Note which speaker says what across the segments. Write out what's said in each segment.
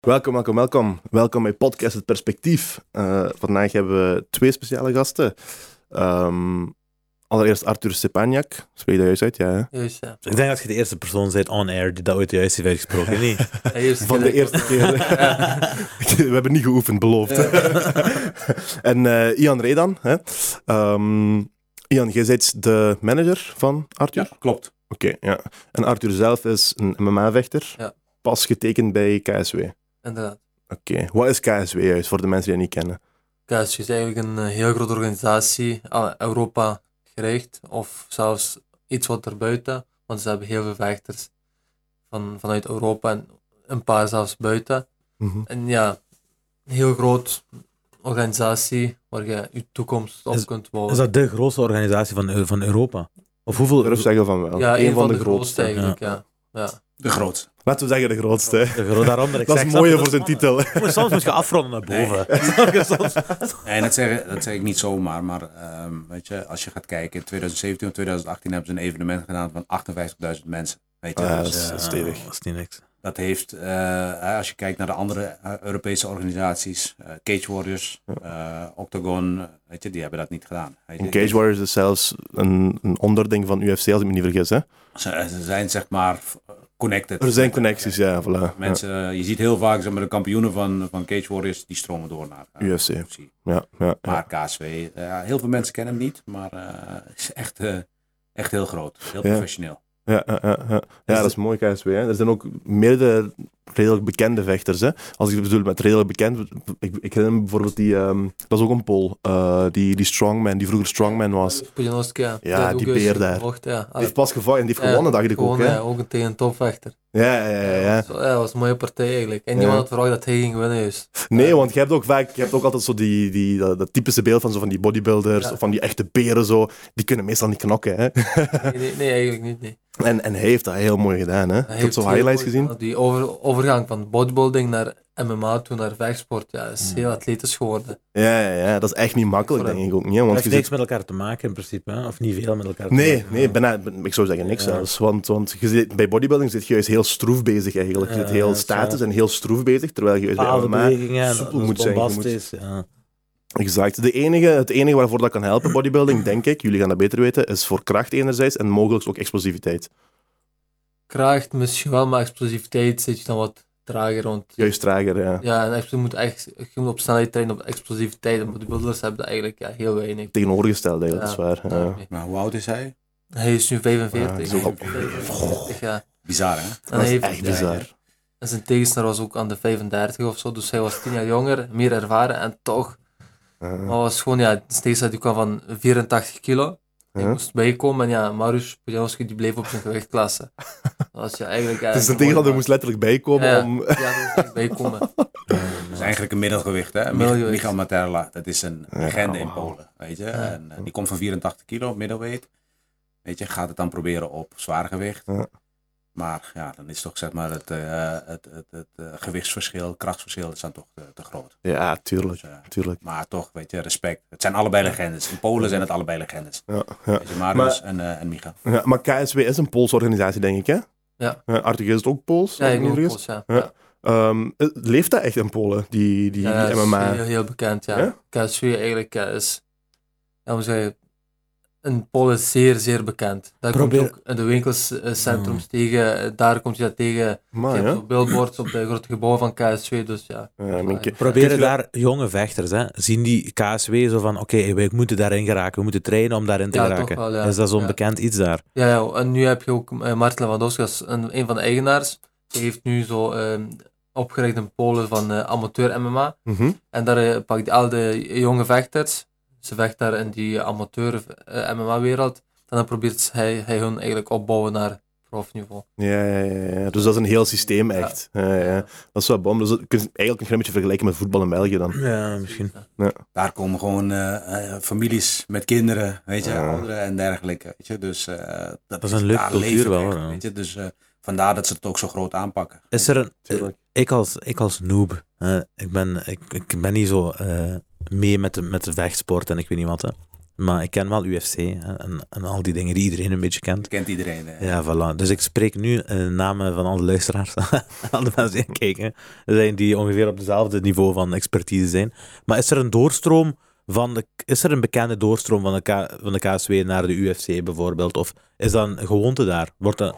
Speaker 1: Welkom, welkom, welkom. Welkom bij Podcast Het Perspectief. Eh, vandaag hebben we twee speciale gasten. Ehm, allereerst Arthur Stepaniak. Spreek je dat juist uit? Ja, hè?
Speaker 2: Juist, ja.
Speaker 3: Ik denk dat je de eerste persoon bent on-air die dat ooit juist heeft uitgesproken, niet?
Speaker 2: Ja, juist,
Speaker 1: Van de
Speaker 2: gelijk.
Speaker 1: eerste keer.
Speaker 2: Ja.
Speaker 1: we hebben niet geoefend, beloofd. en eh, Ian Redan. Hè? Ehm, Ian, jij bent de manager van Arthur?
Speaker 4: klopt.
Speaker 1: Oké, ja. En Arthur zelf is een MMA-vechter.
Speaker 2: Ja.
Speaker 1: Pas getekend bij KSW. Oké,
Speaker 2: Inderdaad.
Speaker 1: wat is KSW juist, voor de mensen die dat niet kennen?
Speaker 2: KSG is eigenlijk een eh, heel grote organisatie, aan Europa gericht, of zelfs iets wat erbuiten, want ze hebben heel veel vechters van, vanuit Europa en een paar zelfs buiten.
Speaker 1: Mhm.
Speaker 2: En ja, een heel groot organisatie waar je je toekomst op
Speaker 3: Is-
Speaker 2: kunt
Speaker 3: Is
Speaker 2: bouwen.
Speaker 3: dat de grootste organisatie van, Eu- van Europa? Of hoeveel?
Speaker 1: Durf zeggen van wel.
Speaker 2: ja,
Speaker 1: Eén
Speaker 2: een van de grootste eigenlijk, ja. ja.
Speaker 4: De grootste.
Speaker 1: Laten we zeggen de grootste. hè.
Speaker 3: De gro- daarom ik
Speaker 1: Dat is
Speaker 3: zeg,
Speaker 1: het
Speaker 3: snap je,
Speaker 1: mooie voor zijn
Speaker 3: spannend.
Speaker 1: titel.
Speaker 3: Je moet- Soms moet je afronden naar boven. Snap je, soms-
Speaker 4: En dat zeg, dat zeg ik niet zomaar, maar ehm, weet je, als je gaat kijken, in 2017 of 2018 hebben ze een evenement gedaan van 58.000 mensen. Weet je,
Speaker 1: Ah,
Speaker 4: dus,
Speaker 1: dat is-
Speaker 4: eh,
Speaker 1: dat is stevig.
Speaker 3: Dat is niet niks.
Speaker 4: dat heeft, eh, hè, als je kijkt naar de andere eh, Europese organisaties, eh, Cage Warriors, eh, Octagon, weet je, die hebben dat niet gedaan. Weet je.
Speaker 1: En Cage Warriors is zelfs een, een onderding van UFC, als ik me niet vergis. Hè?
Speaker 4: Ze, ze zijn zeg maar connected.
Speaker 1: Er zijn connecties, ja, voilà.
Speaker 4: Mensen, eh, je ziet heel vaak zeg maar, de kampioenen van, van Cage Warriors, die stromen door naar eh,
Speaker 1: UFC. Ja, ja, ja.
Speaker 4: Maar KSW, eh, heel veel mensen kennen hem niet, maar eh, het is echt, eh, echt heel groot. Heel
Speaker 1: Ja.
Speaker 4: professioneel.
Speaker 1: Ja, ja, ja, ja. ja dat is mooi KSW. Hè. Er zijn ook meerdere redelijk bekende vechters. Hè. Als ik bedoel met redelijk bekend, ik, ik herinner me bijvoorbeeld die, ehm, dat is ook een Pool, eh, die, die Strongman, die vroeger Strongman
Speaker 2: Ah,
Speaker 1: was.
Speaker 2: Pujanowski, ja.
Speaker 1: Ja,
Speaker 2: Dat heeft
Speaker 1: die
Speaker 2: ook juist
Speaker 1: beer daar.
Speaker 2: gevolgd, ja.
Speaker 1: Die heeft pas gevallen en die heeft
Speaker 2: Ja,
Speaker 1: gewonnen, dacht ik ook.
Speaker 2: Gewoon, ja,
Speaker 1: Hè.
Speaker 2: ook tegen een topvechter.
Speaker 1: Ja, ja, ja, ja.
Speaker 2: Zo, ja, dat was een mooie partij eigenlijk. En
Speaker 1: Ja.
Speaker 2: niemand had verwacht dat hij ging winnen, dus. juist.
Speaker 3: Eh.
Speaker 1: Nee, want je hebt ook vaak, je hebt ook altijd zo die, die, dat, dat typische beeld van, zo van die bodybuilders,
Speaker 2: Ja.
Speaker 1: of van die echte beren zo. Die kunnen meestal niet knokken, hè.
Speaker 2: Nee, nee, nee, eigenlijk niet. Nee.
Speaker 1: En, en hij heeft dat heel mooi gedaan, hè.
Speaker 2: Hij
Speaker 1: Ik heb
Speaker 2: heeft
Speaker 1: zo
Speaker 2: heel
Speaker 1: highlights
Speaker 2: mooi-
Speaker 1: gezien.
Speaker 2: ja, Die over, overgang van bodybuilding naar MMA, toen naar vechtsport, ja,
Speaker 1: Mm.
Speaker 2: is heel atletisch geworden.
Speaker 1: Ja, ja, ja, dat is echt niet makkelijk,
Speaker 2: Voor
Speaker 1: denk ik ook niet. hè, Want
Speaker 3: Dat
Speaker 1: je
Speaker 3: heeft niks
Speaker 1: zit-
Speaker 3: met elkaar te maken in principe, hè? of niet veel met elkaar te
Speaker 1: Nee,
Speaker 3: maken.
Speaker 1: nee bijna, ik zou zeggen niks
Speaker 3: Ja.
Speaker 1: zelfs. Want, want je zit, bij bodybuilding zit je juist heel stroef bezig eigenlijk. Je zit
Speaker 3: Ja,
Speaker 1: heel
Speaker 3: dat is
Speaker 1: statisch
Speaker 3: waar.
Speaker 1: en heel stroef bezig, terwijl je juist bij
Speaker 3: Bepaalde
Speaker 1: MMA...
Speaker 3: bewegingen, en
Speaker 1: eh, soepel
Speaker 3: dat is
Speaker 1: moet zijn, je moet-
Speaker 3: bombastisch. Ja.
Speaker 1: Exact. De enige, het enige waarvoor dat kan helpen, bodybuilding, denk ik, jullie gaan dat beter weten, is voor kracht enerzijds en mogelijk ook explosiviteit.
Speaker 2: Kracht misschien wel, maar explosiviteit zit je dan wat trager rond.
Speaker 1: Juist trager, ja.
Speaker 2: Ja, en echt, je moet echt je moet op snelheid trainen, op explosiviteit. En bodybuilders hebben dat eigenlijk ja, heel weinig.
Speaker 1: Tegenovergesteld eigenlijk, dat is waar. Ja.
Speaker 2: Nee.
Speaker 4: Maar hoe oud is hij?
Speaker 2: Hij is nu 45.
Speaker 1: Ja, dat is ook al- Oh.
Speaker 2: 45, ja.
Speaker 4: Bizar, hè?
Speaker 2: En
Speaker 1: Dat
Speaker 2: hij
Speaker 1: is
Speaker 2: heeft-
Speaker 1: echt bizar.
Speaker 2: En zijn tegenstander was ook aan de 35 of zo, dus hij was 10 jaar jonger, meer ervaren en toch.
Speaker 1: Ja.
Speaker 2: Maar was gewoon, ja, zijn tegenstander die kwam van 84 kilo. Ik
Speaker 1: Ja.
Speaker 2: moest bijkomen en ja, Marius Pujanowski die bleef op zijn gewichtklasse. Dat was ja eigenlijk. Ja,
Speaker 1: Dus de
Speaker 2: mooi,
Speaker 1: tegenstander
Speaker 2: maar-
Speaker 1: moest letterlijk bijkomen
Speaker 2: eh, Ja,
Speaker 1: om...
Speaker 2: Ja, die moest echt bijkomen.
Speaker 4: Dat is eigenlijk een middelgewicht, hè?
Speaker 2: Middelgewicht.
Speaker 4: Michael Materla, dat is een legende in
Speaker 1: wow.
Speaker 4: Polen, weet je. En, eh, die komt van 84 kilo, middleweight. Weet je, gaat het dan proberen op zwaar gewicht.
Speaker 1: Ja.
Speaker 4: Maar ja, dan is toch zeg maar het, eh, het, het, het, eh, gewichtsverschil, krachtverschil, is dan toch te, te groot.
Speaker 1: Ja, tuurlijk,
Speaker 4: Dus, eh,
Speaker 1: tuurlijk.
Speaker 4: maar toch, weet je, respect. Het zijn allebei legendes. In Polen zijn het allebei legendes.
Speaker 1: Ja, ja.
Speaker 4: Weet je, Marius en, eh en Micha.
Speaker 1: Ja, maar KSW is een Poolse organisatie, denk ik, hè?
Speaker 2: Ja.
Speaker 1: Arthur is het ook Pools?
Speaker 2: Ja,
Speaker 1: als ik
Speaker 2: ik
Speaker 1: me niet
Speaker 2: ook
Speaker 1: vergis?
Speaker 2: Pools, ja.
Speaker 1: Ja.
Speaker 2: ja.
Speaker 1: Ehm, eh, leeft dat echt in Polen, die, die,
Speaker 2: Ja,
Speaker 1: die
Speaker 2: dat is
Speaker 1: MMA?
Speaker 2: Heel, heel bekend, ja.
Speaker 1: Ja?
Speaker 2: KSV eigenlijk ja, is, ja, hoe zeg je, in Polen zeer, zeer bekend. Daar
Speaker 3: Probeer-
Speaker 2: komt ook in de winkelcentrums tegen, eh, daar komt je dat tegen.
Speaker 1: Maar,
Speaker 2: je hebt
Speaker 1: Hmm. Ah, ja.
Speaker 2: ook billboards op de grote gebouwen van KSV, dus ja.
Speaker 1: Ja, maar ik- Kun
Speaker 3: Proberen
Speaker 1: je dat-
Speaker 3: daar jonge vechters, hè? zien die KSW zo van, oké, we moeten daarin geraken, we moeten trainen om daarin te
Speaker 2: Ja, toch
Speaker 3: geraken.
Speaker 2: wel, ja.
Speaker 3: Is dat zo'n
Speaker 2: Ja.
Speaker 3: bekend iets daar?
Speaker 2: Ja, ja, en nu heb je ook eh, Martin Lewandowski, als een, een van de eigenaars. Die heeft nu zo ehm, opgericht in Polen van eh, amateur MMA.
Speaker 1: Mhm.
Speaker 2: En daar eh, pakt hij al de jonge vechters. Ze vecht daar in die amateur eh, MMA-wereld. En dan probeert hij, hij hun eigenlijk opbouwen naar profniveau.
Speaker 1: ja, ja, ja, ja. Dus dat is een heel systeem, echt. Ja, ja. Dat is wel bom. Dus dat kun je- eigenlijk kun je een beetje vergelijken met voetbal in België dan.
Speaker 3: Ja, misschien.
Speaker 4: Daar komen gewoon eh, eh, families met kinderen, weet je,
Speaker 1: Ja.
Speaker 4: ouderen en dergelijke. Weet je? Dus, eh, dat,
Speaker 3: is een leuke
Speaker 4: daar
Speaker 3: cultuur
Speaker 4: leven we
Speaker 3: wel,
Speaker 4: echt,
Speaker 3: ja.
Speaker 4: weet je? Dus eh, vandaar dat ze het ook zo groot aanpakken.
Speaker 3: Is er een,
Speaker 1: Tuurlijk.
Speaker 3: eh, ik, als, ik als noob, hè, ik, ben, ik, ik ben niet zo eh, mee met de, met de vechtsport en ik weet niet wat. Hè. Maar ik ken wel UFC hè, en, en al die dingen die iedereen een beetje kent.
Speaker 4: Kent iedereen. eh.
Speaker 3: Ja, voilà. Dus ik spreek nu eh, namen van alle luisteraars, al de mensen die kijken, zijn die ongeveer op hetzelfde niveau van expertise zijn. Maar is er een doorstroom van de, is er een bekende doorstroom van de, K, van de KSW naar de UFC bijvoorbeeld? Of is dat een gewoonte daar? Wordt dat,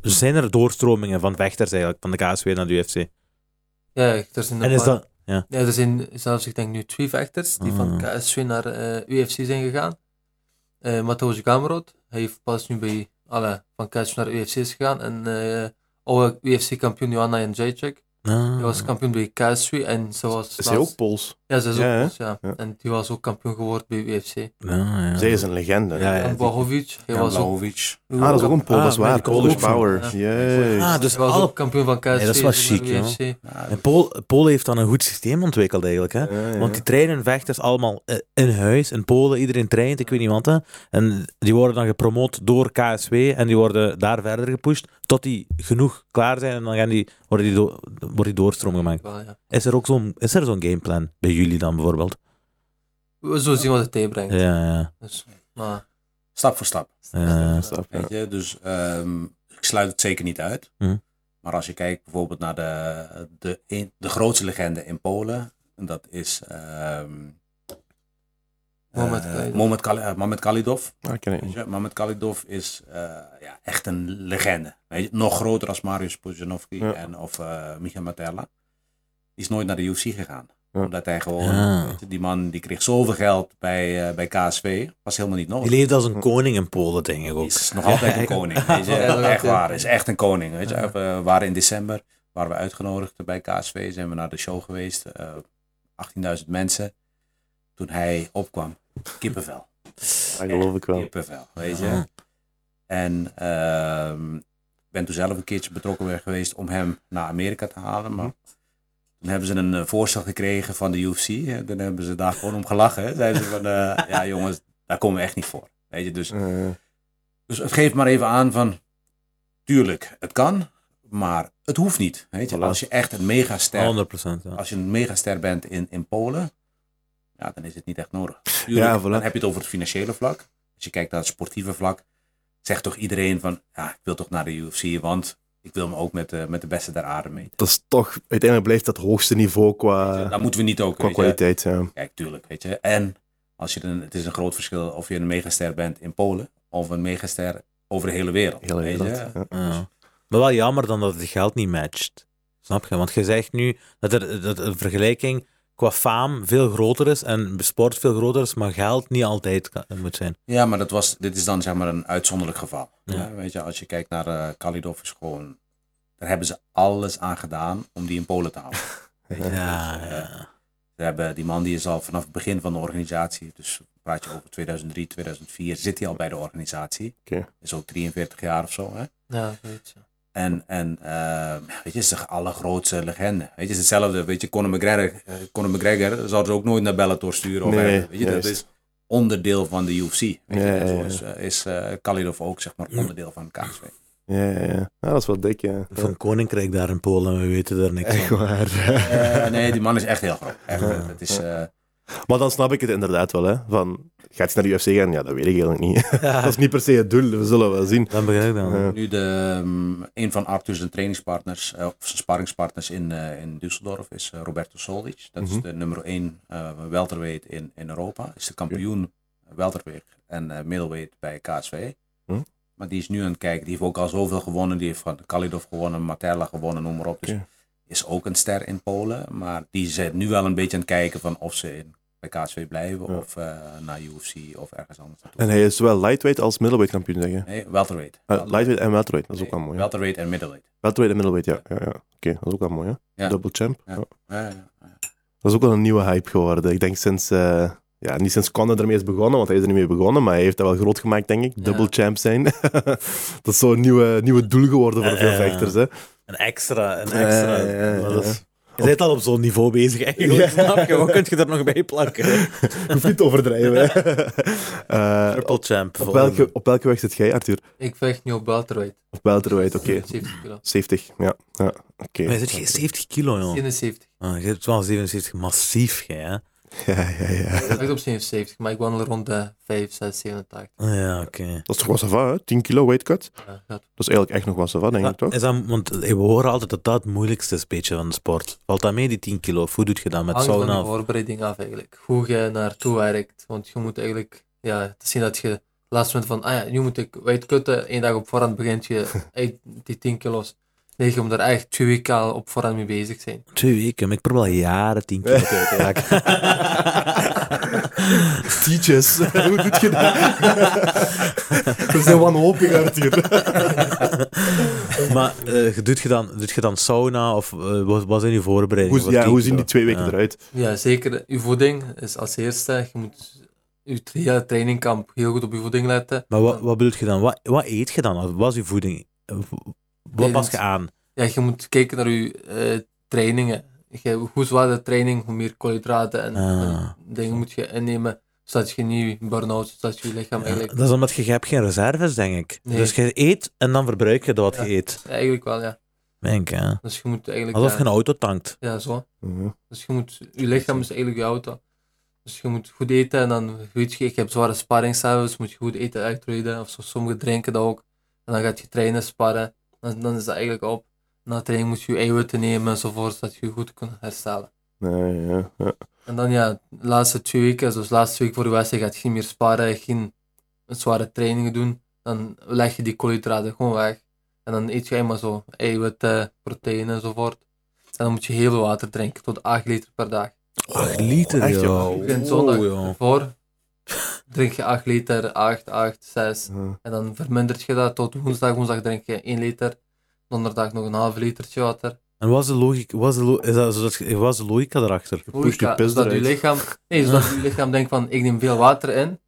Speaker 3: zijn er doorstromingen van vechters eigenlijk, van de KSW naar de UFC?
Speaker 2: Ja, er zijn,
Speaker 3: En
Speaker 2: een
Speaker 3: is
Speaker 2: paar-
Speaker 3: dat... Ja.
Speaker 2: ja, er zijn zelfs, ik denk nu twee vechters die van
Speaker 3: Ah.
Speaker 2: KSW naar eh, UFC zijn gegaan. Eh Matthäus Gamrot, hij heeft pas nu bij, alle, van KSW naar UFC is gegaan. En eh oude UFC-kampioen Joanna Jacek,
Speaker 3: Ah.
Speaker 2: hij was kampioen bij KSW en ze was...
Speaker 1: Is hij
Speaker 2: laatst-
Speaker 1: ook Pools?
Speaker 2: Ja, ze is
Speaker 1: Ja, hè?
Speaker 2: ook Pools, ja.
Speaker 1: Ja.
Speaker 2: En die was ook kampioen geworden bij UFC.
Speaker 3: Ah, ja.
Speaker 1: Zij is een legende.
Speaker 3: Ja, ja.
Speaker 2: en Blahovic, hij
Speaker 4: Jan
Speaker 2: was ook...
Speaker 4: Blahovic.
Speaker 1: Ah, dat is ook een Pool,
Speaker 3: Ah,
Speaker 1: dat is
Speaker 3: maar
Speaker 1: waar.
Speaker 3: die komt
Speaker 1: Polish
Speaker 3: ook van-
Speaker 1: Power.
Speaker 2: ja.
Speaker 1: Jezus.
Speaker 3: Ah, dus
Speaker 2: hij was
Speaker 3: alle-
Speaker 2: ook kampioen van KSW.
Speaker 3: Nee, dat is wel
Speaker 2: toen naar
Speaker 3: chic, joh.
Speaker 2: UFC.
Speaker 4: Ja,
Speaker 3: En Pool, Polen heeft dan een goed systeem ontwikkeld eigenlijk, hè?
Speaker 1: Ja, ja.
Speaker 3: Want die trainen vechters allemaal eh, in huis. In Polen, iedereen traint, ik weet niet wat. Hè. En die worden dan gepromoot door KSW en die worden daar verder gepusht tot die genoeg klaar zijn en dan gaan die, worden, die do- wordt die doorstroom gemaakt.
Speaker 2: Wel, ja.
Speaker 3: Is er ook zo'n, is er zo'n gameplan bij jullie dan bijvoorbeeld?
Speaker 2: We zullen zien wat het tegenbrengt.
Speaker 3: Ja, ja,
Speaker 2: Dus, maar,
Speaker 4: Stap voor stap.
Speaker 3: ja.
Speaker 1: Snap, ja.
Speaker 4: Weet je? Dus ehm, ik sluit het zeker niet uit.
Speaker 3: Mhm.
Speaker 4: Maar als je kijkt bijvoorbeeld naar de, de, een- de grootste legende in Polen, en dat is ehm
Speaker 2: Mohamed
Speaker 4: eh,
Speaker 2: Kalidov.
Speaker 4: Mohamed Kali- eh, Mohamed Kalidov.
Speaker 1: Ah, ken ik
Speaker 4: Weet
Speaker 1: niet.
Speaker 4: je? Mohamed Kalidov is eh, ja, echt een legende. Weet je? Nog groter als Mariusz Pudzianowski
Speaker 1: Ja.
Speaker 4: en of eh Michael Matella. Die is nooit naar de UFC gegaan.
Speaker 1: Ja.
Speaker 4: Omdat hij gewoon...
Speaker 3: Ja.
Speaker 2: Ah.
Speaker 4: weet je, Die man die kreeg zoveel geld bij, eh, bij KSV. Was helemaal niet nodig.
Speaker 3: Die leeft als een koning in Polen, denk ik ook.
Speaker 4: Is nog altijd een koning. Weet je?
Speaker 2: Ja, dat
Speaker 4: echt
Speaker 2: wel.
Speaker 4: waar, is echt een koning. Weet je? eh, We waren in december, waren we uitgenodigd bij KSV, zijn we naar de show geweest. eh, 18.000 mensen. Toen hij opkwam, kippenvel.
Speaker 1: Dat geloof ik wel.
Speaker 4: Kippenvel, weet je.
Speaker 3: Ja.
Speaker 4: En ehm, ik ben toen zelf een keertje betrokken weer geweest om hem naar Amerika te halen. Maar toen hebben ze een eh, voorstel gekregen van de UFC. Hè. Toen hebben ze daar gewoon om gelachen. Hè. Zeiden ze van, eh, ja jongens, daar komen we echt niet voor. Weet je, dus
Speaker 1: Eh,
Speaker 4: dus het geeft maar even aan van, tuurlijk, het kan, maar het hoeft niet. Weet je?
Speaker 1: Voilà.
Speaker 4: Als je echt een megaster,
Speaker 3: 100%. Ja.
Speaker 4: als je een megaster bent in, in Polen, ja, dan is het niet echt nodig. Tuurlijk,
Speaker 1: Ja, voilà.
Speaker 4: Dan heb je het over het financiële vlak. Als je kijkt naar het sportieve vlak, zegt toch iedereen van, ja, ik wil toch naar de UFC, want ik wil me ook met, de- met de beste der aarde meten.
Speaker 1: dat is toch, uiteindelijk blijft dat hoogste niveau qua,
Speaker 4: dat moeten we niet ook.
Speaker 1: qua
Speaker 4: weet je.
Speaker 1: kwaliteit. Ja.
Speaker 4: Kijk, tuurlijk, weet je. En als je een, het is een groot verschil of je een megaster bent in Polen of een megaster over de hele wereld.
Speaker 1: Heel
Speaker 4: weet je.
Speaker 1: inderdaad. Ja.
Speaker 3: Ja. Maar wel jammer dan dat het geld niet matcht. Snap je? Want je zegt nu dat, er, dat de vergelijking qua faam veel groter is en sport veel groter is, maar geld niet altijd kan- moet zijn.
Speaker 4: Ja, maar dat was, dit is dan zeg maar een uitzonderlijk geval.
Speaker 3: Ja.
Speaker 4: Ja, weet je, als je kijkt naar eh Kalidov is gewoon... Daar hebben ze alles aan gedaan om die in Polen te houden.
Speaker 3: Ja, ja.
Speaker 4: Ze hebben, die man die is al vanaf het begin van de organisatie, dus praat je over 2003, 2004, zit hij al bij de organisatie.
Speaker 1: Oké.
Speaker 4: Is ook 43 jaar of zo. Hè?
Speaker 2: ja, weet je.
Speaker 4: En, en eh, weet je, is de allergrootste legende. Weet je, het is hetzelfde, weet je, Conor McGregor, eh, Conor McGregor zou ze ook nooit naar Bellator sturen. Of
Speaker 1: Nee,
Speaker 4: ergens, weet je, dat
Speaker 1: juist.
Speaker 4: is onderdeel van de UFC. Weet je,
Speaker 1: Ja, ja,
Speaker 4: zo
Speaker 1: ja.
Speaker 4: is, eh, is eh, Kalidov ook, zeg maar, onderdeel van KSW.
Speaker 1: Ja, ja, ja. Nou, dat is wel dik, ja.
Speaker 3: Van koninkrijk daar in Polen, we weten daar niks
Speaker 1: Echt
Speaker 3: van.
Speaker 1: waar.
Speaker 4: Eh, nee, die man is echt heel groot. Echt, eh, het is, eh,
Speaker 1: Maar dan snap ik het inderdaad wel, hè. Van, gaat hij naar de UFC gaan? Ja, dat weet ik eigenlijk niet. dat is niet per se het doel, we zullen wel zien.
Speaker 3: Dan begin ik dan.
Speaker 1: Ja.
Speaker 4: nu de, ehm, een van Arthur's zijn trainingspartners, eh, of zijn sparringspartners in, eh, in Düsseldorf is eh, Roberto Soldic. Dat
Speaker 1: Mhm.
Speaker 4: is de nummer 1 welterweight in, in Europa. Is de kampioen welterweight en eh middleweight bij KSV.
Speaker 1: Mhm.
Speaker 4: Maar die is nu aan het kijken. Die heeft ook al zoveel gewonnen. Die heeft van Kalidov gewonnen, Matella gewonnen, noem maar op. Dus
Speaker 1: Oké.
Speaker 4: is ook een ster in Polen. Maar die zijn nu wel een beetje aan het kijken van of ze in, bij KSV blijven
Speaker 1: Ja.
Speaker 4: of eh, naar UFC of ergens anders naartoe.
Speaker 1: En hij is zowel lightweight als middleweight kampioen, zeg je.
Speaker 4: Nee, welterweight.
Speaker 1: Eh, lightweight en welterweight, dat is ook wel mooi. hè.
Speaker 4: Welterweight en middleweight.
Speaker 1: Welterweight en middleweight, ja. ja, ja. Oké, dat is ook wel mooi, hè.
Speaker 4: Ja.
Speaker 1: Double champ.
Speaker 4: Ja.
Speaker 1: Ja.
Speaker 4: Ja, ja, ja.
Speaker 1: Dat is ook wel een nieuwe hype geworden. Ik denk sinds... eh, ja, niet sinds Conor ermee is begonnen, want hij is er niet mee begonnen, maar hij heeft dat wel groot gemaakt, denk ik.
Speaker 2: Ja.
Speaker 1: Double champ zijn. dat is zo'n nieuwe, nieuwe doel geworden voor
Speaker 3: Eh,
Speaker 1: veel
Speaker 3: eh,
Speaker 1: vechters, hè.
Speaker 3: Een extra, een extra.
Speaker 1: Ja, ja, ja,
Speaker 3: dat is-
Speaker 1: ja.
Speaker 3: Je bent al op zo'n niveau bezig eigenlijk,
Speaker 1: Ja.
Speaker 3: snap je? Wat kun je er nog bij plakken?
Speaker 1: Je hoeft niet te overdrijven, hè. Eh,
Speaker 3: Triple champ.
Speaker 1: op,
Speaker 3: volgende.
Speaker 1: welke, op welke weg zit jij, Arthur?
Speaker 2: Ik vecht nu op welterweight.
Speaker 1: Op welterweight, oké.
Speaker 2: 70 kilo.
Speaker 1: 70, ja. ja oké.
Speaker 3: Maar je zit geen 70 kilo, joh.
Speaker 2: 71.
Speaker 3: Ah, je hebt wel 77 massief, jij, hè?
Speaker 1: Ja, ja, ja.
Speaker 2: Ik op 77, maar ik wandel rond de 5, 6, 87.
Speaker 3: Ja, oké.
Speaker 1: Dat is toch wel sava, hè? 10 kilo weight cut.
Speaker 2: Ja, gaat.
Speaker 1: Dat is eigenlijk echt nog wel sava, denk
Speaker 3: Maar
Speaker 1: ik toch?
Speaker 3: Is dat, want we horen altijd dat dat het moeilijkste is beetje van de sport. Valt dat mee, die 10 kilo? Of hoe doet je dat met
Speaker 2: hangt van
Speaker 3: sauna?
Speaker 2: de
Speaker 3: of-
Speaker 2: voorbereiding af eigenlijk. Hoe je naartoe werkt. Want je moet eigenlijk ja, het is niet dat je het laatste moment van, ah ja, nu moet ik wijd kutten. Eén dag op voorhand begint je uit die 10 kilo's. Nee, je moet er echt twee weken al op voorhand mee bezig zijn.
Speaker 3: Twee weken, maar ik probeer al jaren 10 kilo kwijt te raken.
Speaker 1: Teaches. Hoe doet je dat? We zijn wanhopig uit hier.
Speaker 3: maar eh, doet, je dan, doet je dan sauna of eh, wat, wat zijn je voorbereidingen?
Speaker 1: Hoe,
Speaker 3: voor
Speaker 1: ja,
Speaker 3: 10
Speaker 1: hoe zien
Speaker 3: kilo?
Speaker 1: die twee weken
Speaker 3: Ja.
Speaker 1: eruit?
Speaker 2: Ja, zeker. Uw voeding is als eerste. Je moet je tra- hele trainingkamp heel goed op je voeding letten.
Speaker 3: Maar wat, wat bedoel je dan? Wat, wat eet je dan? Of Wat is je voeding? Eh, Wat
Speaker 2: Nee,
Speaker 3: pas je
Speaker 2: dat-
Speaker 3: aan?
Speaker 2: Ja, je moet kijken naar je eh, trainingen. Je, hoe zwaarder de training, hoe meer koolhydraten en,
Speaker 3: Ah.
Speaker 2: en dingen moet je innemen. Zodat je niet burn-out, zodat je lichaam eigenlijk...
Speaker 3: Dat is omdat je, je hebt geen reserves, denk ik.
Speaker 2: Nee.
Speaker 3: Dus je eet en dan verbruik je dat wat
Speaker 2: Ja.
Speaker 3: je eet.
Speaker 2: Ja, Eigenlijk wel, ja.
Speaker 3: Denk, hè?
Speaker 2: Dus je moet eigenlijk...
Speaker 3: Alsof
Speaker 2: ja,
Speaker 3: je een auto tankt.
Speaker 2: ja, zo.
Speaker 1: Mhm.
Speaker 2: Dus je moet... Je lichaam is eigenlijk je auto. Dus je moet goed eten en dan weet je, ik heb zware sparringsavonds, moet je goed eten uitreden. Of zo, sommigen drinken dat ook. En dan gaat je trainen, sparren. Dan, dan is dat eigenlijk op. Na de training moet je je eiwitten nemen enzovoort, zodat je je goed kunt herstellen.
Speaker 1: Nee, ja, ja.
Speaker 2: En dan ja, de laatste twee weken, dus de laatste week voor de wedstrijd, gaat je niet meer sparen, geen zware trainingen doen. Dan leg je die koolhydraten gewoon weg. En dan eet je eenmaal zo eiwitten, proteïne enzovoort. En dan moet je heel veel water drinken, tot 8 liter per dag.
Speaker 3: 8 liter,
Speaker 1: Oh, echt,
Speaker 3: joh.
Speaker 1: joh.
Speaker 2: Je begint zondag
Speaker 3: Oeh, joh.
Speaker 2: voor, drink je 8 liter, 8, 8, 6.
Speaker 1: Ja.
Speaker 2: En dan vermindert je dat tot woensdag. Woensdag drink je 1 liter, donderdag nog een half litertje water.
Speaker 3: En wat is de logica, wat is de lo- is dat, zodat je- wat is de logica erachter?
Speaker 1: Pusht je
Speaker 2: Logica,
Speaker 1: pis
Speaker 2: zodat je
Speaker 1: eruit.
Speaker 2: lichaam, nee, zodat je lichaam denkt van ik neem veel water in,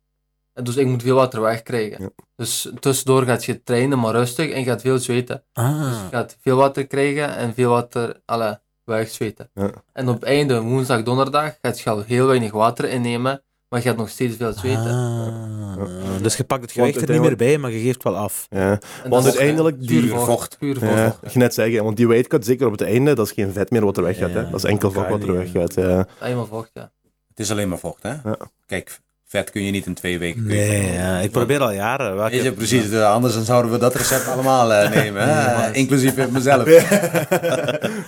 Speaker 2: en dus ik moet veel water wegkrijgen.
Speaker 1: Ja.
Speaker 2: Dus tussendoor gaat je trainen, maar rustig, en je gaat veel zweten.
Speaker 3: Ah,
Speaker 2: Je dus gaat veel water krijgen en veel water alle, wegzweten.
Speaker 1: Ja.
Speaker 2: En op het einde, woensdag, donderdag, gaat je al heel weinig water innemen, maar je gaat nog steeds veel zweten.
Speaker 3: ah. Dus je pakt het
Speaker 1: Want
Speaker 3: gewicht er niet meer bij, maar je geeft wel af.
Speaker 1: Ja.
Speaker 2: En
Speaker 1: Want
Speaker 2: dat is
Speaker 1: uiteindelijk
Speaker 2: puur
Speaker 1: die-
Speaker 4: vocht.
Speaker 2: Puur vocht.
Speaker 1: Ja, ik net zeggen, want die weight cut, zeker op het einde, dat is geen vet meer wat er weggaat.
Speaker 3: Ja,
Speaker 1: hè. Dat is enkel
Speaker 3: dat
Speaker 1: vak wat
Speaker 3: kan
Speaker 1: er
Speaker 3: niet.
Speaker 1: weggaat. Ja.
Speaker 2: Eenmaal vocht, ja.
Speaker 4: Het is alleen maar vocht, hè?
Speaker 1: Ja.
Speaker 4: Kijk, vet kun je niet in twee weken kweken.
Speaker 3: Nee, ja, ik probeer al jaren. Welke-
Speaker 4: Weet je, precies. eh, Anders dan zouden we dat recept allemaal eh, nemen, hè?
Speaker 3: Ja, maar-
Speaker 4: inclusief ik mezelf.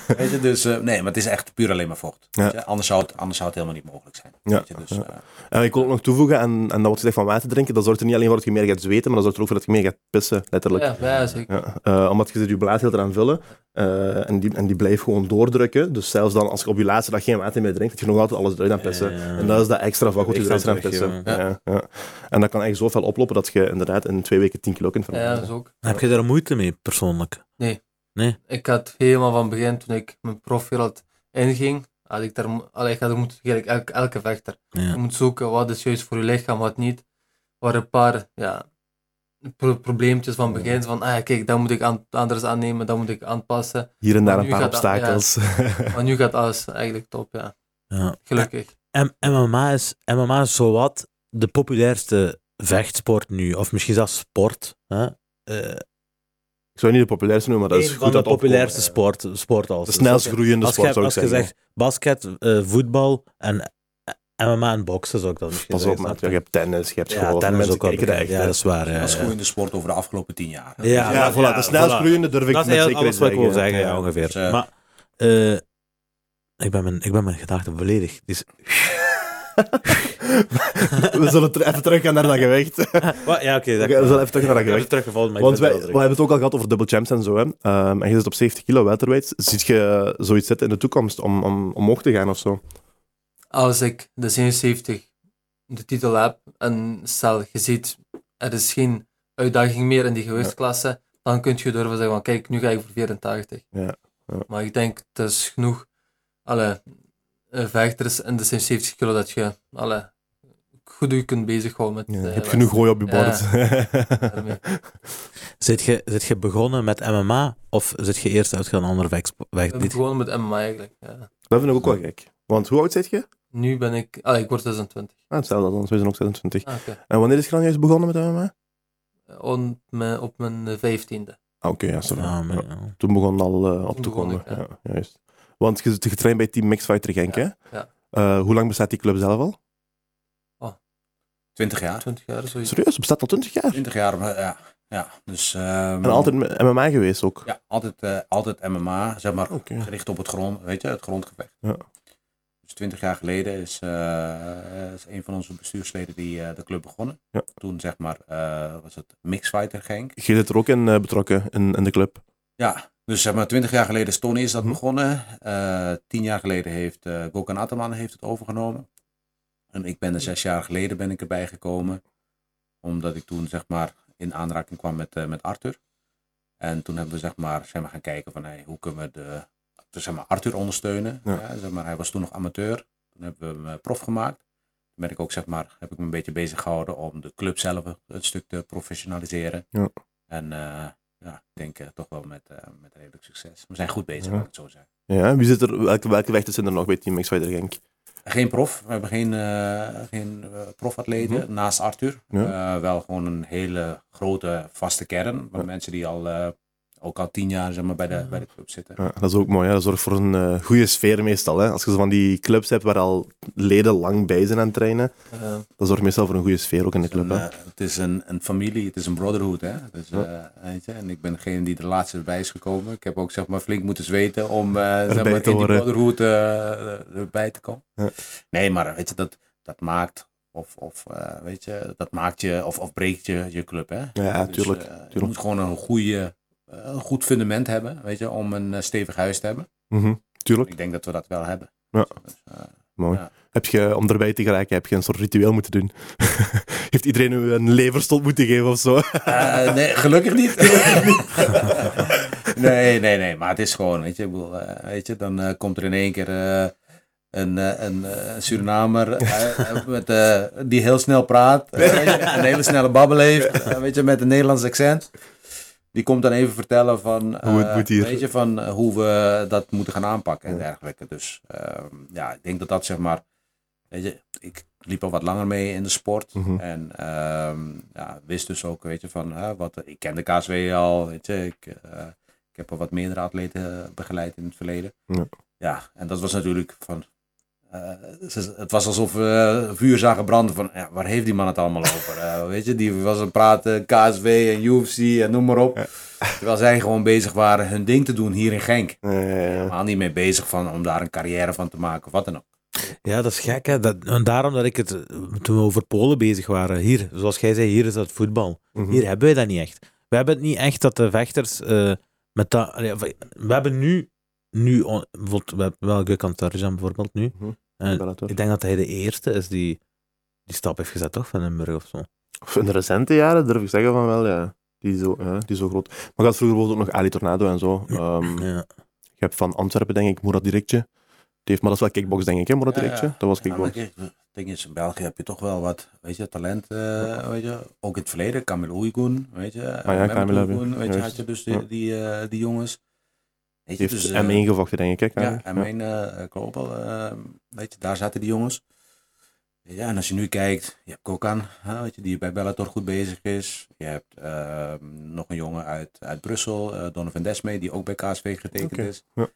Speaker 4: Weet je, dus eh, nee, maar het is echt puur alleen maar vocht.
Speaker 1: Ja.
Speaker 4: Weet je, Anders, zou het, anders zou het helemaal niet mogelijk zijn.
Speaker 1: Ja.
Speaker 4: Weet je, dus, eh,
Speaker 1: En ik wil ook nog toevoegen, en, en dat wordt gezegd van water drinken, dat zorgt er niet alleen voor dat je meer gaat zweten, maar dat zorgt er ook voor dat je meer gaat pissen, letterlijk.
Speaker 2: Ja, ja, zeker.
Speaker 1: Ja, eh, omdat je zit je blaas heel eraan vullen eh, en, die, en die blijft gewoon doordrukken. Dus zelfs dan als je op je laatste dag geen water meer drinkt, dat je nog altijd alles eruit aan het pissen.
Speaker 3: Ja.
Speaker 1: En dat is dat extra vak wat je
Speaker 3: Ik
Speaker 1: eruit
Speaker 3: ga
Speaker 1: aan het
Speaker 3: terug,
Speaker 1: pissen.
Speaker 4: jongen.
Speaker 1: Ja, ja. En dat kan echt zoveel oplopen dat je inderdaad in twee weken 10 kilo kunt
Speaker 2: Ja,
Speaker 1: veranderen.
Speaker 2: dat is ook.
Speaker 3: Heb je daar moeite mee, persoonlijk?
Speaker 2: ik had helemaal van het begin, toen ik mijn profwereld inging, had ik daar, mo- allee, ik had er moeten, eigenlijk elke, elke vechter. Je
Speaker 3: Ja.
Speaker 2: moet zoeken wat is juist voor je lichaam, wat niet. Er waren een paar ja, pro- probleempjes van het begin, van ah, ja, kijk, dat moet ik aan, anders aannemen, dat moet ik aanpassen.
Speaker 1: Hier en daar
Speaker 2: Maar
Speaker 1: een
Speaker 2: nu
Speaker 1: paar
Speaker 2: gaat dat-
Speaker 1: obstakels.
Speaker 2: Maar nu gaat alles eigenlijk top, ja.
Speaker 3: ja.
Speaker 2: Gelukkig.
Speaker 3: M- MMA is, MMA is zowat de populairste vechtsport nu, of misschien zelfs sport. Hè? Eh,
Speaker 1: Ik zou het niet de populairste noemen, maar dat
Speaker 3: een
Speaker 1: is
Speaker 3: van
Speaker 1: goed
Speaker 3: de
Speaker 1: dat
Speaker 3: populairste
Speaker 1: opkomt.
Speaker 3: sport, sport als.
Speaker 1: De snelst groeiende
Speaker 3: als je,
Speaker 1: sport,
Speaker 3: hebt-
Speaker 1: zou ik
Speaker 3: als je
Speaker 1: zeggen.
Speaker 3: zegt basket, eh, voetbal en eh, MMA en boksen, zou ik dat misschien
Speaker 1: Pas op,
Speaker 3: zeggen,
Speaker 1: maat.
Speaker 3: snap
Speaker 1: Je
Speaker 3: je?
Speaker 1: hebt tennis, je hebt
Speaker 3: Ja,
Speaker 1: gewoon...
Speaker 3: tennis
Speaker 1: mensen
Speaker 3: ook wel
Speaker 1: kijken daar echt
Speaker 3: bekend. Ja,
Speaker 1: naar.
Speaker 3: dat is waar. Ja,
Speaker 4: dat is
Speaker 3: ja.
Speaker 4: goed in de sport over de afgelopen tien jaar.
Speaker 3: Ja,
Speaker 1: Ja,
Speaker 3: ja,
Speaker 1: voilà, de snelst
Speaker 3: voilà.
Speaker 1: groeiende durf ik
Speaker 3: Dat is
Speaker 1: met
Speaker 3: eigenlijk alles
Speaker 1: zekerheid
Speaker 3: wat ik wil
Speaker 1: zeggen,
Speaker 3: zeggen, ja,
Speaker 1: ja.
Speaker 3: ongeveer.
Speaker 4: Dus, eh,
Speaker 3: maar eh, ik, ben mijn, ik ben mijn gedachten volledig. Die is-
Speaker 1: We zullen ter- even terug gaan naar dat gewicht.
Speaker 3: Wat? ja, oké. dat-
Speaker 1: Oké, we zullen even terug naar dat
Speaker 3: Ik
Speaker 1: gewicht.
Speaker 3: heb het teruggevallen, maar
Speaker 1: Want
Speaker 3: ik ben
Speaker 1: wij,
Speaker 3: het
Speaker 1: we
Speaker 3: wel
Speaker 1: hebben het ook al gehad over double champs en zo. Hè. Ehm, en je zit op 70 kilo welterweight. Ziet je zoiets zitten in de toekomst om, om omhoog te gaan of zo?
Speaker 2: Als ik de 77 de titel heb en stel, je ziet, er is geen uitdaging meer in die gewichtsklasse, dan kun je durven zeggen van kijk, nu ga ik voor 84.
Speaker 1: Ja, ja.
Speaker 2: Maar ik denk, het is genoeg alle vechters in de 77 kilo dat je alle goed je kunt bezighouden met...
Speaker 1: Ja, je
Speaker 2: eh,
Speaker 1: hebt genoeg gooi op je
Speaker 2: Ja.
Speaker 1: bord.
Speaker 2: daarmee.
Speaker 3: Zit je, zit je begonnen met MMA of zit je eerst uit een ander weg? weg
Speaker 2: Ik ben
Speaker 3: dit-
Speaker 2: gewoon met MMA eigenlijk. Ja.
Speaker 1: dat vind ik ook wel gek. Want hoe oud zit je?
Speaker 2: Nu ben ik... Ah, ik word 26.
Speaker 1: Ah, hetzelfde, anders we zijn ook 26.
Speaker 2: Ah, oké.
Speaker 1: En wanneer is je dan juist begonnen met MMA?
Speaker 2: On- me- Op mijn vijftiende.
Speaker 1: Ah, oké, ja, sorry.
Speaker 3: Ja, maar-
Speaker 1: Ja,
Speaker 3: ja.
Speaker 1: Toen begon het al eh, op
Speaker 2: Toen
Speaker 1: te
Speaker 2: begon
Speaker 1: komen.
Speaker 2: ik, ja.
Speaker 1: ja, juist. Want je zit getraind bij Team Mixed Fighter Genk,
Speaker 2: Ja,
Speaker 1: hè?
Speaker 2: ja.
Speaker 1: Eh, hoe lang bestaat die club zelf al?
Speaker 4: 20 jaar.
Speaker 2: 20 jaar zoiets.
Speaker 1: Serieus, het bestaat al 20 jaar.
Speaker 4: 20 jaar, maar ja. ja. Dus,
Speaker 1: En
Speaker 4: ehm,
Speaker 1: altijd m- MMA geweest ook.
Speaker 4: Ja, altijd, eh, altijd MMA, zeg maar,
Speaker 1: Oké.
Speaker 4: gericht op het grond, weet je, het grondgevecht.
Speaker 1: Ja.
Speaker 4: Dus twintig jaar geleden is, eh, is een van onze bestuursleden die eh, de club begonnen.
Speaker 1: Ja.
Speaker 4: Toen zeg maar, eh, was het Mixfighter Genk.
Speaker 1: Je zit er ook in eh, betrokken, in, in de club.
Speaker 4: Ja, dus zeg maar, twintig jaar geleden is Tony is dat
Speaker 1: Mhm.
Speaker 4: begonnen. Eh, tien jaar geleden heeft eh Gokhan Ataman heeft het overgenomen. En ik ben er zes jaar geleden ben ik erbij gekomen. Omdat ik toen zeg maar in aanraking kwam met, eh, met Arthur. En toen hebben we zeg maar, zeg maar gaan kijken van hey, hoe kunnen we de, dus, zeg maar, Arthur ondersteunen.
Speaker 1: Ja.
Speaker 4: Ja, zeg maar, hij was toen nog amateur. Toen hebben we hem eh, prof gemaakt. Toen ben ik ook zeg maar, heb ik me een beetje bezig gehouden om de club zelf het stuk te professionaliseren.
Speaker 1: Ja.
Speaker 4: En eh, ja, ik denk eh, toch wel met, eh, met redelijk succes. We zijn goed bezig,
Speaker 1: Ja.
Speaker 4: laat ik het zo zeggen.
Speaker 1: Ja, wie zit er, welke, welke vechters zijn er nog bij Team X-Fighter Genk?
Speaker 4: Geen prof, we hebben geen, eh, geen eh, profatleten
Speaker 1: Mhm.
Speaker 4: naast Arthur.
Speaker 1: Ja.
Speaker 4: Eh, wel gewoon een hele grote vaste kern. Maar
Speaker 1: Ja.
Speaker 4: mensen die al, eh, ook al tien jaar zeg maar, bij, de, bij de club zitten.
Speaker 1: Ja, dat is ook mooi. Hè? Dat zorgt voor een eh, goede sfeer meestal. Hè? Als je zo van die clubs hebt waar al leden lang bij zijn aan het trainen,
Speaker 2: Eh,
Speaker 1: dat zorgt meestal voor een goede sfeer ook in de club.
Speaker 4: Een,
Speaker 1: Hè?
Speaker 4: eh, het is een, een familie, het is een brotherhood. Hè? Dus, eh, weet je, en ik ben degene die de laatste erbij is gekomen. Ik heb ook zeg maar, flink moeten zweten om eh, zeg maar,
Speaker 1: te
Speaker 4: in die
Speaker 1: horen.
Speaker 4: brotherhood eh, erbij te komen.
Speaker 1: Ja.
Speaker 4: Nee, maar weet je, dat, dat maakt, of, of, eh, weet je, dat maakt je, of, of breekt je, je club. Hè?
Speaker 1: Ja,
Speaker 4: Dus,
Speaker 1: tuurlijk.
Speaker 4: eh, Je
Speaker 1: tuurlijk.
Speaker 4: moet gewoon een, goede, eh, een goed fundament hebben, weet je, om een eh, stevig huis te hebben.
Speaker 1: Mhm, Tuurlijk,
Speaker 4: Ik denk dat we dat wel hebben.
Speaker 1: Ja.
Speaker 4: Dus, eh,
Speaker 1: mooi.
Speaker 4: ja.
Speaker 1: Heb je, om erbij te geraken, heb je een soort ritueel moeten doen? Heeft iedereen u een leverstond moeten geven of zo?
Speaker 4: Eh, nee, gelukkig niet. nee, nee, nee. Maar het is gewoon, weet je, ik bedoel, eh, weet je dan eh, komt er in één keer eh, een, eh, een eh, Surinamer eh, met, eh, die heel snel praat. eh, weet je, een hele snelle babbel heeft, eh, weet je, met een Nederlands accent. Die komt dan even vertellen van,
Speaker 1: Hoe het
Speaker 4: eh,
Speaker 1: moet hier.
Speaker 4: Weet je, van eh, hoe we dat moeten gaan aanpakken en
Speaker 1: Ja.
Speaker 4: dergelijke. Dus ehm, ja, ik denk dat dat zeg maar, weet je, ik liep al wat langer mee in de sport.
Speaker 1: Mhm.
Speaker 4: En ehm, ja, wist dus ook, weet je, van hè, wat ik ken de KSW al, weet je, ik, eh, ik heb al wat meerdere atleten eh, begeleid in het verleden.
Speaker 1: Ja.
Speaker 4: Ja, en dat was natuurlijk van. eh, ze- het was alsof we vuur zagen branden van ja, waar heeft die man het allemaal over? Eh, weet je, die was aan het praten, KSW en UFC en noem maar op.
Speaker 1: Ja.
Speaker 4: Terwijl zij gewoon bezig waren hun ding te doen hier in Genk.
Speaker 1: Eh,
Speaker 4: Helemaal niet mee bezig van om daar een carrière van te maken of wat dan ook.
Speaker 3: Ja, dat is gek. Hè? Dat, en daarom dat ik het, eh, toen we over Polen bezig waren, hier, zoals jij zei, hier is dat voetbal.
Speaker 1: mhm.
Speaker 3: Hier hebben wij dat niet echt. We hebben het niet echt dat de vechters eh, met dat... allee, of- We hebben nu... nu on- bijvoorbeeld, we hebben wel Gökhan Tarjan bijvoorbeeld nu.
Speaker 1: Mhm.
Speaker 3: Eh,
Speaker 1: Ik ben het hoor.
Speaker 3: ik denk dat hij de eerste is die die stap heeft gezet, toch? Van Limburg of zo.
Speaker 1: Of in de recente jaren durf ik zeggen van wel, ja. Die zo, ja, die zo groot. Maar ik had vroeger bijvoorbeeld ook nog Ali Tornado en zo. Ehm,
Speaker 3: Ja.
Speaker 1: Je hebt van Antwerpen, denk ik, Murat Direktje. Die heeft, maar dat is wel kickbox, denk ik, hè, Murat
Speaker 4: Ja, ja.
Speaker 1: Direktje? Dat was
Speaker 4: Ja, maar
Speaker 1: kickbox.
Speaker 4: kijk, het ding is, in België heb je toch wel wat, weet je, talent, eh, weet je. Ook in het verleden, Kamil Oeigoen, weet je. Ah
Speaker 1: Kamil heb je,
Speaker 4: weet
Speaker 1: juist.
Speaker 4: je, had je dus die,
Speaker 1: Ja.
Speaker 4: die, eh, die jongens. Weet
Speaker 1: Die
Speaker 4: je,
Speaker 1: heeft
Speaker 4: dus, eh,
Speaker 1: M1 gevochten, denk ik. Hè,
Speaker 4: ja,
Speaker 1: Karel?
Speaker 4: en mijn eh Global, eh, weet je, daar zaten die jongens. Ja, en als je nu kijkt, je hebt Kokan, hè, weet je, die bij Bellator goed bezig is. Je hebt eh, nog een jongen uit, uit Brussel, eh, Donovan Desmee, die ook bij KSV getekend
Speaker 1: Oké,
Speaker 4: is.
Speaker 1: ja.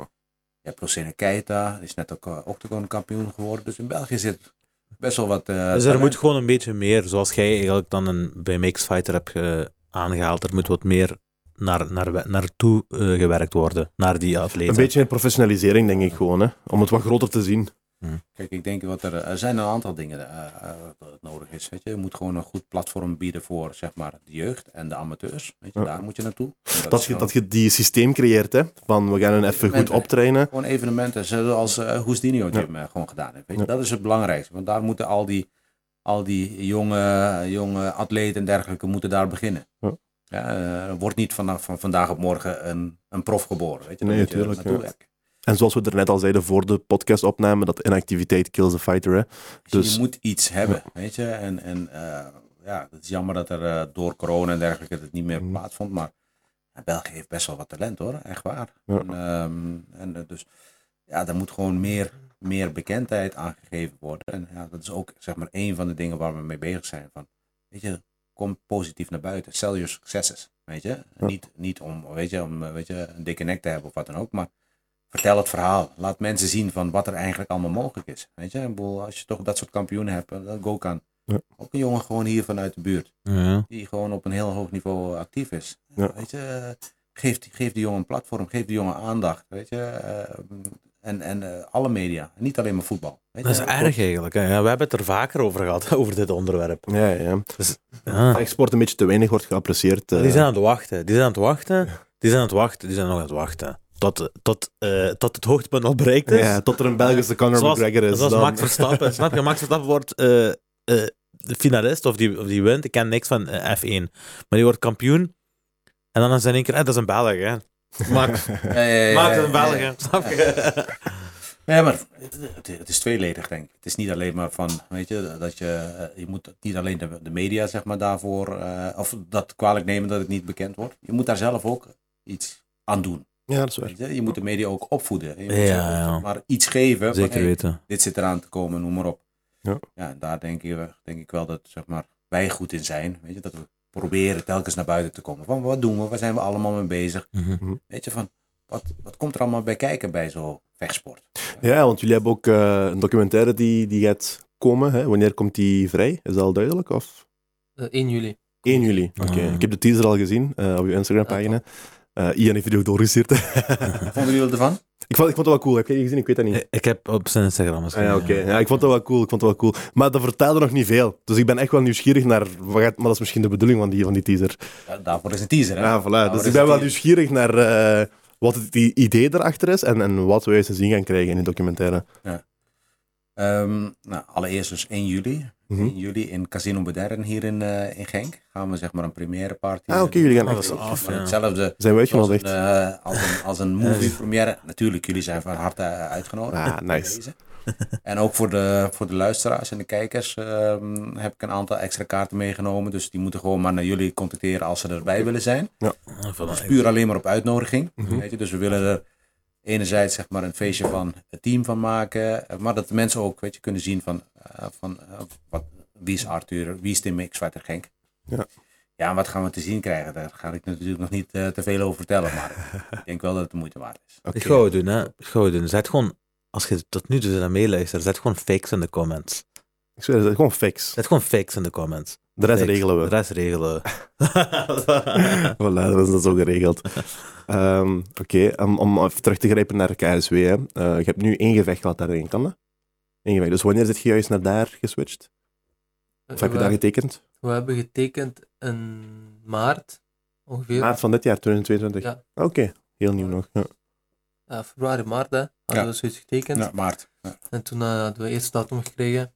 Speaker 4: Je hebt Rosene Keita, die is net ook eh, octagon kampioen geworden. Dus in België zit best wel wat... eh,
Speaker 3: Dus er
Speaker 4: talent.
Speaker 3: moet gewoon een beetje meer, zoals jij eigenlijk dan een, bij Mix Fighter hebt eh, aangehaald, er moet wat meer naar, naar, we- naartoe eh, gewerkt worden, naar die atleten.
Speaker 1: Een beetje een professionalisering, denk ik gewoon, hè. Om het wat groter te zien.
Speaker 4: Kijk, ik denk wat er, er zijn een aantal dingen eh, eh, dat het nodig is. Weet je. je moet gewoon een goed platform bieden voor zeg maar, de jeugd en de amateurs. Weet je.
Speaker 1: Ja.
Speaker 4: Daar moet je naartoe. En
Speaker 1: Dat
Speaker 4: is
Speaker 1: je,
Speaker 4: gewoon-
Speaker 1: dat je die systeem creëert, hè. Van, we gaan hun even goed
Speaker 4: Evenementen.
Speaker 1: optrainen.
Speaker 4: Gewoon evenementen, zoals eh Hoesdinio het
Speaker 1: Ja.
Speaker 4: heeft, eh, gewoon gedaan heeft. Weet je?
Speaker 1: Ja.
Speaker 4: Dat is het belangrijkste, want daar moeten al die, al die jonge, jonge atleten en dergelijke moeten daar beginnen.
Speaker 1: Ja.
Speaker 4: Ja. eh, er wordt niet vanaf, van vandaag op morgen een, een prof geboren. Weet je? Daar
Speaker 1: Nee,
Speaker 4: moet je
Speaker 1: tuurlijk,
Speaker 4: naartoe
Speaker 1: ja.
Speaker 4: werken.
Speaker 1: En zoals we er net al zeiden voor de podcast opnamen, dat inactiviteit kills the fighter, hè.
Speaker 4: Dus,
Speaker 1: Dus-
Speaker 4: je moet iets hebben, weet je. En, en eh, ja, het is jammer dat er eh, door corona en dergelijke dat het niet meer
Speaker 1: Mhm.
Speaker 4: plaatsvond. Maar ja, België heeft best wel wat talent hoor, echt waar.
Speaker 1: Ja.
Speaker 4: En, ehm, en eh, dus ja, daar moet gewoon meer, meer bekendheid aan gegeven worden. En ja, dat is ook zeg maar één van de dingen waar we mee bezig zijn. Van, weet je, kom positief naar buiten. Sell your successes, weet je.
Speaker 1: Ja.
Speaker 4: Niet, niet om, weet je, om eh, weet je, een dikke nek te hebben of wat dan ook, maar vertel het verhaal. Laat mensen zien van wat er eigenlijk allemaal mogelijk is. Weet je, ik bedoel, als je toch dat soort kampioenen hebt, eh, dat Gokan.
Speaker 1: Ja.
Speaker 4: Ook een jongen gewoon hier vanuit de buurt,
Speaker 3: Ja.
Speaker 4: die gewoon op een heel hoog niveau eh, actief is.
Speaker 1: Ja.
Speaker 4: Weet je, eh, geef, die- geef die jongen een platform, geef die jongen aandacht, weet je. eh, en en eh, alle media, niet alleen maar voetbal. Weet
Speaker 3: Dat is
Speaker 4: je.
Speaker 3: erg eigenlijk. hè. Ja, we hebben het er vaker over gehad, over dit onderwerp.
Speaker 1: Ja, Ah. ja.
Speaker 3: Ja.
Speaker 1: Eigenlijk sport een beetje te weinig wordt geapprecieerd. eh.
Speaker 3: Die zijn aan het wachten, die zijn aan het wachten, die zijn aan het wachten, die zijn nog aan het wachten. Tot, tot, eh, tot het hoogtepunt al bereikt is.
Speaker 1: ja, tot er een Belgische Conor
Speaker 3: zoals,
Speaker 1: McGregor is.
Speaker 3: Zoals
Speaker 1: dan-
Speaker 3: Max Verstappen. Snap je? Max Verstappen wordt eh, eh, de finalist of die, of die wint. Ik ken niks van eh, F1. Maar die wordt kampioen. En dan is hij in één keer... eh, dat is een Belg, hè? Max,
Speaker 4: Ja, ja, ja,
Speaker 3: Max is een
Speaker 4: ja, ja.
Speaker 3: Belg, hè? Snap je?
Speaker 4: Ja, maar het, het- het is tweeledig, denk ik. Het is niet alleen maar van, weet je, dat je, eh, je moet niet alleen de, de media, zeg maar, daarvoor, eh, of dat kwalijk nemen dat het niet bekend wordt. Je moet daar zelf ook iets aan doen.
Speaker 1: Ja, dat is waar.
Speaker 4: Weet je? je moet de media ook opvoeden. Je moet
Speaker 3: Ja,
Speaker 4: ze
Speaker 3: ja.
Speaker 4: Maar iets geven. van,
Speaker 3: Zeker
Speaker 4: hey,
Speaker 3: weten.
Speaker 4: dit zit eraan te komen, noem maar op.
Speaker 1: Ja.
Speaker 4: ja en daar denk ik, eh, denk ik wel dat, zeg maar, wij goed in zijn. Weet je, dat we proberen telkens naar buiten te komen. Van, wat doen we? Waar zijn we allemaal mee bezig?
Speaker 3: Mhm.
Speaker 4: Weet je, van, wat, wat komt er allemaal bij kijken bij zo'n vechtsport?
Speaker 1: Ja, want jullie hebben ook eh, een documentaire die, die gaat komen. Hè? Wanneer komt die vrij? Is dat al duidelijk? Of?
Speaker 2: Eh, 1 juli.
Speaker 1: 1 juli. Oké,
Speaker 3: Ah.
Speaker 1: ik heb de teaser al gezien eh, op je Instagram-pagina. Eh, Ian heeft video doorgestuurd.
Speaker 4: Vonden jullie ervan?
Speaker 1: ik, vond, ik vond het wel cool. Heb jij die gezien? Ik weet dat niet.
Speaker 3: Eh, Ik heb op zijn Instagram misschien. eh,
Speaker 1: Ah ja, oké. Ja, ik vond het wel cool. Ik vond het wel cool. Maar dat vertelde nog niet veel. Dus ik ben echt wel nieuwsgierig naar. wat gaat- Maar dat is misschien de bedoeling van die, van die teaser.
Speaker 4: Ja, daarvoor is een teaser, hè?
Speaker 1: Ja, voilà.
Speaker 4: dat
Speaker 1: dus
Speaker 4: is
Speaker 1: ik ben wel
Speaker 4: het.
Speaker 1: nieuwsgierig naar eh, wat het i- idee erachter is en, en wat wij te zien gaan krijgen in die documentaire.
Speaker 4: Ehm, nou, allereerst dus 1 juli.
Speaker 1: Mhm.
Speaker 4: 1 juli in Casino Modern hier in, eh, in Genk. Gaan we zeg maar een première party.
Speaker 1: Ah, oké, jullie gaan
Speaker 3: Oh,
Speaker 1: echt.
Speaker 3: dat is af,
Speaker 4: Maar
Speaker 3: ja.
Speaker 4: Hetzelfde
Speaker 1: Zijn we
Speaker 4: als een,
Speaker 1: uitgenodigd?
Speaker 4: eh, als een, als een movie première. Natuurlijk, jullie zijn van harte eh, uitgenodigd.
Speaker 1: Ah, nice.
Speaker 4: Deze. En ook voor de, voor de luisteraars en de kijkers ehm, heb ik een aantal extra kaarten meegenomen. Dus die moeten gewoon maar naar jullie contacteren als ze erbij willen zijn.
Speaker 3: Ah, voilà.
Speaker 4: puur alleen maar op uitnodiging. Weet je? Dus we willen er enerzijds zeg maar, een feestje van het team van maken. eh, Maar dat de mensen ook weet je, kunnen zien van, eh, van eh, wat, wie is Arthur, wie is Tim X, Zwarte Genk.
Speaker 1: Ja.
Speaker 4: ja, en wat gaan we te zien krijgen? Daar ga ik natuurlijk nog niet eh, te veel over vertellen. Maar ik denk wel dat het de moeite waard is.
Speaker 1: Oké.
Speaker 3: Ik ga het doen, hè. Ik ga het doen. Zet gewoon... Als je tot nu toe naar meeluistert, zet gewoon fakes in de comments.
Speaker 1: Ik zweer, dat is gewoon fix.
Speaker 3: Zet gewoon fakes in de comments.
Speaker 1: De rest
Speaker 3: Fakes.
Speaker 1: regelen we.
Speaker 3: De rest regelen we.
Speaker 1: voilà, dat is dat zo geregeld. Ehm, Oké, om, om even terug te grijpen naar KSW. Hè. Eh, je hebt nu één gevecht gehad daarin, kan dat? Eén gevecht. Dus wanneer zit je juist naar daar geswitcht? Of heb je
Speaker 2: we,
Speaker 1: daar getekend?
Speaker 2: we hebben getekend in maart, ongeveer.
Speaker 1: Maart van dit jaar, 2022.
Speaker 2: Ja.
Speaker 1: Oké, heel nieuw nog. Ja.
Speaker 2: Ja, februari, maart, hè, hadden
Speaker 4: Ja.
Speaker 2: we zoiets getekend.
Speaker 4: Ja, Maart. Ja.
Speaker 2: En toen eh, hadden we eerst datum gekregen,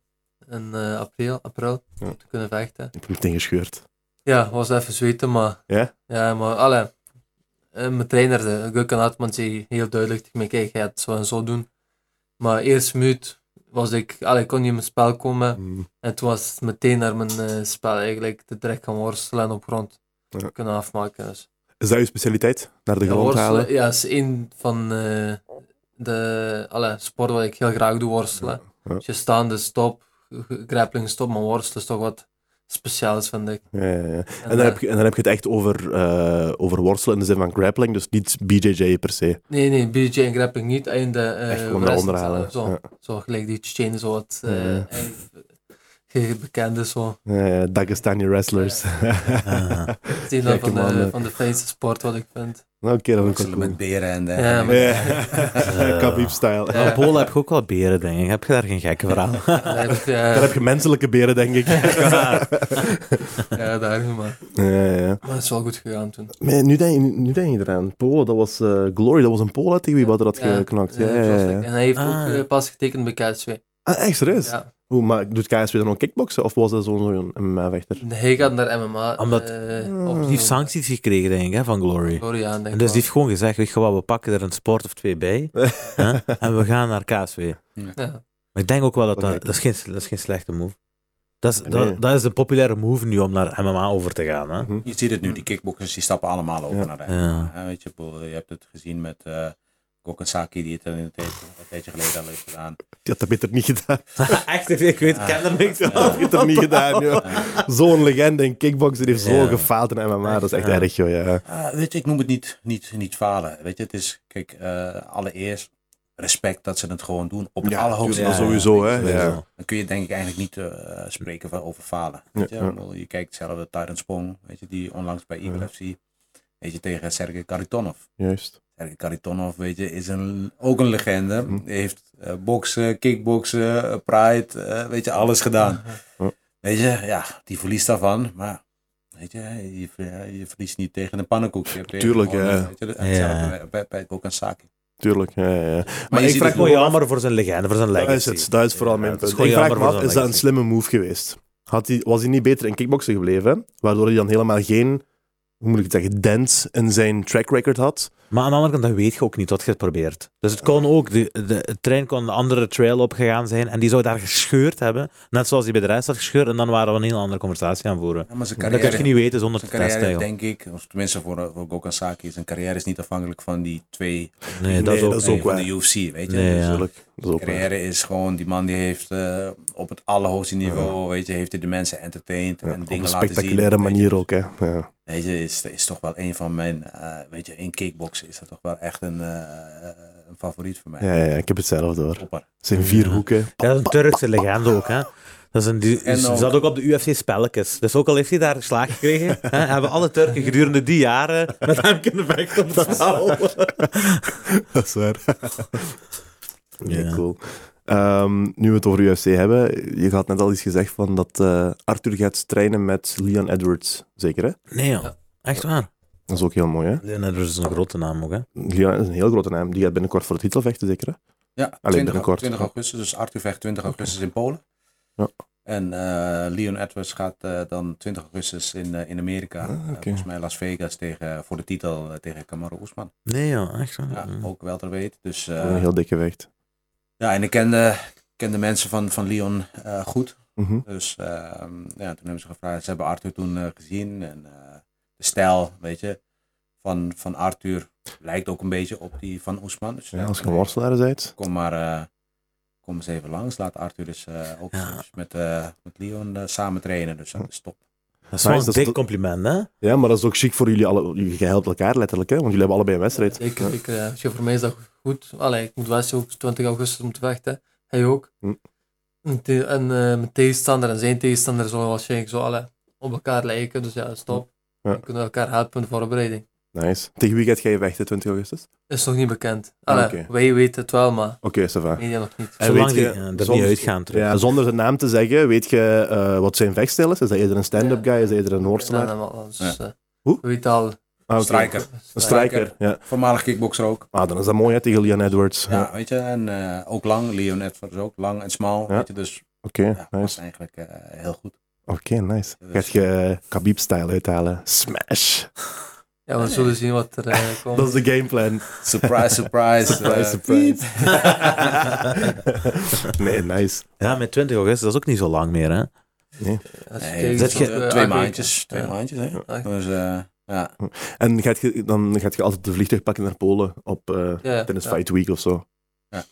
Speaker 2: in eh, april, april,
Speaker 1: Ja.
Speaker 2: om te kunnen vechten.
Speaker 1: Ik heb het ingescheurd.
Speaker 2: Ja, was even zweten, maar...
Speaker 1: Ja?
Speaker 2: Ja, maar, allee. eh, Mijn trainer, Gukken Hartman, zei heel duidelijk tegen mij, kijk, je gaat het zo en zo doen. Maar eerst minuut was ik... Allee, ik kon niet in mijn spel komen.
Speaker 1: Mm.
Speaker 2: En toen was het meteen naar mijn eh, spel eigenlijk te direct gaan worstelen en op grond
Speaker 1: Ja.
Speaker 2: kunnen afmaken. Dus.
Speaker 1: Is dat je specialiteit? Naar de
Speaker 2: Ja,
Speaker 1: grond
Speaker 2: worstelen,
Speaker 1: halen?
Speaker 2: Ja, is één van eh, de allee, sporten wat ik heel graag doe, worstelen.
Speaker 1: Ja, ja.
Speaker 2: Dus je staande stop, grappling stop, maar worstelen is toch wat speciaals, vind ik.
Speaker 1: Ja, ja, ja.
Speaker 2: En,
Speaker 1: En, dan
Speaker 2: eh,
Speaker 1: heb je, en dan heb je het echt over, eh, over worstelen in de zin van grappling, dus niet BJJ per se.
Speaker 2: Nee, nee, BJ en grappling niet. En de, eh,
Speaker 1: Echt gewoon
Speaker 2: wrestling
Speaker 1: eronder halen.
Speaker 2: zelf, Zo,
Speaker 1: Ja.
Speaker 2: zo gelijk die Tsjetsjenen, zo wat
Speaker 1: Ja,
Speaker 2: eh,
Speaker 1: ja.
Speaker 2: en- eh, bekende zo.
Speaker 1: Eh, Dagestani wrestlers.
Speaker 2: Het is een
Speaker 1: Gekke
Speaker 2: van, de,
Speaker 1: mannen.
Speaker 2: van de fijnste sport wat ik vind.
Speaker 1: Oké, dat vind ik wel
Speaker 4: Worstelen
Speaker 1: cool.
Speaker 4: met beren en de...
Speaker 2: Ja, maar-
Speaker 1: Ja, Khabib-style.
Speaker 2: Ja.
Speaker 3: Maar Polen heb je ook wel beren, denk ik. Heb je daar geen gekke verhaal?
Speaker 2: Daar heb ik, eh,
Speaker 1: Daar heb je menselijke beren, denk ik. ja,
Speaker 2: ja, daar maar.
Speaker 1: ja, ja.
Speaker 2: Maar het is wel goed gegaan toen.
Speaker 1: Maar nu, denk, je- nu denk je eraan. Polen, dat was eh, Glory, dat was een Polen tegen wie Wouter had
Speaker 2: Ja,
Speaker 1: geknakt. Ja,
Speaker 2: eh,
Speaker 1: ja, ja,
Speaker 2: Jostek.
Speaker 1: ja.
Speaker 2: En hij heeft
Speaker 3: Ah.
Speaker 2: ook eh, pas getekend bij KSW.
Speaker 1: Ah, echt serieus?
Speaker 2: Ja.
Speaker 1: Hoe, maar doet KSW dan ook kickboksen of was dat zo'n zo'n MMA-vechter?
Speaker 2: Hij gaat naar MMA.
Speaker 3: Omdat-
Speaker 2: eh,
Speaker 1: Die
Speaker 3: Die heeft sancties gekregen, denk ik, hè, van Glory.
Speaker 2: Sorry, Oh, ja, denk
Speaker 3: En dus
Speaker 2: ik
Speaker 3: die
Speaker 2: wel.
Speaker 3: heeft gewoon gezegd, weet je wat, we pakken er een sport of twee bij. hè, en we gaan naar KSW.
Speaker 2: Ja.
Speaker 3: Maar ik denk ook wel dat
Speaker 1: Oké.
Speaker 3: dat... Dat is geen, dat is geen slechte move. Dat is,
Speaker 1: Nee.
Speaker 3: dat, dat is een populaire move nu om naar MMA over te gaan.
Speaker 1: Mhm.
Speaker 3: Hè.
Speaker 4: Je ziet het nu, die kickboxers die stappen allemaal over
Speaker 1: Ja.
Speaker 4: naar de
Speaker 3: Ja.
Speaker 4: Ja, weet je, ik bedoel, je hebt het gezien met eh Gokensaki, die het een tijdje, een tijdje geleden al heeft gedaan.
Speaker 1: Die had dat beter niet gedaan.
Speaker 3: Echt, ik weet, ik ken er niks van.
Speaker 1: Dat heeft het niet gedaan, joh. Zo'n legende in kickboksen die heeft zo
Speaker 3: Ja.
Speaker 1: gefaald in MMA. Dat is echt erg, joh. Ja.
Speaker 4: Ah, weet je, ik noem het niet, niet, niet falen. Weet je, het is, kijk, eh, allereerst respect dat ze het gewoon doen. Op het
Speaker 1: Ja,
Speaker 4: allerhoogste
Speaker 3: ja,
Speaker 4: niveau.
Speaker 1: sowieso, hè.
Speaker 4: Weet je,
Speaker 1: Ja.
Speaker 4: Dan kun je denk ik eigenlijk niet eh, spreken van, over falen. Weet je?
Speaker 1: Ja, ja.
Speaker 4: Ik bedoel, je kijkt zelf de Tyron Spong, weet je, die onlangs bij Eagle FC, weet je, tegen Sergei Karitonov.
Speaker 1: Juist.
Speaker 4: Sergei Karitonov, weet je, is een, ook een legende.
Speaker 1: Hm.
Speaker 4: Hij heeft eh, boksen, kickboksen, eh, pride, eh, weet je, alles gedaan.
Speaker 3: Hm.
Speaker 1: Ja.
Speaker 4: Weet je, ja, die verliest daarvan, maar weet je, je, ver- je verliest niet tegen een pannenkoek. Je hebt tegen
Speaker 1: Tuurlijk,
Speaker 4: gewoon,
Speaker 1: ja.
Speaker 4: eh, weet je, de-
Speaker 3: Ja.
Speaker 4: hetzelfde bij- bij, bij Kokansaki.
Speaker 1: Tuurlijk, ja, ja. ja. Maar,
Speaker 4: je
Speaker 1: ik vraag
Speaker 4: ziet het
Speaker 1: me
Speaker 3: Gewoon
Speaker 4: wel
Speaker 1: wel af...
Speaker 3: jammer voor zijn legende, voor zijn
Speaker 1: Dat is
Speaker 3: legacy.
Speaker 1: het. Dat is vooral
Speaker 3: Ja,
Speaker 1: mijn
Speaker 3: het is
Speaker 1: punt.
Speaker 3: gewoon
Speaker 1: Ik vraag me
Speaker 3: jammer
Speaker 1: af,
Speaker 3: voor
Speaker 1: is
Speaker 3: zijn
Speaker 1: dat een
Speaker 3: legacy.
Speaker 1: slimme move geweest? Had hij, was hij niet beter in kickboksen gebleven? hè? Waardoor hij dan helemaal geen, hoe moet ik het zeggen, dent in zijn track record had.
Speaker 3: Maar aan de andere kant, dat weet je ook niet wat je het probeert. Dus het kon ook, de, de, de trein kon de andere trail opgegaan zijn en die zou daar gescheurd hebben. Net zoals die bij de rest had gescheurd en dan waren we een heel andere conversatie aan voeren.
Speaker 4: Ja, maar zijn
Speaker 3: dat kun je niet
Speaker 4: carrière,
Speaker 3: weten zonder te
Speaker 4: zijn carrière
Speaker 3: testen. joh.
Speaker 4: denk ik, of tenminste voor, voor Kokansaki, zijn carrière is niet afhankelijk van die twee
Speaker 3: Nee, dat is
Speaker 1: Nee,
Speaker 3: ook
Speaker 1: dat is
Speaker 3: nee.
Speaker 1: ook
Speaker 4: van
Speaker 1: waar.
Speaker 4: de UFC, weet je.
Speaker 3: Nee,
Speaker 4: Dus,
Speaker 3: ja.
Speaker 1: Tuurlijk. Dat is ook waar.
Speaker 4: carrière is gewoon, die man die heeft eh, op het allerhoogste niveau, weet je, heeft hij de mensen entertained
Speaker 1: Ja,
Speaker 4: en
Speaker 1: op
Speaker 4: dingen
Speaker 1: een
Speaker 4: laten zien.
Speaker 1: spectaculaire
Speaker 4: weet je.
Speaker 1: manier ook, hè. Ja.
Speaker 4: Weet je, is, is toch wel een van mijn, eh, weet je, in kickboksen is dat toch wel echt een, eh, een favoriet voor mij.
Speaker 1: Ja, ja, ja, ik heb het zelf door. Het
Speaker 4: Topper.
Speaker 1: zijn vier hoeken.
Speaker 3: Ja, dat is een Turkse legende ook, hè. Dat is een, die,
Speaker 4: En
Speaker 3: ze
Speaker 4: ook-
Speaker 3: zat ook op de UFC-spelletjes. Dus ook al heeft hij daar slaag gekregen, hè, hebben alle Turken gedurende die jaren met hem kunnen vechten op de zaal.
Speaker 1: Dat is waar. Nee,
Speaker 3: Ja.
Speaker 1: cool. Ehm, nu we het over UFC hebben, je had net al iets gezegd van dat eh, Arthur gaat trainen met Leon Edwards, zeker hè?
Speaker 3: Nee, joh. Echt waar.
Speaker 1: Dat is ook heel mooi hè?
Speaker 3: Leon Edwards is een grote naam ook, hè.
Speaker 1: Leon is een heel grote naam, die gaat binnenkort voor de titel vechten, zeker hè?
Speaker 4: Ja,
Speaker 1: Alleen
Speaker 4: 20,
Speaker 1: binnenkort.
Speaker 4: 20 augustus, dus Arthur vecht 20 augustus in Polen.
Speaker 1: Ja.
Speaker 4: En eh, Leon Edwards gaat eh, dan 20 augustus in, eh, in Amerika,
Speaker 1: Ah,
Speaker 4: eh,
Speaker 1: oké.
Speaker 4: volgens mij Las Vegas, tegen, voor de titel eh, tegen Kamaru Usman.
Speaker 3: Nee, joh. Echt waar. Mm.
Speaker 4: Ja, ook wel te weten. Dus, eh,
Speaker 1: een heel dikke vecht.
Speaker 4: ja, en ik kende, ik kende mensen van, van Leon eh, goed.
Speaker 1: Mhm.
Speaker 4: Dus ehm, ja, toen hebben ze gevraagd, ze hebben Arthur toen eh, gezien en eh, de stijl, weet je, van, van Arthur lijkt ook een beetje op die van Oesman. Dus,
Speaker 1: Ja,
Speaker 4: ja,
Speaker 1: als je een worstelaar bent.
Speaker 4: Kom maar, eh, kom eens even langs, laat Arthur dus eh, ook
Speaker 3: Ja.
Speaker 4: eens met, eh, met Leon eh, samen trainen, dus dat is top.
Speaker 1: Nou,
Speaker 3: Dat is wel
Speaker 1: Nice,
Speaker 3: een
Speaker 1: dat is
Speaker 3: dik
Speaker 1: de-
Speaker 3: compliment, hè.
Speaker 1: Ja, maar dat is ook chic voor jullie alle. Jullie helpt elkaar letterlijk hè, want jullie hebben allebei een wedstrijd.
Speaker 2: Zeker,
Speaker 1: Ja.
Speaker 2: zeker. ja. Tja, voor mij is dat goed. Allee, ik moet wel zeggen, ook 20 augustus om te vechten. Hij ook.
Speaker 1: Hm.
Speaker 2: En, te- en, eh, mijn tegenstander en zijn tegenstander zullen waarschijnlijk zo alle op elkaar lijken. Dus ja, dat is top.
Speaker 1: Hm. Ja.
Speaker 2: Dan kunnen we elkaar helpen in de voorbereiding.
Speaker 1: Nice. Tegen wie gaat jij vechten 20 augustus?
Speaker 2: Is nog niet bekend.
Speaker 1: Ah,
Speaker 2: Allee,
Speaker 1: oké.
Speaker 2: Wij weten het wel, maar
Speaker 1: Oké, ça va.
Speaker 2: media nog niet.
Speaker 1: En
Speaker 3: Zolang
Speaker 1: weet
Speaker 3: die
Speaker 1: je-
Speaker 3: eh, er
Speaker 1: soms-
Speaker 3: niet uitgaan terug.
Speaker 1: Ja, zonder zijn naam te zeggen, weet je eh, wat zijn vechtstijl is? Is dat eerder een stand-up guy? Is dat eerder een worstelaar?
Speaker 2: Ja, nou, dus,
Speaker 4: Ja.
Speaker 2: eh,
Speaker 1: Hoe?
Speaker 2: We weten al.
Speaker 1: Ah, oké.
Speaker 4: Striker,
Speaker 1: Een striker, ja.
Speaker 4: voormalig kickbokser ook.
Speaker 1: Ah, dan is dat mooi hè, tegen Leon Edwards.
Speaker 4: Ja, weet je, en eh, ook lang, Leon Edwards ook, lang en smal,
Speaker 1: Ja.
Speaker 4: weet je, dus
Speaker 1: Oké,
Speaker 4: ja, was
Speaker 1: nice.
Speaker 4: eigenlijk eh, heel goed.
Speaker 1: Oké, nice.
Speaker 4: Dus-
Speaker 1: Gaat je Khabib-style uithalen. Smash.
Speaker 2: Ja, we zullen zien wat er eh, komt.
Speaker 1: Dat is de gameplan.
Speaker 4: Surprise, surprise.
Speaker 1: Surprise,
Speaker 4: eh,
Speaker 1: surprise.
Speaker 4: piep.
Speaker 1: nee, nice.
Speaker 3: Ja, met 20 augustus, dat is ook niet zo lang meer, hè.
Speaker 2: Als je
Speaker 4: Nee,
Speaker 2: kijkt,
Speaker 3: zet
Speaker 2: is
Speaker 3: je-
Speaker 2: het, eh,
Speaker 4: twee
Speaker 2: aangekomen.
Speaker 4: maandjes, twee
Speaker 2: Ja.
Speaker 4: maandjes, hè.
Speaker 2: Ja.
Speaker 4: Dus eh, ja,
Speaker 1: En gaat je, dan gaat je altijd de vliegtuig pakken naar Polen op, eh,
Speaker 2: Ja,
Speaker 1: tijdens
Speaker 2: ja.
Speaker 1: Fight Week of zo?
Speaker 4: Ja.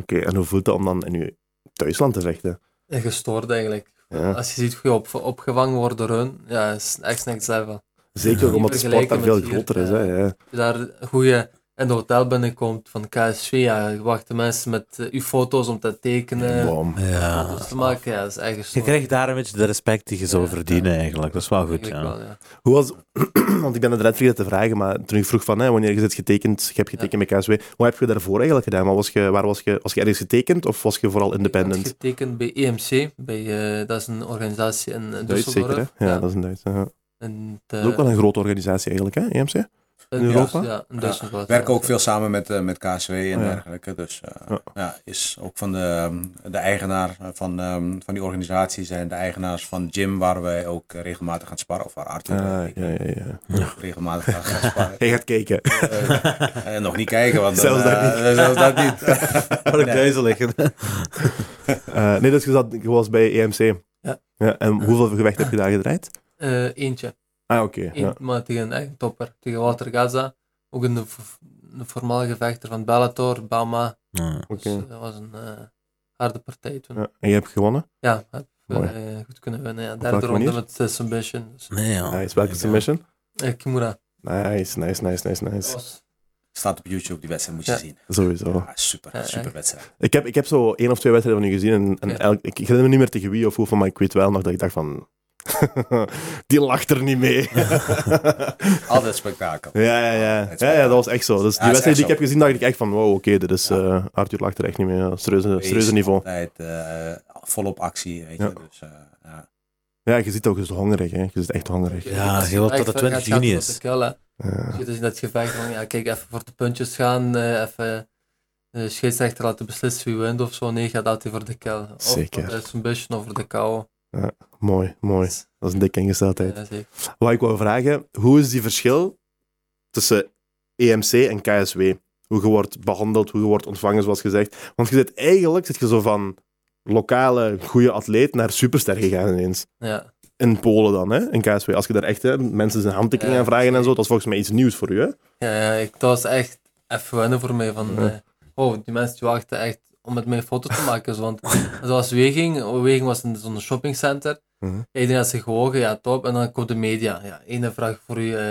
Speaker 1: Oké, en hoe voelt dat om dan in je thuisland te vechten?
Speaker 2: En gestoord eigenlijk.
Speaker 1: Ja.
Speaker 2: Als je ziet hoe je op, opgevangen wordt door hun, ja, is echt next level.
Speaker 1: Zeker ook
Speaker 2: Niet
Speaker 1: omdat de sport daar
Speaker 2: vergelijken
Speaker 1: veel
Speaker 2: met hier,
Speaker 1: groter is. Hè? Ja.
Speaker 2: Als je daar goede in het hotel binnenkomt van KSV, ja, je wachten mensen met eh, uw foto's om te tekenen,
Speaker 1: Bom.
Speaker 3: Ja.
Speaker 2: foto's te maken, ja, dat is echt
Speaker 3: Je
Speaker 2: gestoord.
Speaker 3: krijgt daar een beetje de respect die je zou verdienen, eigenlijk. Dat is wel goed,
Speaker 2: Eigenlijk
Speaker 3: ja.
Speaker 2: wel, ja.
Speaker 1: Hoe was, want ik ben het net vergeten te vragen, maar toen ik vroeg van hè, wanneer je zit getekend, je hebt getekend bij KSW, wat heb je daarvoor eigenlijk gedaan? Wat was je, waar was je, was je ergens getekend of was je vooral
Speaker 2: Ik had
Speaker 1: independent?
Speaker 2: getekend bij EMC, bij, eh, dat is een organisatie in eh,
Speaker 1: Duits zeker, hè?
Speaker 2: Düsseldorf.
Speaker 1: Ja, dat is een Duits. ja.
Speaker 2: En, eh,
Speaker 1: Dat is ook wel een grote organisatie eigenlijk, hè, E EMC?
Speaker 2: in
Speaker 1: Europa?
Speaker 2: Ja, in
Speaker 4: Ja,
Speaker 2: Duitsland. wel,
Speaker 4: werken
Speaker 2: ja.
Speaker 4: ook veel samen met, eh, met KSW en
Speaker 1: ja.
Speaker 4: dergelijke. Dus eh,
Speaker 1: Ja.
Speaker 4: ja. is ook van de, ehm, de eigenaar van, ehm, van die organisatie zijn de eigenaars van de gym waar wij ook eh, regelmatig gaan sparren. Of waar Arthur
Speaker 1: Ah,
Speaker 4: eh, ik
Speaker 1: ja, ja, ja.
Speaker 4: ook regelmatig gaat gaan sparren.
Speaker 1: Hij gaat kijken.
Speaker 4: Eh, eh, nog niet kijken, want dan,
Speaker 1: Zelfs dat
Speaker 4: eh, zelfs dat niet.
Speaker 3: Wat ik duizelig.
Speaker 1: Eh, nee, dus je, zat, je was bij EMC.
Speaker 2: Ja.
Speaker 1: en hoeveel gewicht heb je daar gedraaid?
Speaker 2: Eh, eentje.
Speaker 1: Ah, oké.
Speaker 2: Eén,
Speaker 1: Ja.
Speaker 2: Maar tegen een eigen topper, tegen Walter Gaza. Ook een, v- een voormalige vechter van Bellator, Bama.
Speaker 3: Ja.
Speaker 1: Oké.
Speaker 2: Dus dat was een eh, harde partij toen. Ja,
Speaker 1: Ja. En je hebt gewonnen.
Speaker 2: heb
Speaker 1: Mooi.
Speaker 2: eh, goed kunnen winnen. Ja.
Speaker 1: welke
Speaker 2: Derde ronde
Speaker 1: manier?
Speaker 2: met eh, Submission. Dus,
Speaker 3: Nee, ja.
Speaker 1: nice. Welke
Speaker 3: Ah, Ja.
Speaker 1: submission?
Speaker 2: eh, Kimura.
Speaker 1: Nice, nice, nice, nice,
Speaker 2: Dat
Speaker 1: nice.
Speaker 2: was-
Speaker 4: Staat op YouTube, die wedstrijd moet je
Speaker 2: Ja.
Speaker 4: zien.
Speaker 1: Sowieso.
Speaker 4: Ah, super,
Speaker 2: Ja,
Speaker 4: super
Speaker 2: echt.
Speaker 4: wedstrijd.
Speaker 1: Ik heb, ik heb zo één of twee wedstrijden van u gezien. En, en
Speaker 2: Ja.
Speaker 1: elk- ik herinner me niet meer tegen wie of hoeveel, maar ik weet wel nog dat ik dacht van... die lacht er niet mee.
Speaker 4: Altijd spektakel.
Speaker 1: Ja, ja, ja.
Speaker 4: Het is
Speaker 1: ja, ja,
Speaker 4: wel-
Speaker 1: dat was echt zo. Dus
Speaker 4: is
Speaker 1: die wedstrijd die
Speaker 4: echt
Speaker 1: ik heb gezien, dacht ik echt van, wow, oké, dit is...
Speaker 4: Ja.
Speaker 1: eh, Arthur lag er echt niet mee. Ja, serieuze,
Speaker 4: Wees
Speaker 1: serieuze niveau.
Speaker 4: Altijd eh, volop actie, weet je.
Speaker 1: Ja.
Speaker 4: Dus, eh, ja.
Speaker 1: Ja, je ziet ook, je is hongerig, hè. Je zit echt hongerig.
Speaker 3: Ja,
Speaker 2: Dus
Speaker 3: heel wat
Speaker 2: echt
Speaker 3: dat
Speaker 2: wel
Speaker 3: 20
Speaker 2: gaat
Speaker 3: juni
Speaker 2: gaan tot
Speaker 3: is.
Speaker 2: de kuil, hè.
Speaker 1: Ja.
Speaker 2: Dus in dat gevecht van, ja, kijk, even voor de puntjes gaan, eh, even eh, de scheidsrechter laten beslissen wie wint of zo. Nee, gaat altijd voor de kel. Of
Speaker 1: Zeker.
Speaker 2: voor de submission of voor de kou.
Speaker 1: Mooi, mooi.
Speaker 2: Dus,
Speaker 1: Dat is een dikke ingesteldheid.
Speaker 2: eh, zeker.
Speaker 1: Wat ik wou vragen, hoe is die verschil tussen EMC en KSW? Hoe je wordt behandeld, hoe je wordt ontvangen, zoals gezegd. Want je zit eigenlijk zit je zo van lokale goede atleet naar superster gegaan ineens.
Speaker 2: Ja,
Speaker 1: In Polen dan, hè? in KSW. Als je daar echt hè, mensen zijn handtekening
Speaker 2: Ja.
Speaker 1: aan vragen en zo, dat is volgens mij iets nieuws voor u. Hè?
Speaker 2: ja, ja ik, dat was echt even wennen voor mij. Van,
Speaker 1: Ja.
Speaker 2: eh, oh, die mensen die wachten echt om met mij een foto te maken. zo, Want zoals Weging, Weging was in zo'n shoppingcenter.
Speaker 1: Mhm.
Speaker 2: Iedereen had zich gewogen, ja, top. En dan komt de media. Ja, ene vraag voor, u, eh,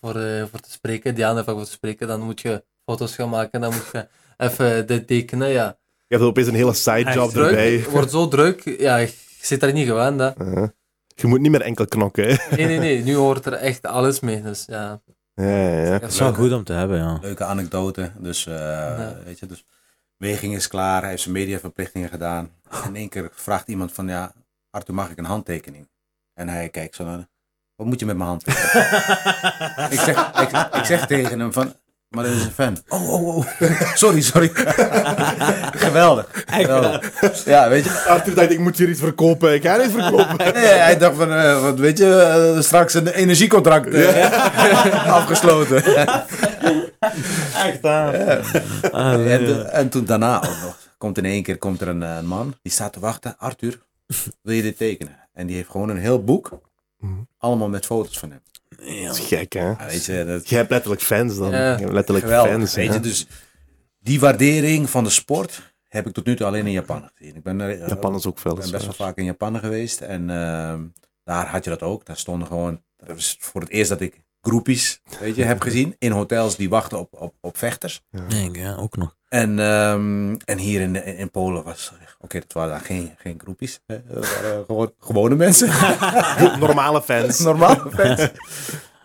Speaker 2: voor, eh, voor te spreken, die andere vraag voor te spreken. Dan moet je foto's gaan maken, dan moet je even dit tekenen, ja.
Speaker 1: Je hebt opeens een hele side job
Speaker 3: Echt
Speaker 2: druk.
Speaker 1: erbij.
Speaker 2: Het wordt zo druk. Ja, je zit daar niet gewend, hè.
Speaker 1: Uh-huh. Je moet niet meer enkel knokken. Hè?
Speaker 2: Nee, nee, nee. Nu hoort er echt alles mee. Dus ja.
Speaker 1: Ja, ja, ja.
Speaker 3: Dat is wel
Speaker 4: Leuk, hè?
Speaker 3: goed om te hebben, ja.
Speaker 4: Leuke anekdote. Dus, eh, weet je, dus weging is klaar, hij heeft zijn mediaverplichtingen gedaan. In één keer vraagt iemand van, ja, Arthur, mag ik een handtekening? En hij kijkt zo naar, wat moet je met mijn handtekening? ik, zeg, ik, ik zeg tegen hem van, maar dat is een fan. Oh, oh, oh. sorry, sorry. Geweldig. Geweldig. Ja, weet je.
Speaker 1: Arthur dacht, ik moet hier iets verkopen. Ik ga iets verkopen.
Speaker 4: Nee, hij dacht van, eh, wat weet je, eh, straks een energiecontract eh, afgesloten.
Speaker 3: Echt aan. Ah, nee,
Speaker 4: En,
Speaker 3: ja.
Speaker 4: toen- en toen daarna ook nog, komt in één keer komt er een, eh, een man, die staat te wachten. Arthur, wil je dit tekenen? En die heeft gewoon een heel boek,
Speaker 1: Mhm.
Speaker 4: allemaal met foto's van hem.
Speaker 1: Dat is gek, hè?
Speaker 4: Ja, weet je, dat
Speaker 1: Je hebt letterlijk fans dan.
Speaker 2: Ja.
Speaker 1: Je hebt letterlijk
Speaker 4: geweldig.
Speaker 1: fans.
Speaker 4: weet je,
Speaker 1: hè?
Speaker 4: dus die waardering van de sport heb ik tot nu toe alleen in Japan gezien. Ik ben, er, eh,
Speaker 1: Japan is ook veel.
Speaker 4: ik ben best wel vaak in Japan geweest en ehm, daar had je dat ook. Daar stonden gewoon, dat was voor het eerst dat ik groepjes weet je, heb gezien in hotels die wachten op, op, op vechters.
Speaker 3: Denk, ja, ook nog.
Speaker 4: En, ehm, en hier in, in Polen was, oké, dat waren daar geen, geen groepjes. hè. Dat waren gewoon gewone mensen.
Speaker 1: Normale fans.
Speaker 4: Normale mensen.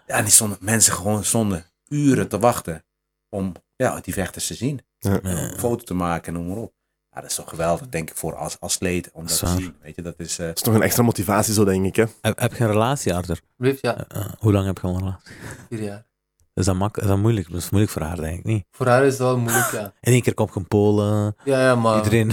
Speaker 4: Ja, en die stonden, mensen gewoon stonden uren te wachten om ja, die vechters te zien.
Speaker 3: Ja.
Speaker 4: Om een foto te maken en noem maar op. Ja, dat is toch geweldig, denk ik, voor als atleet om dat te
Speaker 3: Zwaar.
Speaker 4: zien. Weet je, dat is... eh,
Speaker 1: Dat is toch een extra motivatie, zo denk ik. Hè?
Speaker 3: Heb, heb je een relatie, Arthur?
Speaker 2: Blijf, ja.
Speaker 3: Eh, eh, hoe lang heb je al een relatie?
Speaker 2: Vier jaar.
Speaker 3: Is dat, mak is dat moeilijk? Dat is moeilijk voor haar, denk ik niet.
Speaker 2: Voor haar is dat wel moeilijk, ja.
Speaker 3: In één keer kom je in Polen,
Speaker 2: Ja, ja, maar...
Speaker 3: iedereen.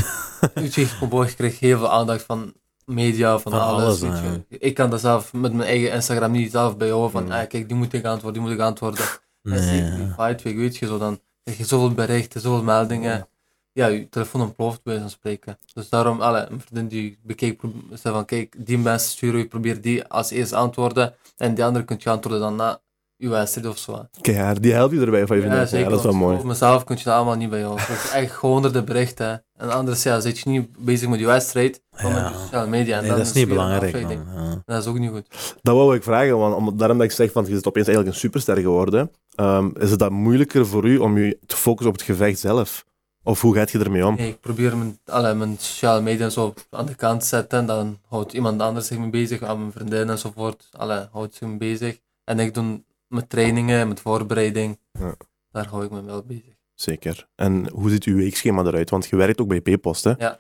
Speaker 2: Utrecht Comboog kreeg heel veel aandacht van media, van,
Speaker 3: Van
Speaker 2: alles.
Speaker 3: alles,
Speaker 2: weet je.
Speaker 3: ja.
Speaker 2: Ik kan dat zelf met mijn eigen Instagram niet zelf bijhouden. Van,
Speaker 1: Mm.
Speaker 2: ah, kijk, die moet ik antwoorden, die moet ik antwoorden. En
Speaker 3: Nee,
Speaker 2: zeker die
Speaker 3: ja.
Speaker 2: fight week, weet je, zo dan krijg je zoveel berichten, zoveel meldingen. Ja, je telefoon ontploft bij zo'n spreken. Dus daarom, alle, mijn vriendin die bekeek, pro- zei van, kijk, die mensen sturen, je probeert die als eerst antwoorden. En die andere kunt je antwoorden dan na uw wedstrijd of zo.
Speaker 1: Kijk, haar, die helpt je erbij van je vriendin. Ja,
Speaker 2: zeker,
Speaker 1: dat is wel
Speaker 2: want
Speaker 1: mooi.
Speaker 2: Voor mezelf kun je dat allemaal niet bij jou. Dat is echt gewoon door de berichten. hè. En anders ja, zit je niet bezig met je wedstrijd, maar
Speaker 3: Ja.
Speaker 2: met je sociale media. En
Speaker 3: Nee,
Speaker 2: dan
Speaker 3: dat is niet
Speaker 2: weer een
Speaker 3: belangrijk,
Speaker 2: afleiding.
Speaker 3: man. Ja.
Speaker 2: Dat is ook niet goed.
Speaker 1: Dat wou ik vragen, want om, daarom dat ik zeg, van, je bent opeens eigenlijk een superster geworden. Ehm, is het dat moeilijker voor u om je te focussen op het gevecht zelf? Of hoe gaat je ermee om?
Speaker 2: Nee, ik probeer mijn, alle, mijn sociale media zo aan de kant te zetten. En dan houdt iemand anders zich mee bezig, aan mijn vriendin enzovoort. Alle houdt zich mee bezig. En ik doe mijn trainingen, mijn voorbereiding.
Speaker 1: Ja.
Speaker 2: Daar hou ik me wel bezig.
Speaker 1: Zeker. En hoe ziet uw weekschema eruit? Want je werkt ook bij P-Post, hè?
Speaker 2: Ja.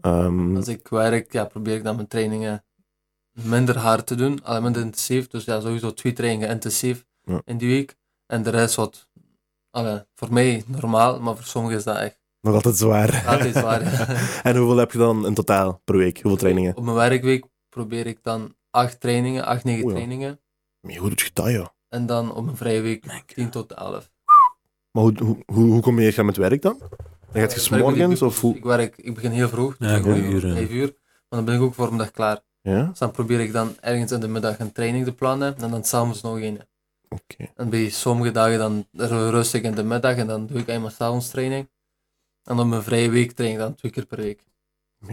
Speaker 1: Ehm,
Speaker 2: Als ik werk, ja, probeer ik dan mijn trainingen minder hard te doen, alleen minder intensief. Dus ja, sowieso twee trainingen intensief
Speaker 1: Ja.
Speaker 2: in die week. En de rest wat, allee, voor mij normaal, maar voor sommigen is dat echt
Speaker 1: nog altijd zwaar.
Speaker 2: altijd zwaar.
Speaker 1: en hoeveel heb je dan in totaal per week? Hoeveel trainingen?
Speaker 2: Op mijn werkweek probeer ik dan acht trainingen, acht, negen
Speaker 1: Oei, Oh ja.
Speaker 2: trainingen.
Speaker 1: Maar hoe doet je dat, joh?
Speaker 2: En dan op mijn vrije week
Speaker 3: Denk, ja.
Speaker 2: 10 tot 11.
Speaker 1: Maar hoe, hoe, hoe, hoe combineer je dat met werk dan? Dan gaat je
Speaker 2: Ik werk met die
Speaker 1: smorgens
Speaker 2: boekjes.
Speaker 1: of hoe?
Speaker 2: Ik werk, ik begin heel vroeg,
Speaker 3: Ja,
Speaker 2: twee
Speaker 3: gewoon uren.
Speaker 2: vijf uur. Maar dan ben ik ook voor middag klaar.
Speaker 1: Ja?
Speaker 2: Dus dan probeer ik dan ergens in de middag een training te plannen en dan s'avonds nog een.
Speaker 1: Oké.
Speaker 2: En bij sommige dagen dan ru- rustig in de middag en dan doe ik eenmaal s'avonds training. En dan mijn vrije week train ik dan twee keer per week.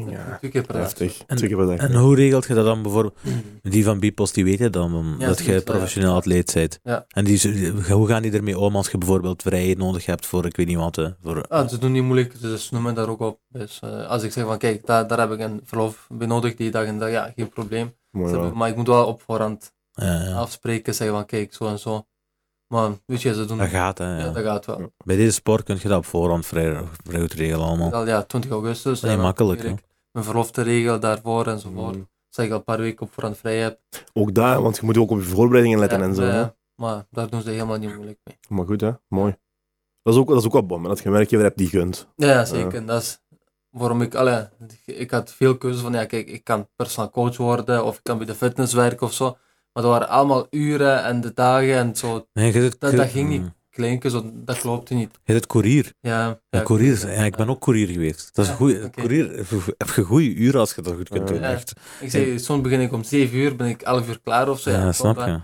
Speaker 1: Ja,
Speaker 2: Twee keer per dag.
Speaker 1: heftig.
Speaker 3: En-
Speaker 1: Twee keer per dag.
Speaker 3: En hoe regelt je dat dan bijvoorbeeld? Die van Bipos, die weten dan om-
Speaker 2: Mm. Ja,
Speaker 3: dat
Speaker 2: die
Speaker 3: je
Speaker 2: weten dat,
Speaker 3: professioneel
Speaker 2: ja.
Speaker 3: atleet bent.
Speaker 2: Ja.
Speaker 3: En die, z- hoe gaan die ermee om als je bijvoorbeeld vrijheid nodig hebt voor, ik weet niet wat, hè, voor...
Speaker 2: Ah, ze doen niet moeilijk, dus ze noemen daar ook op. Dus eh, als ik zeg van kijk, daar, daar heb ik een verlof benodigd die dag en dag, ja, geen probleem.
Speaker 1: Mooi
Speaker 2: Ze
Speaker 1: wel.
Speaker 2: hebben- maar ik moet wel op voorhand
Speaker 3: Ja,
Speaker 2: Oh.
Speaker 3: ja.
Speaker 2: afspreken, zeggen van kijk, zo en zo. Maar weet je, ze doen
Speaker 3: Dat gaat, hè.
Speaker 2: ja,
Speaker 3: ja.
Speaker 2: dat gaat wel.
Speaker 1: Ja.
Speaker 3: Bij deze sport kun je dat op voorhand vrij, vrij goed regelen allemaal.
Speaker 2: Al, ja, 20 augustus.
Speaker 3: Nee,
Speaker 2: en dan
Speaker 3: makkelijk,
Speaker 2: probeer ik Mijn verlof te regelen daarvoor enzovoort.
Speaker 1: Mm.
Speaker 2: Zeg ik al een paar weken op voorhand vrij heb.
Speaker 1: Ook daar, want je moet ook op je voorbereidingen letten
Speaker 2: Ja,
Speaker 1: en zo.
Speaker 2: eh,
Speaker 1: hè.
Speaker 2: maar daar doen ze helemaal niet moeilijk mee.
Speaker 1: Maar goed, hè? Mooi. Dat is ook, dat is ook wel bom, hè, dat je een werkgever hebt die gunt.
Speaker 2: Ja, Ja, zeker. En dat is waarom ik, allee, ik had veel keuzes van, ja, kijk, ik kan personal coach worden of ik kan bij de fitness werken of zo. Maar dat waren allemaal uren en de dagen en zo.
Speaker 3: Nee, je zit,
Speaker 2: Dat-
Speaker 3: je-
Speaker 2: dat ging niet.
Speaker 3: mm.
Speaker 2: Klinken, zo, dat kloopte niet.
Speaker 3: Je zit courier.
Speaker 2: Ja,
Speaker 3: Ja,
Speaker 2: ja,
Speaker 3: courier. is- ja, ik ben ook courier geweest. Dat is
Speaker 2: Ja,
Speaker 3: een goeie,
Speaker 2: oké.
Speaker 3: courier, heb je goede uren als je dat goed kunt
Speaker 1: Ja.
Speaker 3: doen,
Speaker 2: Ja.
Speaker 3: echt.
Speaker 2: Ik zeg, soms begin ik om 7 uur, ben ik 11 uur klaar of zo.
Speaker 3: Ja,
Speaker 2: klopt,
Speaker 3: snap
Speaker 2: hè.
Speaker 3: je.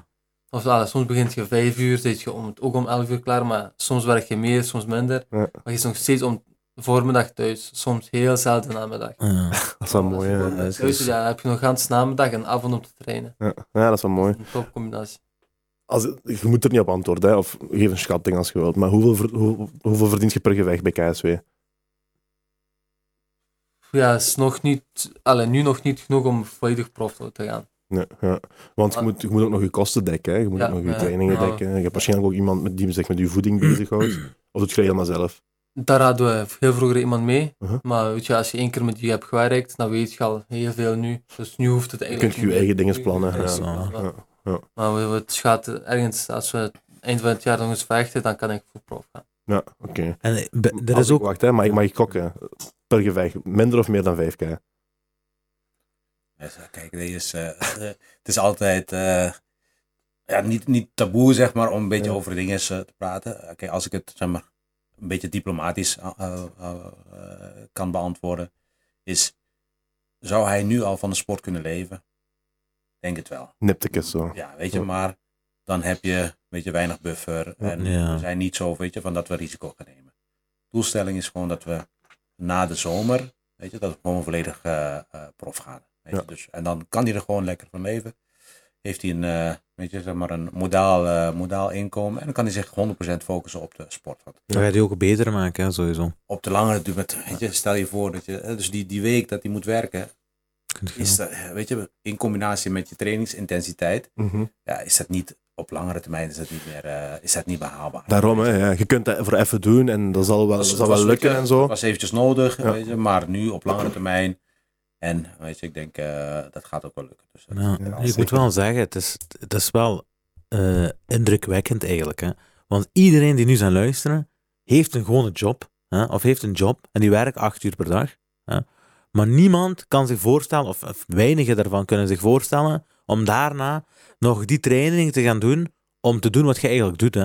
Speaker 2: Of allee, soms begint je 5 uur, zit je om, ook om 11 uur klaar, maar soms werk je meer, soms minder.
Speaker 1: Ja.
Speaker 2: Maar je is nog steeds om voormiddag thuis, soms heel zelden namiddag.
Speaker 3: Ja.
Speaker 1: Dat is wel mooi, hè. Dus-
Speaker 3: dat is-
Speaker 2: Thuis, ja, dan heb je nog gans namiddag en avond om te trainen.
Speaker 1: Ja, ja dat is wel mooi.
Speaker 2: Een topcombinatie.
Speaker 1: Als, je moet er niet op antwoorden, hè, of geef een schatting als je wilt. Maar hoeveel, ver- hoe- hoeveel verdient je per gevecht bij KSW?
Speaker 2: Ja, is nog niet, allee, nu nog niet genoeg om volledig prof te gaan.
Speaker 1: Ja, ja. Want je moet, je moet ook nog je kosten dekken, hè. je moet
Speaker 2: Ah. Ja,
Speaker 1: ook nog je
Speaker 2: ja. Ah.
Speaker 1: trainingen
Speaker 2: Ja.
Speaker 1: dekken. Je hebt waarschijnlijk ook iemand met die zich met je voeding bezighoudt. Of doet je dat helemaal zelf?
Speaker 2: Daar hadden we heel vroeger iemand mee.
Speaker 1: Uh-huh.
Speaker 2: Maar weet je, als je één keer met die hebt gewerkt, dan weet je al heel veel nu. Dus nu hoeft het
Speaker 1: Je
Speaker 2: eigenlijk
Speaker 1: kunt je je eigen dingen plannen.
Speaker 3: Dat
Speaker 1: Ja,
Speaker 3: is wel-
Speaker 1: ja.
Speaker 2: Maar we- we- het gaat ergens, als we eind van het jaar nog eens vechten, dan kan ik voor prof gaan.
Speaker 1: Ja, oké.
Speaker 3: En eh, be- er
Speaker 1: Als
Speaker 3: is
Speaker 1: ik-
Speaker 3: ook...
Speaker 1: Wacht, hè, maar ik mag kokken. Per gevecht, minder of meer dan 5k?
Speaker 4: Ja, zo, Kijk, dit is, eh, het is altijd eh, ja, niet, niet taboe, zeg maar, om een beetje
Speaker 1: Ja.
Speaker 4: over dingen eh, te praten. Oké, als ik het zeg maar, een beetje diplomatisch eh, eh, eh, eh, kan beantwoorden, is: zou hij nu al van de sport kunnen leven? Denk het wel.
Speaker 1: Niptekes zo.
Speaker 4: Ja, weet je,
Speaker 1: Ja.
Speaker 4: maar dan heb je weet je, weinig buffer. En
Speaker 3: Ja.
Speaker 4: we zijn niet zo, weet je, van dat we risico gaan nemen. Doelstelling is gewoon dat we na de zomer, weet je, dat we gewoon volledig eh, eh, prof gaan. Weet je,
Speaker 1: Ja.
Speaker 4: dus, en dan kan hij er gewoon lekker van leven. Heeft hij een, eh, weet je, zeg maar een modaal, eh, modaal inkomen. En dan kan hij zich 100% focussen op de sport. Want
Speaker 3: Dat gaat je ook beter maken, hè, sowieso.
Speaker 4: op de langere duur, met- weet je, stel je voor dat je, eh, dus die, die week dat hij moet werken,
Speaker 3: Kun je-
Speaker 4: is dat, eh, weet je, in combinatie met je trainingsintensiteit,
Speaker 1: Mhm.
Speaker 4: ja, is dat niet op langere termijn is dat niet meer eh, is dat niet behaalbaar.
Speaker 1: Daarom, hè, ja. je kunt dat voor even doen en dat zal wel,
Speaker 4: Dat
Speaker 1: dat
Speaker 4: is-
Speaker 1: zal
Speaker 4: dat
Speaker 1: wel
Speaker 4: is-
Speaker 1: lukken
Speaker 4: ja,
Speaker 1: en zo.
Speaker 4: Dat was eventjes nodig,
Speaker 1: Ja.
Speaker 4: weet je, maar nu op langere termijn. En weet je, ik denk eh, dat gaat ook wel lukken. Dus, dat-
Speaker 3: Ja,
Speaker 1: Ja,
Speaker 3: ik moet
Speaker 1: zeker.
Speaker 3: wel zeggen, het is, het is wel eh, indrukwekkend eigenlijk. Hè? Want iedereen die nu zijn luisteren, heeft een gewone job. Hè? Of heeft een job en die werkt acht uur per dag. Hè? Maar niemand kan zich voorstellen, of, of weinigen daarvan kunnen zich voorstellen, om daarna nog die training te gaan doen, om te doen wat je eigenlijk doet. Hè?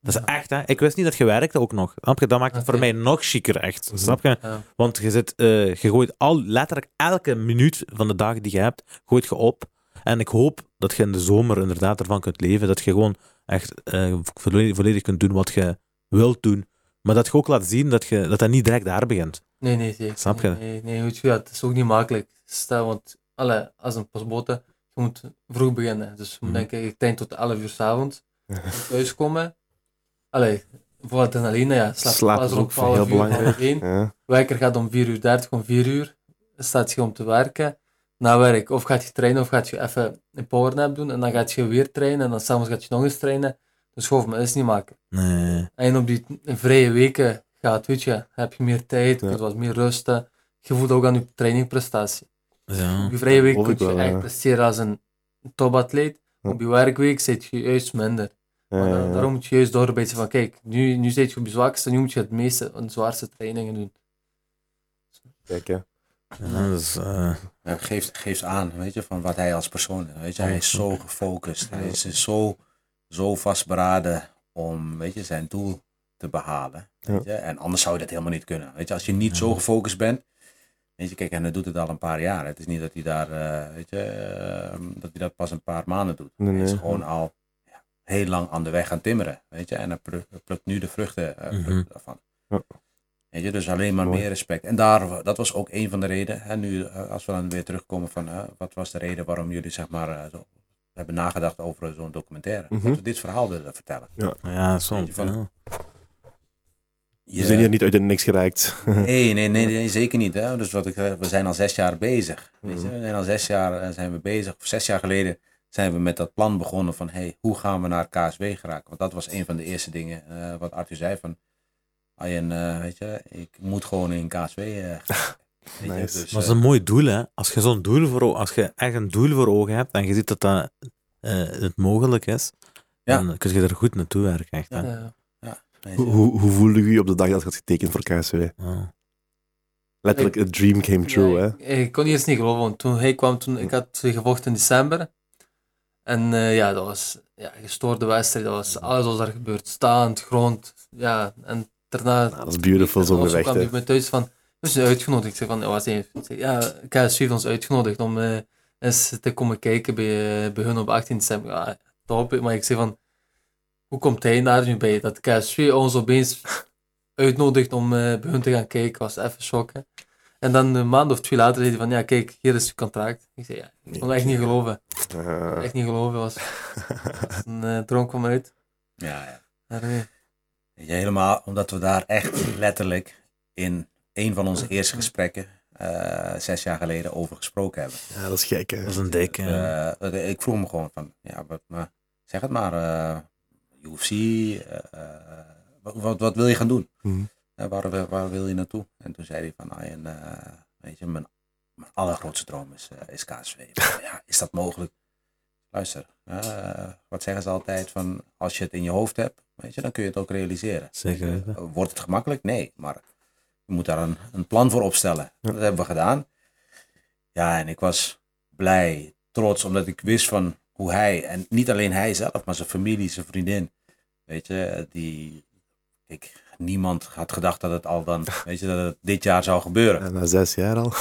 Speaker 3: Dat is
Speaker 2: Ja.
Speaker 3: echt, hè? Ik wist niet dat je werkte ook nog. Snap je? Dat maakt het voor
Speaker 2: Oké.
Speaker 3: mij nog chieker, echt.
Speaker 1: Mhm.
Speaker 3: Snap je?
Speaker 2: Ja.
Speaker 3: Want je, zit, eh, je gooit al, letterlijk elke minuut van de dag die je hebt, gooit je op. En ik hoop dat je in de zomer inderdaad ervan kunt leven. Dat je gewoon echt eh, volledig, volledig kunt doen wat je wilt doen. Maar dat je ook laat zien dat je, dat, dat niet direct daar begint.
Speaker 2: Nee, nee, zeker.
Speaker 3: Snap je?
Speaker 2: Nee, nee, nee, weet je, ja, het is ook niet makkelijk. Stel, want allee, als een pasbote, je moet vroeg beginnen. Dus je moet
Speaker 3: Mhm.
Speaker 2: denken, ik denk tot 11 uur s'avonds thuiskomen. Allee, voor adrenaline, ja, slaap,
Speaker 1: Slaap
Speaker 2: pas
Speaker 1: is
Speaker 2: er
Speaker 1: ook
Speaker 2: om 12
Speaker 1: heel
Speaker 2: uur, half
Speaker 1: belangrijk.
Speaker 2: één.
Speaker 1: Ja.
Speaker 2: Wekker gaat om 4 uur 30, om 4 uur. Staat je om te werken. Na werk, of gaat je trainen, of gaat je even een powernap doen. En dan gaat je weer trainen. En dan s'avonds gaat je nog eens trainen. Dus geloof me, dat is niet makkelijk.
Speaker 3: Nee.
Speaker 2: En op die vrije weken gaat, weet je, heb je meer tijd,
Speaker 1: Ja.
Speaker 2: je kunt wat meer rusten. Je voelt ook aan je training prestatie.
Speaker 3: Ja.
Speaker 2: Op je vrije week
Speaker 1: Geloof Hm. ik
Speaker 2: kun je
Speaker 1: wel,
Speaker 2: echt
Speaker 1: ja.
Speaker 2: presteren als een topatleet.
Speaker 1: Ja.
Speaker 2: Op je werkweek zit je juist minder. Maar
Speaker 1: Ja,
Speaker 2: da-
Speaker 1: ja, ja.
Speaker 2: daarom moet je juist doorbijten van kijk, nu, nu zit je op je zwakste, nu moet je het meeste en zwaarste trainingen doen.
Speaker 1: Kijk, hè.
Speaker 3: Ja, dat is, eh,
Speaker 4: Hij geeft, geeft aan, weet je, van wat hij als persoon is. Weet je, hij is zo gefocust. Hij is zo, zo vastberaden om, weet je, zijn doel te behalen. Weet je? En anders zou je dat helemaal niet kunnen. Weet je, als je niet zo gefocust bent. Weet je, kijk, en hij doet het al een paar jaar. Het is niet dat hij daar, eh, weet je, eh, dat hij dat pas een paar maanden doet.
Speaker 1: Nee,
Speaker 4: Hij is
Speaker 1: nee.
Speaker 4: gewoon al ja, heel lang aan de weg gaan timmeren. Weet je, en hij plu- plukt nu de vruchten eh,
Speaker 3: Mhm.
Speaker 4: vruchten daarvan.
Speaker 1: Ja.
Speaker 4: Weet je, dus alleen maar
Speaker 1: Mooi.
Speaker 4: meer respect. En daar, dat was ook een van de redenen. En nu, eh, als we dan weer terugkomen van eh, wat was de reden waarom jullie zeg maar eh, zo, hebben nagedacht over zo'n documentaire.
Speaker 1: Mhm.
Speaker 4: Dat we dit verhaal willen vertellen.
Speaker 3: Ja, soms.
Speaker 4: Weet je, van-
Speaker 3: ja.
Speaker 4: Je,
Speaker 1: We zijn hier niet uit de niks gereikt.
Speaker 4: Nee, nee, nee, nee, zeker niet. Hè? Dus wat ik zeg, we zijn al zes jaar bezig. Weet
Speaker 1: Mhm.
Speaker 4: je? We zijn al zes jaar eh, zijn we bezig. Of zes jaar geleden zijn we met dat plan begonnen van hey, hoe gaan we naar KSW geraken? Want dat was een van de eerste dingen eh, wat Arthur zei van Arjen, eh, weet je, ik moet gewoon in KSW eh, geraken. Weet je,
Speaker 1: Nice.
Speaker 4: dus,
Speaker 3: Maar
Speaker 4: eh,
Speaker 3: dat is een mooi doel, hè. Als je zo'n doel voor o- als je echt een doel voor ogen hebt en je ziet dat dat eh, het mogelijk is,
Speaker 4: Ja.
Speaker 3: dan kun je er goed naartoe werken, echt. hè.
Speaker 4: Ja.
Speaker 2: Ja.
Speaker 4: nee,
Speaker 1: Hoe- Hoe, hoe voelde je je op de dag dat je had getekend voor KSW?
Speaker 3: Ja.
Speaker 1: Letterlijk, a dream came true, hè?
Speaker 2: Ja, ik, ik kon niet eens niet geloven, want toen hij kwam, toen, ik had gevochten in december. En eh, ja, dat was ja, gestoorde wedstrijd. Dat was alles wat daar gebeurt. Staand, grond. Ja, en daarna...
Speaker 1: Nou, dat is beautiful, zo'n
Speaker 2: Of
Speaker 1: gevecht,
Speaker 2: kwam
Speaker 1: hè.
Speaker 2: hij bij me thuis van, we zijn uitgenodigd. Ik zei van, ja, wat zijn ik zei, Ja, KSU heeft ons uitgenodigd om eh, eens te komen kijken bij, eh, bij hun op 18 december. Ja, top. Maar ik zei van, hoe komt hij daar nu bij? Dat KSU ons opeens uitnodigt om eh, bij hun te gaan kijken, was even schokken. En dan een maand of twee later zei hij van, ja, kijk, hier is je contract. Ik zei, ja, ik kon echt niet geloven.
Speaker 1: Eh,
Speaker 2: Echt niet geloven. was, was een eh, droom kwam uit.
Speaker 4: ja, ja.
Speaker 2: Maar, eh,
Speaker 4: Weet je, helemaal omdat we daar echt letterlijk in een van onze eerste gesprekken eh, zes jaar geleden over gesproken hebben.
Speaker 1: ja, dat is gek, hè?
Speaker 3: Dat is een dikke. ja.
Speaker 4: Eh, eh, ik vroeg me gewoon van, ja, wat, maar, zeg het maar, eh UFC, eh, eh, wat, wat, wat wil je gaan doen?
Speaker 1: Mhm.
Speaker 4: Eh, waar, wil- waar wil je naartoe? En toen zei hij van, ah, en, eh, weet je, mijn, mijn allergrootste droom is, eh, is KSW. Ik zei, ja, is dat mogelijk? Luister, eh, wat zeggen ze altijd van, als je het in je hoofd hebt, weet je, dan kun je het ook realiseren.
Speaker 3: Zeker weten.
Speaker 4: Eh, Wordt het gemakkelijk? Nee, maar je moet daar een, een plan voor opstellen. Dat hebben we gedaan. Ja, en ik was blij, trots, omdat ik wist van hoe hij, en niet alleen hij zelf, maar zijn familie, zijn vriendin, weet je, die, ik, niemand had gedacht dat het al dan, weet je, dat het dit jaar zou gebeuren
Speaker 1: En na zes jaar al.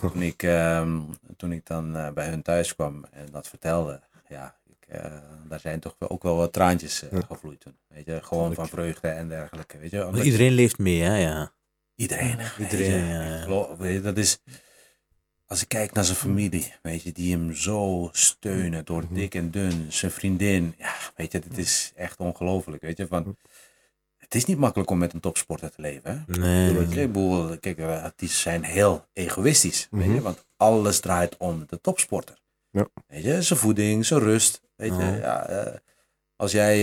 Speaker 4: toen ik, ehm, toen ik dan eh, bij hun thuis kwam en dat vertelde, ja, ik, eh, daar zijn toch ook wel wat traantjes eh,
Speaker 1: Ja.
Speaker 4: gevloeid toen. Weet je, gewoon van vreugde en dergelijke. Weet je,
Speaker 3: Maar
Speaker 4: omdat-
Speaker 3: iedereen leeft mee, hè, ja.
Speaker 4: iedereen. weet je.
Speaker 3: Iedereen, ja, ja.
Speaker 4: Ik geloof- weet je, dat is, als ik kijk naar zijn familie, weet je, die hem zo steunen door
Speaker 1: Mhm.
Speaker 4: dik en dun, zijn vriendin, ja, weet je, dit is echt ongelooflijk, weet je, van... Het is niet makkelijk om met een topsporter te leven. Hè?
Speaker 3: Nee.
Speaker 4: Weet je, ik bedoel, kijk, eh, artiesten zijn heel egoïstisch, weet je,
Speaker 1: Mhm.
Speaker 4: want alles draait om de topsporter.
Speaker 1: Ja. Mhm.
Speaker 4: Weet je, zijn voeding, zijn rust, weet je,
Speaker 3: Ja.
Speaker 4: ja, eh, als jij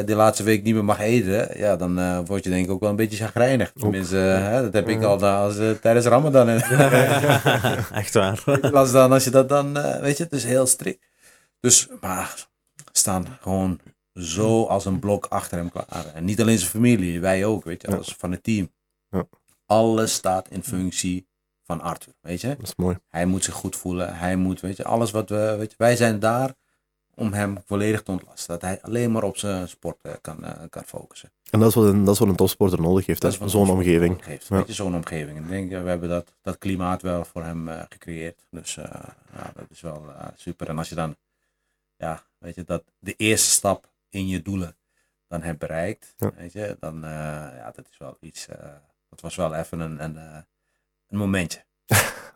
Speaker 4: eh, de laatste week niet meer mag eten, ja, dan eh, word je denk ik ook wel een beetje chagrijnig. Tenminste, eh, hè, dat heb
Speaker 1: Mhm.
Speaker 4: ik al na- als, eh, tijdens Ramadan.
Speaker 3: echt waar.
Speaker 4: Als, dan, als je dat dan, eh, weet je, het is heel strikt. Dus, maar staan gewoon zo als een blok achter hem klaar. En niet alleen zijn familie, wij ook, weet je,
Speaker 1: Ja.
Speaker 4: als van het team.
Speaker 1: Ja.
Speaker 4: Alles staat in functie van Arthur, weet je.
Speaker 1: Dat is mooi.
Speaker 4: Hij moet zich goed voelen, hij moet, weet je, alles wat we, weet je, wij zijn daar om hem volledig te ontlasten. Dat hij alleen maar op zijn sport eh, kan, eh, kan focussen.
Speaker 1: En dat is wat een, dat is wat een topsporter nodig heeft,
Speaker 4: Dat is
Speaker 1: hè?
Speaker 4: wat
Speaker 1: Zo'n
Speaker 4: ons
Speaker 1: omgeving.
Speaker 4: geeft.
Speaker 1: Ja.
Speaker 4: Weet je, zo'n omgeving. En Ik denk, eh, we hebben dat, dat klimaat wel voor hem eh, gecreëerd. Dus eh, ja, dat is wel eh, super. En als je dan, ja, weet je, dat de eerste stap in je doelen dan hebt bereikt,
Speaker 1: Ja.
Speaker 4: weet je, dan, eh, ja, dat is wel iets, eh, dat was wel even een, een, eh, een momentje.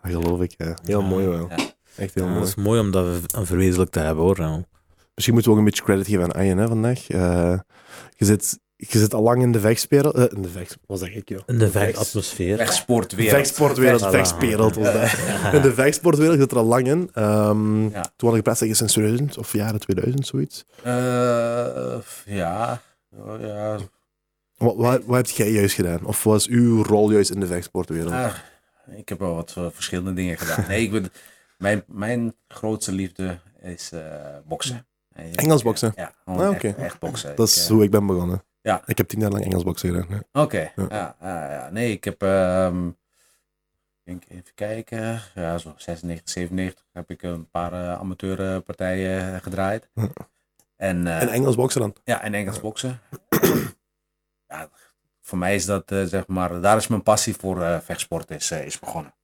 Speaker 1: Geloof ik, ja. Heel
Speaker 3: Ja.
Speaker 1: mooi wel.
Speaker 4: Ja.
Speaker 1: Echt heel
Speaker 3: Ja, dat
Speaker 1: mooi.
Speaker 3: is mooi om dat een verwezenlijk te hebben, hoor. ja.
Speaker 1: Misschien moeten we ook een beetje credit geven aan Arjen hè, vandaag. Eh, je, zit, je zit al lang in de vechtspel. eh, in de vecht, wat zeg ik joh?
Speaker 3: In de
Speaker 1: vechtspel.
Speaker 3: vechtatmosfeer.
Speaker 4: Vechtsport weer.
Speaker 1: Vechtsportwereld,
Speaker 3: Vecht-
Speaker 1: vechtwereld. was dat. In de vechtsportwereld zit er al lang in. Ehm,
Speaker 4: Ja.
Speaker 1: Toen had ik best sinds 2000 of jaren 2000, zoiets.
Speaker 4: Eh, ja, Oh, ja,
Speaker 1: Wat, wat, wat heb jij juist gedaan? Of was uw rol juist in de vechtsportwereld?
Speaker 4: Ah, ik heb wel wat eh, verschillende dingen gedaan. Nee, ik ben, mijn, mijn grootste liefde is eh, boksen. En-
Speaker 1: Engels boksen?
Speaker 4: Ja, gewoon
Speaker 1: Ah,
Speaker 4: echt- echt,
Speaker 1: oké.
Speaker 4: boksen.
Speaker 1: dat
Speaker 4: Ik,
Speaker 1: is
Speaker 4: eh,
Speaker 1: hoe ik ben begonnen.
Speaker 4: Ja.
Speaker 1: Ik heb tien jaar lang Engels boksen gedaan. ja.
Speaker 4: Oké,
Speaker 1: Ja.
Speaker 4: ja. ja, ja. nee, ik heb, ehm, ik denk even kijken, ja, zo 96, 97 heb ik een paar eh, amateurpartijen eh, gedraaid.
Speaker 1: Ja.
Speaker 4: En, eh,
Speaker 1: En Engels boksen dan?
Speaker 4: Ja, en Engels boksen. ja, voor mij is dat, eh, zeg maar, daar is mijn passie voor eh, vechtsport is, eh, is begonnen.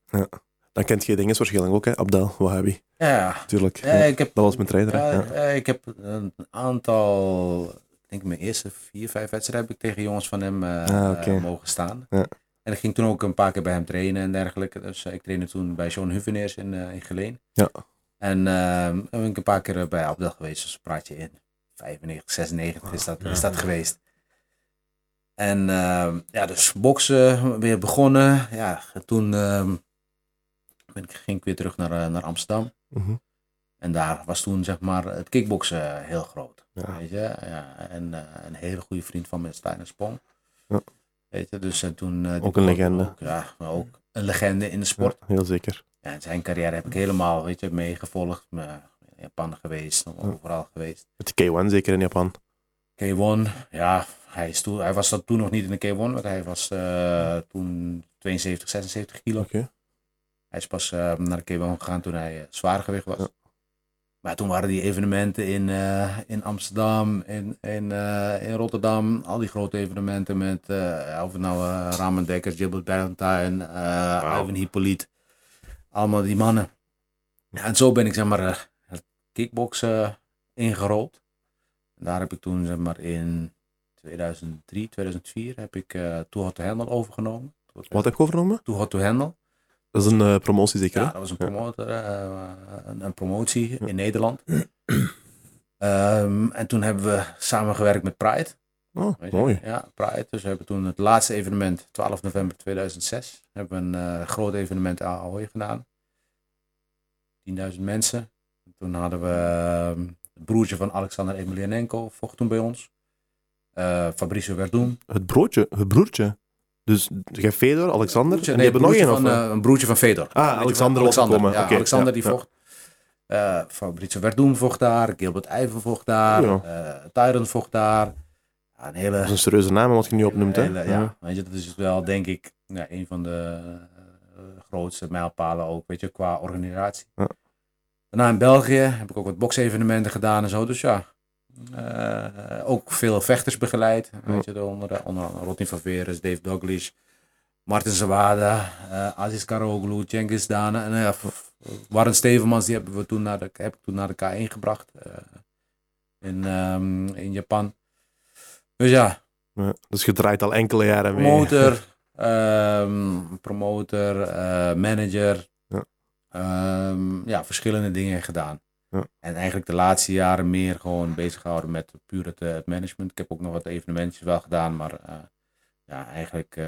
Speaker 1: Dan kent je dingen waarschijnlijk ook, hè? Abdel, Wahhabi.
Speaker 4: Ja,
Speaker 1: Tuurlijk.
Speaker 4: Ja,
Speaker 1: Ja.
Speaker 4: ik heb,
Speaker 1: Dat was mijn trainer. hè?
Speaker 4: ja,
Speaker 1: Ja.
Speaker 4: eh, ik heb een aantal, ik denk mijn eerste vier, vijf wedstrijden heb ik tegen jongens van hem eh,
Speaker 1: Ah, oké.
Speaker 4: eh, mogen staan.
Speaker 1: Ja.
Speaker 4: En ik ging toen ook een paar keer bij hem trainen en dergelijke. Dus eh, ik trainde toen bij Sean Huveneers in, eh, in Geleen.
Speaker 1: Ja.
Speaker 4: En ehm, daar ben ik een paar keer eh, bij Abdel geweest. Dus praat je in 95, 96 is dat,
Speaker 3: Ja.
Speaker 1: Ah.
Speaker 4: is dat geweest. En ehm, ja, dus boksen, weer begonnen. Ja, toen ehm, ben ik, ging ik weer terug naar, eh, naar Amsterdam.
Speaker 1: Mhm.
Speaker 4: En daar was toen zeg maar het kickboksen eh, heel groot.
Speaker 1: Ja.
Speaker 4: Weet je? Ja, en eh, een hele goede vriend van me, Stijn Spong.
Speaker 1: Ja.
Speaker 4: Weet je, dus en toen... eh, die
Speaker 1: Ook een
Speaker 4: kwam
Speaker 1: legende.
Speaker 4: ook, ja, maar ook een legende in de sport.
Speaker 1: Ja, heel zeker.
Speaker 4: Ja, en zijn carrière heb ik helemaal, weet je, meegevolgd. Ik ben In Japan geweest, overal geweest.
Speaker 1: Met de K1 zeker in Japan.
Speaker 4: K1, ja, hij, is toen, hij was dat toen nog niet in de K1, want hij was eh, toen 72, 76 kilo.
Speaker 1: Oké.
Speaker 4: Hij is pas eh, naar de K1 gegaan toen hij eh, zwaargewicht was.
Speaker 1: Ja.
Speaker 4: Maar toen waren die evenementen in, eh, in Amsterdam, in, in, eh, in Rotterdam. Al die grote evenementen met, eh, of het nou eh Ramen Dekker, Gilbert Ballantyne, eh
Speaker 1: Wauw.
Speaker 4: Ivan Hippolyte. Allemaal die mannen. Ja, en zo ben ik zeg maar eh, het kickboksen eh, ingerold. En daar heb ik toen zeg maar in 2003, 2004 heb ik eh Too Hot to Handle overgenomen.
Speaker 1: Wat heb ik overnomen?
Speaker 4: Too Hot to Handle.
Speaker 1: Dat is een eh, promotie zeker,
Speaker 4: Ja,
Speaker 1: hè?
Speaker 4: dat was een,
Speaker 1: Ja.
Speaker 4: promotor, eh, een, een promotie
Speaker 1: Ja.
Speaker 4: in Nederland. Ehm, en toen hebben we samengewerkt met Pride.
Speaker 1: Oh,
Speaker 4: Weet je?
Speaker 1: mooi.
Speaker 4: Ja, Pride. Dus we hebben toen het laatste evenement, 12 november 2006, hebben we een eh, groot evenement in Ahoy gedaan. 10.000 mensen. Toen hadden we ehm, het broertje van Alexander Emelianenko vocht toen bij ons. Eh Fabrizio Verdun.
Speaker 1: Het broodje, het broertje. Dus jij Fedor, Alexander,
Speaker 4: Broertje-
Speaker 1: en
Speaker 4: nee,
Speaker 1: die hebben nog
Speaker 4: broertje
Speaker 1: één of... Ah,
Speaker 4: van, eh, een broertje van Fedor. Weet je wel,
Speaker 1: Alexander was gekomen.
Speaker 4: Ja,
Speaker 1: Oké, ja,
Speaker 4: Alexander die
Speaker 1: ja.
Speaker 4: vocht. Eh Fabrizio Verdun vocht daar, Gilbert Iver vocht daar,
Speaker 1: Ja.
Speaker 4: eh Tyron vocht daar. Ja, een hele
Speaker 1: dat is een serieuze naam wat je nu opnoemt, hè?
Speaker 4: Hele- ja, weet je, dat is wel denk ik ja, een van de eh, grootste mijlpalen ook, weet je, qua organisatie.
Speaker 1: Ja.
Speaker 4: Daarna in België heb ik ook wat boksevenementen gedaan en zo, dus ja. eh, ook veel vechters begeleid, weet je, onder, onder andere Rodney van Veres, Dave Douglas, Martin Zawada, eh Aziz Karoglu, Cengiz Dana en eh, f- Warren Stevemans, die hebben we toen naar de, heb ik toen naar de K1 gebracht eh, in, ehm, in Japan. Dus ja,
Speaker 1: Ja. Dus je draait al enkele jaren mee.
Speaker 4: promotor, ehm, promotor, eh, manager.
Speaker 1: Ja.
Speaker 4: Ehm, ja, verschillende dingen gedaan.
Speaker 1: Ja.
Speaker 4: En eigenlijk de laatste jaren meer gewoon bezig gehouden met puur het, eh, het management. Ik heb ook nog wat evenementjes wel gedaan, maar eh, ja, eigenlijk eh,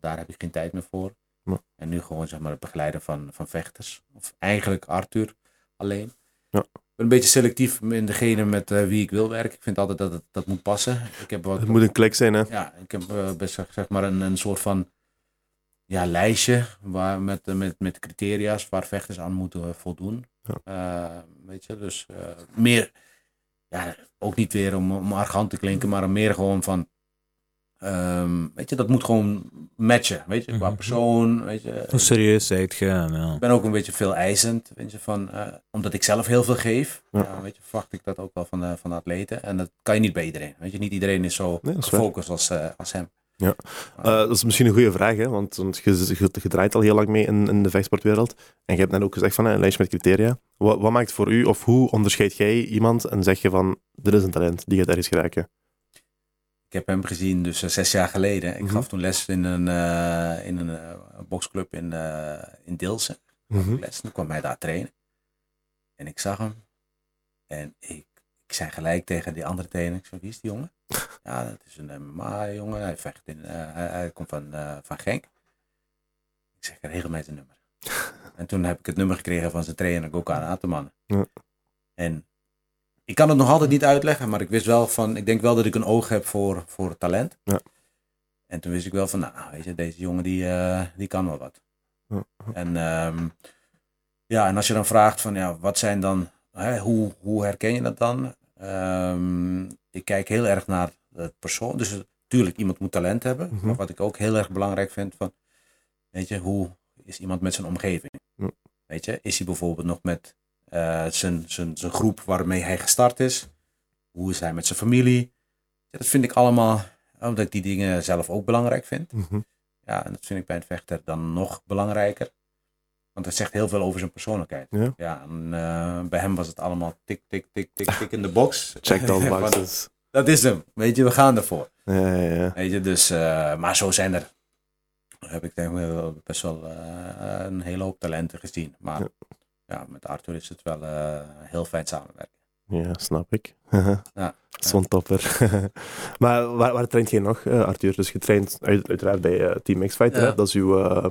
Speaker 4: daar heb ik geen tijd meer voor.
Speaker 1: Ja.
Speaker 4: En nu gewoon zeg maar het begeleiden van, van vechters. Of eigenlijk Arthur alleen.
Speaker 1: Ja.
Speaker 4: Ik ben een beetje selectief in degene met eh, wie ik wil werken. Ik vind altijd dat het, dat moet passen. Ik heb wat
Speaker 1: Het moet een klik zijn, hè?
Speaker 4: ja, ik heb eh, best zeg zeg maar een, een soort van ja, lijstje waar, met, eh, met, met criteria's waar vechters aan moeten voldoen.
Speaker 1: Ja.
Speaker 4: Eh, weet je, dus eh, meer, ja, ook niet weer om, om arrogant te klinken, maar meer gewoon van, ehm, weet je, dat moet gewoon matchen, weet je, qua
Speaker 3: Mhm.
Speaker 4: persoon, weet je.
Speaker 3: Hoe serieus zijt je? en Ja.
Speaker 4: Ik ben ook een beetje veel eisend, weet je, van, eh, omdat ik zelf heel veel geef,
Speaker 1: Ja.
Speaker 4: ja. weet je, verwacht ik dat ook wel van de, van de atleten. En dat kan je niet bij iedereen, weet je, niet iedereen is zo
Speaker 1: Nee, dat is waar.
Speaker 4: gefocust als, eh, als hem.
Speaker 1: Eh, dat is misschien een goede vraag, hè? want, want je, je, je draait al heel lang mee in, in de vechtsportwereld. En je hebt net ook gezegd van eh, een lijstje met criteria. Wat, wat maakt voor u, of hoe onderscheid jij iemand en zeg je van, dit is een talent, die gaat ergens geraken?
Speaker 4: Ik heb hem gezien dus eh, zes jaar geleden. Ik
Speaker 1: Mhm.
Speaker 4: gaf toen les in een, eh, in een eh, boxclub in, eh in Deelsen.
Speaker 1: Mhm.
Speaker 4: Les. Toen kwam hij daar trainen. En ik zag hem. En ik, ik zei gelijk tegen die andere trainer. Ik zei, wie is die jongen? ja, dat is een MMA-jongen. Hij vecht in, eh, hij, hij komt van, eh, van Genk. Ik zeg, regel mij zijn nummer. en toen heb ik het nummer gekregen van zijn trainer, Gokhan Ataman.
Speaker 1: Ja.
Speaker 4: En ik kan het nog altijd niet uitleggen, maar ik wist wel van, ik denk wel dat ik een oog heb voor, voor talent.
Speaker 1: Ja.
Speaker 4: En toen wist ik wel van, nou, weet je, deze jongen die, eh, die kan wel wat.
Speaker 1: Ja.
Speaker 4: En ehm, ja, en als je dan vraagt van, ja, wat zijn dan, hè, hoe, hoe herken je dat dan? Ehm, ik kijk heel erg naar het persoon. Dus natuurlijk, iemand moet talent hebben.
Speaker 1: Mhm.
Speaker 4: Maar wat ik ook heel erg belangrijk vind, van, weet je, hoe is iemand met zijn omgeving?
Speaker 1: Ja.
Speaker 4: Weet je, is hij bijvoorbeeld nog met eh, zijn, zijn, zijn groep waarmee hij gestart is? Hoe is hij met zijn familie? Ja, dat vind ik allemaal, omdat ik die dingen zelf ook belangrijk vind.
Speaker 1: Mhm.
Speaker 4: Ja, en dat vind ik bij een vechter dan nog belangrijker. Want dat zegt heel veel over zijn persoonlijkheid.
Speaker 1: Ja.
Speaker 4: en, eh, bij hem was het allemaal tik, tik, tik, tik, tik in de box.
Speaker 1: Check all
Speaker 4: Van,
Speaker 1: boxes.
Speaker 4: dat is hem. Weet je, we gaan ervoor.
Speaker 1: Ja, ja, ja.
Speaker 4: Weet je, dus, eh, maar zo zijn er heb ik denk ik wel best wel eh, een hele hoop talenten gezien. Maar
Speaker 1: Ja.
Speaker 4: ja. met Arthur is het wel eh, heel fijn samenwerken.
Speaker 1: Ja, snap ik.
Speaker 4: Ja.
Speaker 1: Zo'n topper. maar waar, waar traint je nog, eh, Arthur? Dus je traint uit- uiteraard bij eh, Team X-Fighter,
Speaker 2: Ja.
Speaker 1: hè? dat is uw, eh,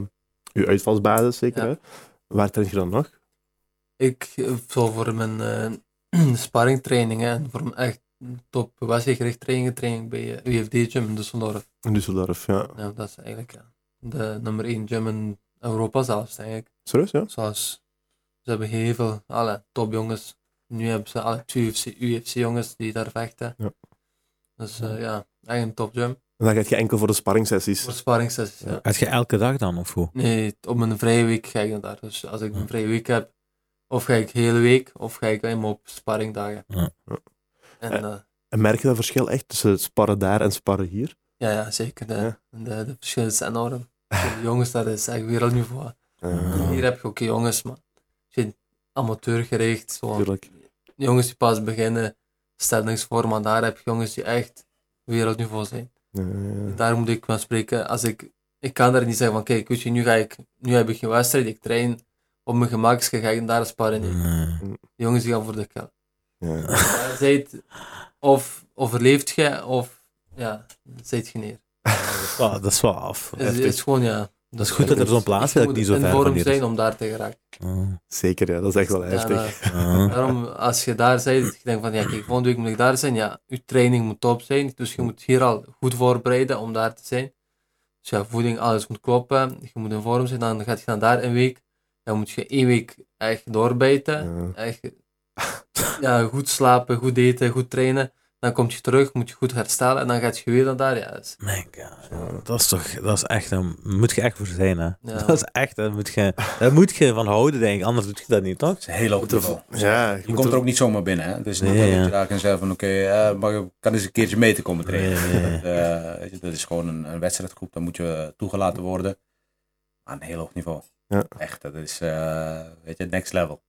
Speaker 1: uw uitvalsbasis zeker.
Speaker 2: Ja.
Speaker 1: Hè? Waar traint je dan nog?
Speaker 2: Ik, eh, zo voor mijn eh sparringtrainingen en voor mijn echt top wedstrijdgericht trainingen, training bij eh, UFD Gym in Düsseldorf.
Speaker 1: In Düsseldorf, ja.
Speaker 2: Ja, dat is eigenlijk ja, de nummer 1 gym in Europa zelfs, denk ik.
Speaker 1: Serieus, ja?
Speaker 2: Zoals, ze hebben heel veel alle topjongens. Nu hebben ze alle twee UFC, jongens die daar vechten.
Speaker 1: Ja.
Speaker 2: Dus eh, ja, echt een topgym.
Speaker 1: En dan gaat je enkel voor de sparringsessies.
Speaker 2: Voor sparringssessies, ja.
Speaker 3: Had je elke dag dan, of hoe?
Speaker 2: Nee, op mijn vrije week ga ik naar daar. Dus als ik een vrije week heb, of ga ik de hele week, of ga ik alleen maar op sparringdagen.
Speaker 3: Ja.
Speaker 2: En,
Speaker 1: Eh.
Speaker 2: eh,
Speaker 1: En merk je dat verschil echt tussen het sparren daar en sparren hier?
Speaker 2: ja, ja, zeker. De,
Speaker 1: Ja.
Speaker 2: de, de verschillen zijn enorm. Voor de jongens, dat is echt wereldniveau.
Speaker 1: Eh,
Speaker 2: Hier heb je ook jongens, maar je bent amateurgericht. Zo.
Speaker 1: Tuurlijk.
Speaker 2: jongens die pas beginnen, stel niks voor, maar daar heb je jongens die echt wereldniveau zijn.
Speaker 1: Eh,
Speaker 2: Daar moet ik van spreken. Als ik, ik kan daar niet zeggen van, kijk, weet je, nu, ga ik, nu heb ik geen wedstrijd, ik train op mijn gemak, ga ik daar sparren. Nee,
Speaker 3: Nee.
Speaker 2: De jongens die gaan voor de kill.
Speaker 1: ja.
Speaker 2: Daar zijt, of overleeft je, of ja, zijt je neer.
Speaker 3: Oh, dat is wel af.
Speaker 2: Het is,
Speaker 3: Heftig.
Speaker 2: is gewoon, ja. Dat
Speaker 3: is goed dat er zo'n plaats eigenlijk niet zo ver
Speaker 2: in
Speaker 3: van
Speaker 2: vorm
Speaker 3: hier is.
Speaker 2: zijn om daar te geraken.
Speaker 3: Ah,
Speaker 1: Zeker, ja. Dat is echt wel heftig.
Speaker 2: Ja, nou,
Speaker 3: ah.
Speaker 2: Daarom, als je daar bent, dat je denkt van, ja, kijk, volgende week moet ik daar zijn. Ja, je training moet top zijn, dus je moet hier al goed voorbereiden om daar te zijn. Dus ja, voeding, alles moet kloppen, je moet in vorm zijn, dan gaat je dan daar een week. Dan moet je één week echt doorbijten,
Speaker 1: Ja.
Speaker 2: echt, ja, goed slapen, goed eten, goed trainen. Dan kom je terug, moet je goed herstellen en dan gaat je weer naar daar. Ja, dus dat is-
Speaker 3: Mijn god. Dat is toch, dat is echt, daar moet je echt voor zijn, hè. Dat is echt, daar moet, je, daar moet je van houden, denk ik. Anders doe je dat niet, toch?
Speaker 4: Het is een heel hoog niveau.
Speaker 1: Ja, je
Speaker 4: Je
Speaker 1: moet
Speaker 4: komt er
Speaker 1: er-
Speaker 4: ook niet zomaar binnen. Hè? Dus niet
Speaker 3: Nee,
Speaker 4: dat
Speaker 3: ja.
Speaker 4: je daar kan zeggen van oké, eh, mag ik kan eens een keertje mee te komen trainen.
Speaker 3: Nee, nee, nee.
Speaker 4: Dat, eh, weet je, dat is gewoon een, een wedstrijdgroep, dan moet je toegelaten worden. Aan een heel hoog niveau.
Speaker 1: Ja.
Speaker 4: Echt, dat is eh, weet je, next level.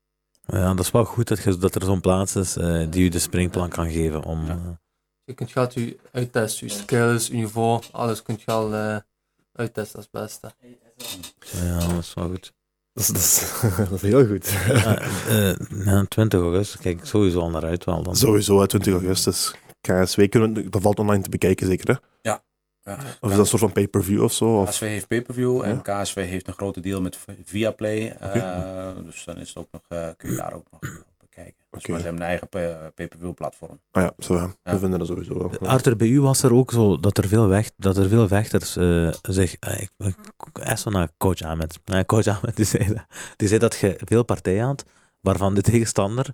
Speaker 3: Ja, dat is wel goed dat, je, dat er zo'n plaats is eh, die je de springplan kan geven om...
Speaker 4: Ja.
Speaker 3: eh,
Speaker 2: Je kunt gaat je uittesten, je skills, je niveau, alles kunt je al eh, uittesten als beste.
Speaker 3: ja, dat is wel goed.
Speaker 1: Dat is, dat is, dat is heel goed.
Speaker 3: Eh, eh, ja, 20 augustus kijk ik sowieso al naar uit wel dan.
Speaker 1: Sowieso, hè, 20 augustus. KSW, kunnen we, dat valt online te bekijken zeker, hè?
Speaker 4: Ja.
Speaker 1: Of is dat een soort van pay-per-view of zo? Of,
Speaker 4: KSV heeft pay-per-view en
Speaker 1: Ja.
Speaker 4: KSV heeft een grote deal met V- Viaplay. eh, Dus dan is het ook nog, eh, kun je daar ook nog bekijken. Dus
Speaker 1: Oké.
Speaker 4: maar ze hebben een eigen pa- pay-per-view platform.
Speaker 1: ah ja, zo, ja, we
Speaker 4: Ja.
Speaker 1: vinden dat sowieso wel. Ja.
Speaker 3: Arthur, bij u was er ook zo dat er veel, vecht, dat er veel vechters eh zich... eh, ik- ik- echt zo naar coach Ahmed. Nee, coach Ahmed die zei, dat, die zei dat je veel partijen had waarvan de tegenstander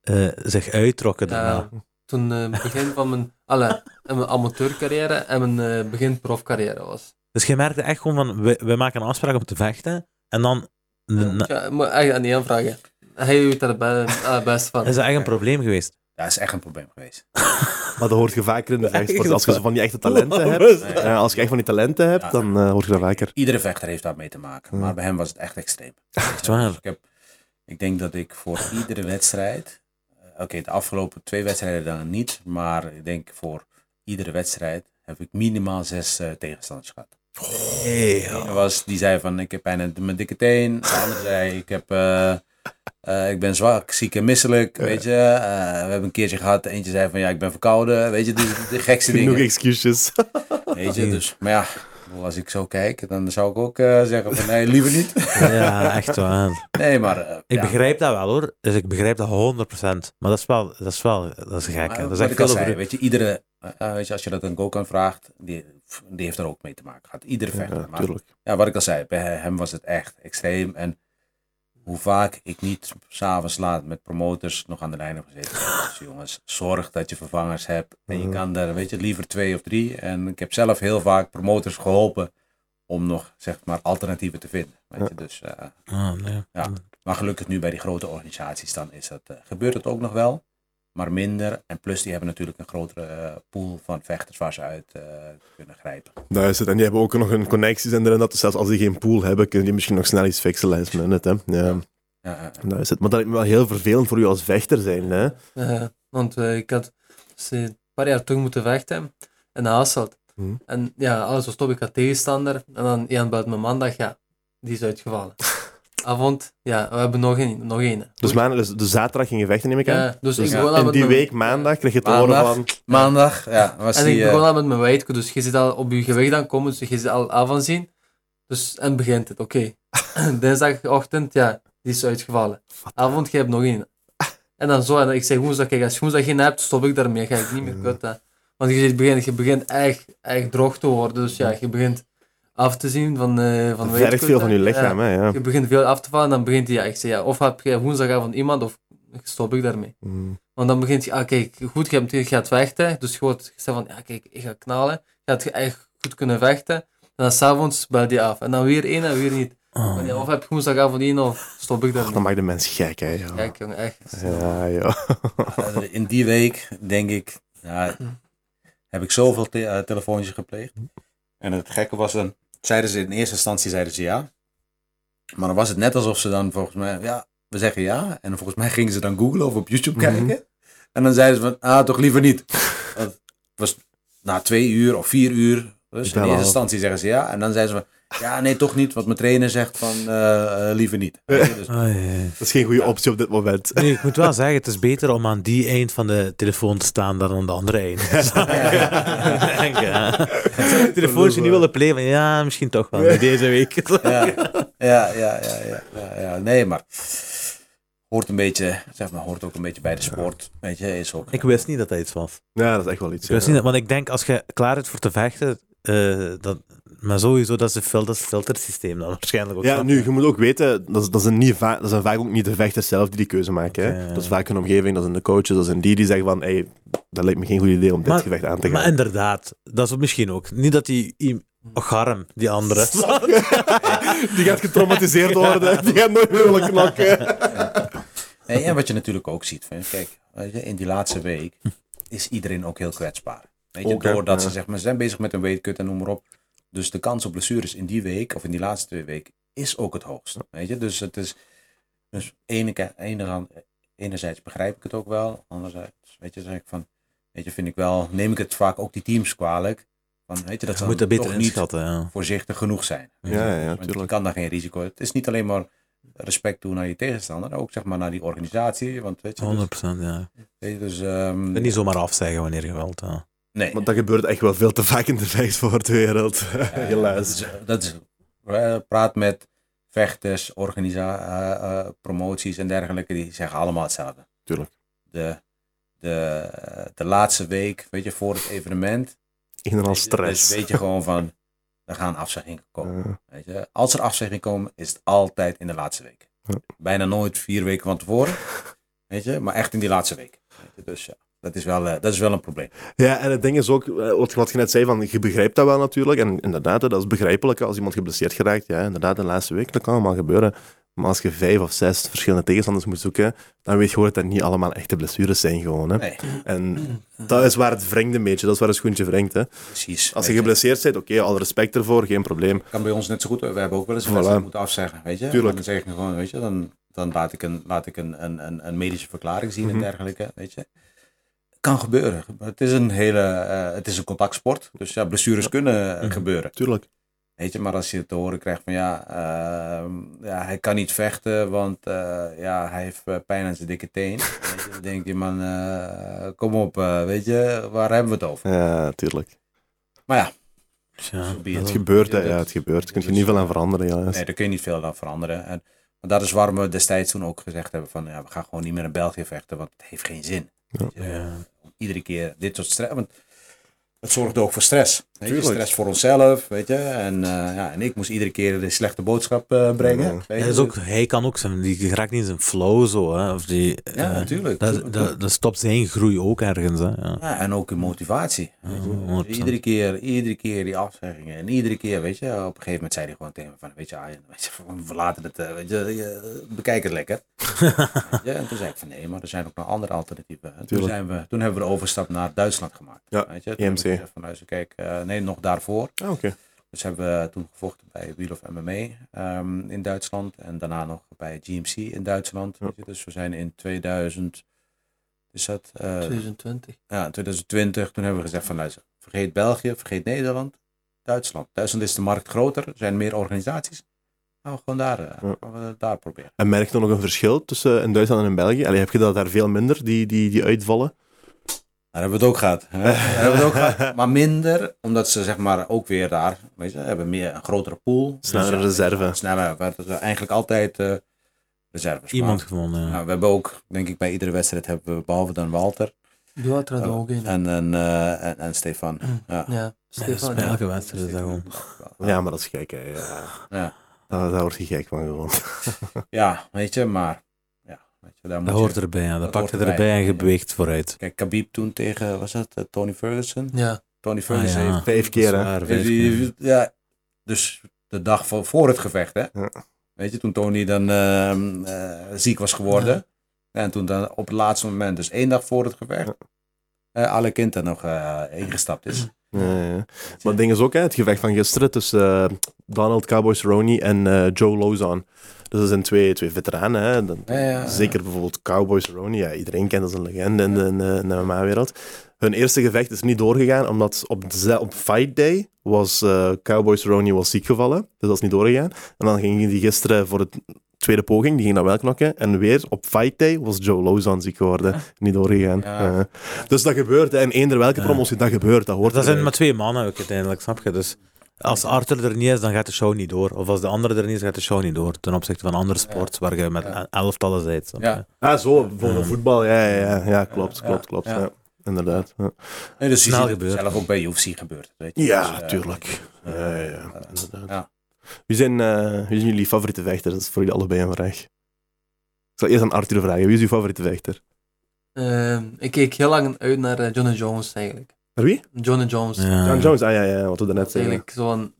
Speaker 3: eh, zich uittrokken daarna.
Speaker 2: Ja, toen eh, begin van mijn, alle, in mijn amateurcarrière en mijn eh, begin profcarrière was.
Speaker 3: Dus je merkte echt gewoon van, we, we maken een afspraak om te vechten en dan... na-
Speaker 2: Ja, ik moet echt aan die aanvragen. Hij weet er be- eh, best van.
Speaker 3: is dat echt een probleem geweest?
Speaker 4: Dat is echt een probleem geweest.
Speaker 1: Maar dat hoort je vaker in de vechtsport.
Speaker 3: Echt
Speaker 1: Als je zo van die echte talenten hebt,
Speaker 3: Loves
Speaker 4: that.
Speaker 1: ja, als je echt van die talenten hebt,
Speaker 4: Ja.
Speaker 1: dan eh, hoort je dat vaker.
Speaker 4: Iedere vechter heeft daar mee te maken.
Speaker 1: Ja.
Speaker 4: Maar bij hem was het echt extreem.
Speaker 3: Echt waar?
Speaker 4: Dus ik, heb, ik denk dat ik voor iedere wedstrijd, eh, oké, de afgelopen twee wedstrijden dan niet, maar ik denk voor iedere wedstrijd heb ik minimaal zes eh, tegenstanders gehad.
Speaker 3: Hey,
Speaker 4: De ene was, die zei van ik heb pijn in mijn dikke teen. De andere zei ik, heb, eh, eh, ik ben zwak, ziek en misselijk. Weet je, Eh, we hebben een keertje gehad, eentje zei van ja ik ben verkouden. Weet je, de, de gekste
Speaker 1: Genoeg
Speaker 4: dingen.
Speaker 1: excuses.
Speaker 4: Weet je, dus, maar ja, ik bedoel, als ik zo kijk, dan zou ik ook eh, zeggen van nee, liever niet.
Speaker 3: Ja, echt waar.
Speaker 4: Nee, maar eh,
Speaker 3: Ik
Speaker 4: ja.
Speaker 3: begrijp dat wel hoor. Dus ik begrijp dat 100%. Maar dat is wel, dat is wel, dat is gek.
Speaker 4: Maar
Speaker 3: hè. Dat is
Speaker 4: wat
Speaker 3: echt
Speaker 4: ik al
Speaker 3: veel
Speaker 4: zei,
Speaker 3: over.
Speaker 4: weet je, iedere, eh, eh, weet je, als je dat aan Gokan vraagt, die, die heeft er ook mee te maken gehad. Iedere
Speaker 1: Ja,
Speaker 4: vechter. Maar
Speaker 1: natuurlijk.
Speaker 4: ja, wat ik al zei, bij hem was het echt extreem. En hoe vaak ik niet s'avonds laat met promoters nog aan de lijn heb gezeten. Dus jongens, zorg dat je vervangers hebt. En je
Speaker 1: Mhm.
Speaker 4: kan er, weet je, liever twee of drie. En ik heb zelf heel vaak promoters geholpen om nog, zeg maar, alternatieven te vinden. Weet je, dus... eh,
Speaker 3: Ah, nee.
Speaker 4: ja. maar gelukkig nu bij die grote organisaties, dan is dat, eh, gebeurt het ook nog wel, maar minder. En plus, die hebben natuurlijk een grotere eh, pool van vechters waar ze uit eh, kunnen grijpen.
Speaker 1: Daar is het. En die hebben ook nog hun connecties en dit en dat. Dus zelfs als die geen pool hebben, kunnen die misschien nog snel iets fixen last minute. Hè? Ja,
Speaker 4: Ja, eh, ja, ja.
Speaker 1: daar is het. Maar dat lijkt me wel heel vervelend voor u als vechter zijn. Hè?
Speaker 2: dus, Eh, want eh, ik had ze een paar jaar terug moeten vechten in Hasselt.
Speaker 1: Mhm.
Speaker 2: En ja, alles was top. Ik had tegenstander. En dan Ian belt me maandag. Ja, die is uitgevallen. Avond, ja, we hebben nog één. Nog één.
Speaker 1: Dus, maandag, dus de zaterdag ging je vechten, neem ik aan.
Speaker 2: Ja, dus
Speaker 1: Dus
Speaker 2: ik begon al
Speaker 1: in
Speaker 2: met
Speaker 1: die
Speaker 2: mijn-
Speaker 1: week maandag kreeg je te horen
Speaker 4: Maandag.
Speaker 1: van...
Speaker 4: Maandag, ja, was
Speaker 2: En
Speaker 4: die...
Speaker 2: ik
Speaker 4: eh,
Speaker 2: begon al met mijn wijdkoe, dus je zit al op je gewicht aankomen, dus je zit al af aan zien. Dus, en begint het, oké. Dinsdagochtend, ja, die is uitgevallen. Avond, jij hebt nog één. En dan zo, en ik zeg woensdag, kijk, als je woensdag geen hebt, stop ik daarmee, ga ik niet
Speaker 1: Mm.
Speaker 2: meer kutten. Want je, zit begint, je begint echt, echt droog te worden, dus ja, je begint af te zien van, eh van
Speaker 1: Mm. Het werkt veel van je
Speaker 2: weightcutten. Ja.
Speaker 1: lichaam, hè. Ja.
Speaker 2: Je begint veel af te vallen, dan begint hij, ja, ik zeg, ja, of heb je woensdagavond iemand, of stop ik daarmee.
Speaker 1: Mhm.
Speaker 2: Want dan begint je, ah kijk, goed, je, hebt, je gaat vechten. Dus je wordt gezegd van, ja kijk, ik ga knallen. Je gaat echt goed kunnen vechten. En dan s'avonds belt die af. En dan weer één en weer niet. Van, ja, of heb je woensdagavond één of stop ik
Speaker 1: Dan
Speaker 2: daarmee.
Speaker 1: maakt de mens gek, hè. joh.
Speaker 2: Kijk jongen, echt.
Speaker 1: Ja, joh.
Speaker 4: Verder, Eh, In die week, denk ik, ja, heb ik zoveel te- eh, telefoontjes gepleegd. En het gekke was dan, zeiden ze in eerste instantie zeiden ze ja. Maar dan was het net alsof ze dan volgens mij, ja, we zeggen ja. En volgens mij gingen ze dan googlen of op YouTube
Speaker 1: Mhm.
Speaker 4: kijken. En dan zeiden ze van, ah, toch liever niet. Want het was na twee uur of vier uur. Dus
Speaker 1: Ik
Speaker 4: in
Speaker 1: bel
Speaker 4: eerste
Speaker 1: al.
Speaker 4: instantie zeggen ze ja. En dan zeiden ze van, ja, nee, toch niet. Wat mijn trainer zegt van, eh, eh, liever niet. Weet je, dus-
Speaker 1: Dat is geen goede optie op dit moment.
Speaker 3: Nee, ik moet wel zeggen, het is beter om aan die eind van de telefoon te staan dan aan de andere eind. Denk, ja. Telefoontje niet willen plegen, ja, misschien toch wel. niet Deze week.
Speaker 4: ja, ja, ja, ja, ja, ja, ja. Nee, maar hoort een beetje, zeg maar, hoort ook een beetje bij de sport. Weet je, is ook.
Speaker 3: Ik wist niet dat dat iets was.
Speaker 1: Ja, dat is echt wel iets.
Speaker 3: Ik
Speaker 1: ja.
Speaker 3: wist niet, dat- want ik denk als je klaar bent voor te vechten, eh, dat, maar sowieso dat is een fil- dat is een filtersysteem dan waarschijnlijk ook.
Speaker 1: Ja,
Speaker 3: snap
Speaker 1: nu,
Speaker 3: je?
Speaker 1: je moet ook weten, dat, is- dat, zijn, niet va- dat zijn vaak ook niet de vechters zelf die die keuze maken. Hè?
Speaker 3: Ja.
Speaker 1: Dat is vaak hun omgeving, dat zijn de coaches, dat zijn die die zeggen van, hey, dat lijkt me geen goed idee om dit
Speaker 3: Maar-
Speaker 1: gevecht aan te gaan.
Speaker 3: Maar inderdaad, dat is misschien ook. Niet dat die... i- Garm, die andere.
Speaker 1: die gaat getraumatiseerd worden, die gaat nooit meer willen knokken.
Speaker 4: Nee, en wat je natuurlijk ook ziet, van, kijk, weet je, in die laatste week is iedereen ook heel kwetsbaar. Weet je,
Speaker 1: Ook, hè,
Speaker 4: doordat
Speaker 1: ja.
Speaker 4: ze zeg maar, ze zijn bezig met een weightcut en noem maar op. Dus de kans op blessures in die week, of in die laatste twee weken, is ook het hoogst. Weet je, dus het is, dus ene, ke- ene- enerzijds begrijp ik het ook wel, anderzijds, weet je, zeg ik van, weet je, vind ik wel, neem ik het vaak ook die teams kwalijk. Van, weet je, dat
Speaker 3: Je
Speaker 4: ze
Speaker 3: moet dat
Speaker 4: dan
Speaker 3: beter
Speaker 4: toch niet
Speaker 3: inschatten, ja.
Speaker 4: voorzichtig genoeg zijn.
Speaker 1: Ja, ja,
Speaker 4: Want je
Speaker 1: natuurlijk.
Speaker 4: kan daar geen risico. Het is niet alleen maar respect toe naar je tegenstander, ook zeg maar naar die organisatie. Want weet je, dus,
Speaker 3: 100%, ja.
Speaker 4: weet je, dus ehm,
Speaker 3: En niet zomaar afzeggen wanneer je wilt, ja.
Speaker 4: nee.
Speaker 1: Want dat gebeurt echt wel veel te vaak in de vechtsportwereld,
Speaker 4: Dat
Speaker 1: helaas.
Speaker 4: is, dat is- eh, praat met vechters, organisa eh, eh, promoties en dergelijke, die zeggen allemaal hetzelfde.
Speaker 1: Tuurlijk.
Speaker 4: De, de, eh, de laatste week, weet je, voor het evenement,
Speaker 1: Een en al
Speaker 4: weet je, dus
Speaker 1: stress.
Speaker 4: weet je gewoon van, er gaan afzeggingen komen.
Speaker 1: Ja.
Speaker 4: Weet je, als er afzeggingen komen, is het altijd in de laatste week.
Speaker 1: Ja.
Speaker 4: Bijna nooit vier weken van tevoren. Weet je, maar echt in die laatste week. Weet je, dus ja, dat is wel, eh, dat is wel een probleem.
Speaker 1: Ja, en het ding is ook, eh, wat, wat je net zei, van, je begrijpt dat wel natuurlijk. En inderdaad, hè, dat is begrijpelijk hè, als iemand geblesseerd geraakt. Ja, inderdaad, de laatste week, dat kan allemaal gebeuren. Maar als je vijf of zes verschillende tegenstanders moet zoeken, dan weet je gewoon dat dat niet allemaal echte blessures zijn gewoon. Hè.
Speaker 4: Nee,
Speaker 1: En dat is waar het wringt een beetje, dat is waar het schoentje wringt. Hè.
Speaker 4: precies.
Speaker 1: Als je
Speaker 4: Weet
Speaker 1: geblesseerd bent, oké, alle respect ervoor, geen probleem.
Speaker 4: kan bij ons net zo goed. We hebben ook wel eens een
Speaker 1: Voilà.
Speaker 4: wedstrijd moeten afzeggen, weet je.
Speaker 1: Tuurlijk.
Speaker 4: Dan zeg ik gewoon, weet je, dan, dan laat ik, een, laat ik een, een, een, een medische verklaring zien
Speaker 1: Mhm.
Speaker 4: en dergelijke, weet je. Kan gebeuren. Het is een hele, eh, het is een contactsport, dus ja, blessures kunnen eh,
Speaker 3: Mhm.
Speaker 4: gebeuren.
Speaker 1: Tuurlijk.
Speaker 4: Weet je, maar als je te horen krijgt van ja, ehm, ja hij kan niet vechten, want eh, ja, hij heeft eh, pijn aan zijn dikke teen. Weet je, dan denk je man, eh, kom op, eh, weet je, waar hebben we het over?
Speaker 1: Ja, tuurlijk.
Speaker 4: Maar ja,
Speaker 3: Tja,
Speaker 4: Zo be
Speaker 1: Het
Speaker 3: dat-
Speaker 1: gebeurt, hè.
Speaker 4: Ja,
Speaker 1: Ja,
Speaker 4: dat-
Speaker 1: het gebeurt. Daar kun je
Speaker 4: dat
Speaker 1: niet
Speaker 4: is- dus
Speaker 1: veel aan veranderen, ja.
Speaker 4: nee, daar kun je niet veel aan veranderen. En, maar dat is waarom we destijds toen ook gezegd hebben van ja, we gaan gewoon niet meer in België vechten, want het heeft geen zin. Weet je, eh,
Speaker 3: ja.
Speaker 4: Iedere keer dit soort stress, want het zorgde ook voor stress. Weet je,
Speaker 1: Tuurlijk.
Speaker 4: stress voor onszelf, weet je. En, eh, ja, en ik moest iedere keer de slechte boodschap eh, brengen.
Speaker 1: Ja.
Speaker 4: weet
Speaker 3: Ja,
Speaker 4: je.
Speaker 3: dat is ook, hij kan ook zijn, die raakt niet in zijn flow zo. Hè, of die,
Speaker 4: Ja,
Speaker 3: eh,
Speaker 4: natuurlijk.
Speaker 3: Dat, dat, dat stopt zijn groei ook ergens. Hè, ja.
Speaker 4: Ja, en ook in motivatie. weet je.
Speaker 3: 100%.
Speaker 4: Iedere keer, iedere keer die afzeggingen. En iedere keer, weet je, op een gegeven moment zei hij gewoon tegen me van, weet je, Arjen, weet je, we laten het, eh, weet je, eh, bekijk het lekker. Weet je, En toen zei ik van, nee, maar er zijn ook nog andere alternatieven. En toen,
Speaker 1: Tuurlijk.
Speaker 4: zijn we, toen hebben we de overstap naar Duitsland gemaakt.
Speaker 1: Ja, E
Speaker 4: weet je. Toen
Speaker 1: EMC.
Speaker 4: hebben we gezegd van, luister, kijk, eh, nee, nog daarvoor.
Speaker 1: Ah, oké.
Speaker 4: Dus hebben we toen gevochten bij Wheel of MMA ehm, in Duitsland. En daarna nog bij GMC in Duitsland.
Speaker 1: Ja.
Speaker 4: weet je. Dus we zijn in 2000, is dat... eh,
Speaker 2: 2020.
Speaker 4: ja, in 2020, toen hebben we gezegd van luister, Vergeet België, vergeet Nederland, Duitsland. Duitsland is de markt groter, er zijn meer organisaties. Gaan we gewoon daar, eh,
Speaker 1: Ja.
Speaker 4: gaan we daar proberen.
Speaker 1: En merk je dan nog een verschil tussen in Duitsland en in België? Allee, heb je dat daar veel minder, die, die, die uitvallen?
Speaker 4: Daar hebben we het ook gehad. hè. Daar hebben we het ook gehad. Maar minder, omdat ze zeg maar ook weer daar, weet je, hebben meer een grotere pool.
Speaker 1: Snellere
Speaker 4: Dus, eh,
Speaker 1: reserve.
Speaker 4: Sneller, we hadden eigenlijk altijd eh, reserves.
Speaker 3: Iemand eh.
Speaker 4: Maar,
Speaker 3: gevonden. ja.
Speaker 4: nou, we hebben ook, denk ik, bij iedere wedstrijd hebben we, behalve dan Walter
Speaker 2: Doe dat er ook in.
Speaker 4: en, en, eh, en, en Stefan. Ja.
Speaker 2: Ja,
Speaker 3: dat
Speaker 2: Stefan.
Speaker 3: is
Speaker 2: ja.
Speaker 3: elke wedstrijd is dat gewoon.
Speaker 1: Ja, maar dat is gek, hè. Ja.
Speaker 4: Ja.
Speaker 1: Daar, daar word je gek van, gewoon.
Speaker 4: Ja, weet je, maar ja, weet je, daar moet
Speaker 3: Dat
Speaker 4: je-
Speaker 3: hoort erbij, ja. dat
Speaker 4: dat
Speaker 3: pak je
Speaker 4: hoort erbij.
Speaker 3: erbij en je beweegt vooruit.
Speaker 4: Kijk, Khabib toen tegen, was dat eh, Tony Ferguson?
Speaker 2: Ja,
Speaker 4: Tony
Speaker 3: Ah,
Speaker 4: Ferguson
Speaker 3: ja.
Speaker 4: heeft...
Speaker 1: Vijf keer, hè.
Speaker 3: Zwaar,
Speaker 4: heeft-
Speaker 3: vijf keer.
Speaker 4: heeft- ja, dus de dag van, voor het gevecht, hè.
Speaker 1: Ja.
Speaker 4: Weet je, toen Tony dan ehm, eh, ziek was geworden. En toen dan op het laatste moment, dus één dag voor het gevecht, eh, alle kind er nog eh, ingestapt is.
Speaker 1: Ja, ja. Maar het ding is ook, hè, het gevecht van gisteren tussen eh, Donald Cowboy Cerrone en eh, Joe Lozon. Dus dat zijn twee, twee veteranen. Hè. Dan-
Speaker 4: Ja, ja, ja.
Speaker 1: Zeker bijvoorbeeld Cowboy Cerrone. Ja, iedereen kent dat als een legende in de, in de, in de MMA-wereld. Hun eerste gevecht is niet doorgegaan, omdat op, de, op Fight Day was eh, Cowboy Cerrone was ziek gevallen. Dus dat is niet doorgegaan. En dan ging die gisteren voor de tweede poging, die ging dan wel knokken. En weer op Fight Day was Joe Lozon ziek geworden. Niet doorgegaan.
Speaker 4: Ah. Ja.
Speaker 1: Ja. dus dat gebeurt. hè. En eender welke promotie dat gebeurt, dat hoort
Speaker 3: Dat zijn
Speaker 1: erbij.
Speaker 3: maar twee mannen ook uiteindelijk, snap je? Dus als Arthur er niet is, dan gaat de show niet door. Of als de andere er niet is, gaat de show niet door. Ten opzichte van andere sports waar je met elftallen zijt. snap je?
Speaker 4: Ja.
Speaker 1: Ah, zo, voor de voetbal, ja, ja, ja, ja klopt,
Speaker 4: Ja,
Speaker 1: klopt, klopt,
Speaker 4: ja.
Speaker 1: ja. Inderdaad. Ja,
Speaker 4: Nee, dus je
Speaker 3: Snel
Speaker 4: ziet het
Speaker 3: gebeurd.
Speaker 4: zelf ook bij UFC gebeurt. Weet je.
Speaker 1: ja
Speaker 4: Dus, eh,
Speaker 1: tuurlijk.
Speaker 4: eh,
Speaker 1: Ja, ja, ja,
Speaker 4: eh,
Speaker 1: inderdaad.
Speaker 4: ja.
Speaker 1: Wie, zijn, eh, wie zijn jullie favoriete vechters? Dat is voor jullie allebei een vraag. Ik zal eerst aan Arthur vragen. Wie is uw favoriete vechter?
Speaker 2: Ehm, ik keek heel lang uit naar eh, John Jones eigenlijk.
Speaker 1: Naar Wie?
Speaker 2: John Jones.
Speaker 3: Ja.
Speaker 1: John Jones. Ah ja, ja, wat we daarnet
Speaker 2: Dat is
Speaker 1: zeiden.
Speaker 2: eigenlijk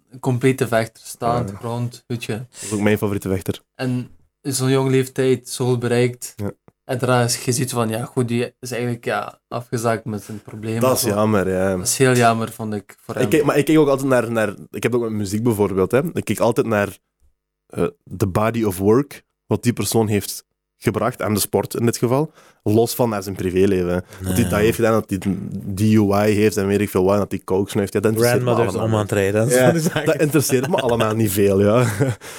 Speaker 2: zo'n complete vechter. Staand,
Speaker 1: Ja.
Speaker 2: grond, weet je.
Speaker 1: Dat is ook mijn favoriete vechter.
Speaker 2: En in zo'n jonge leeftijd zoveel bereikt.
Speaker 1: Ja.
Speaker 2: En daarna is je ziet van, ja goed, die is eigenlijk ja, afgezakt met zijn problemen.
Speaker 1: Dat is
Speaker 2: Zo.
Speaker 1: jammer, ja.
Speaker 2: Dat is heel jammer, vond ik, voor hem.
Speaker 1: Ik keek, maar ik keek ook altijd naar, naar... Ik heb ook met muziek bijvoorbeeld, hè. Ik keek altijd naar eh, de body of work, wat die persoon heeft gebracht, aan de sport in dit geval, los van naar zijn privéleven. Dat hij dat heeft gedaan, dat hij DUI heeft en weet ik veel wat, en dat hij coke snuift. Ja, dat interesseert me
Speaker 3: Grandmothers om
Speaker 1: allemaal
Speaker 3: aan het rijden. Dat is
Speaker 1: Ja,
Speaker 3: van die zaken.
Speaker 1: niet. Dat interesseert me allemaal niet veel, ja.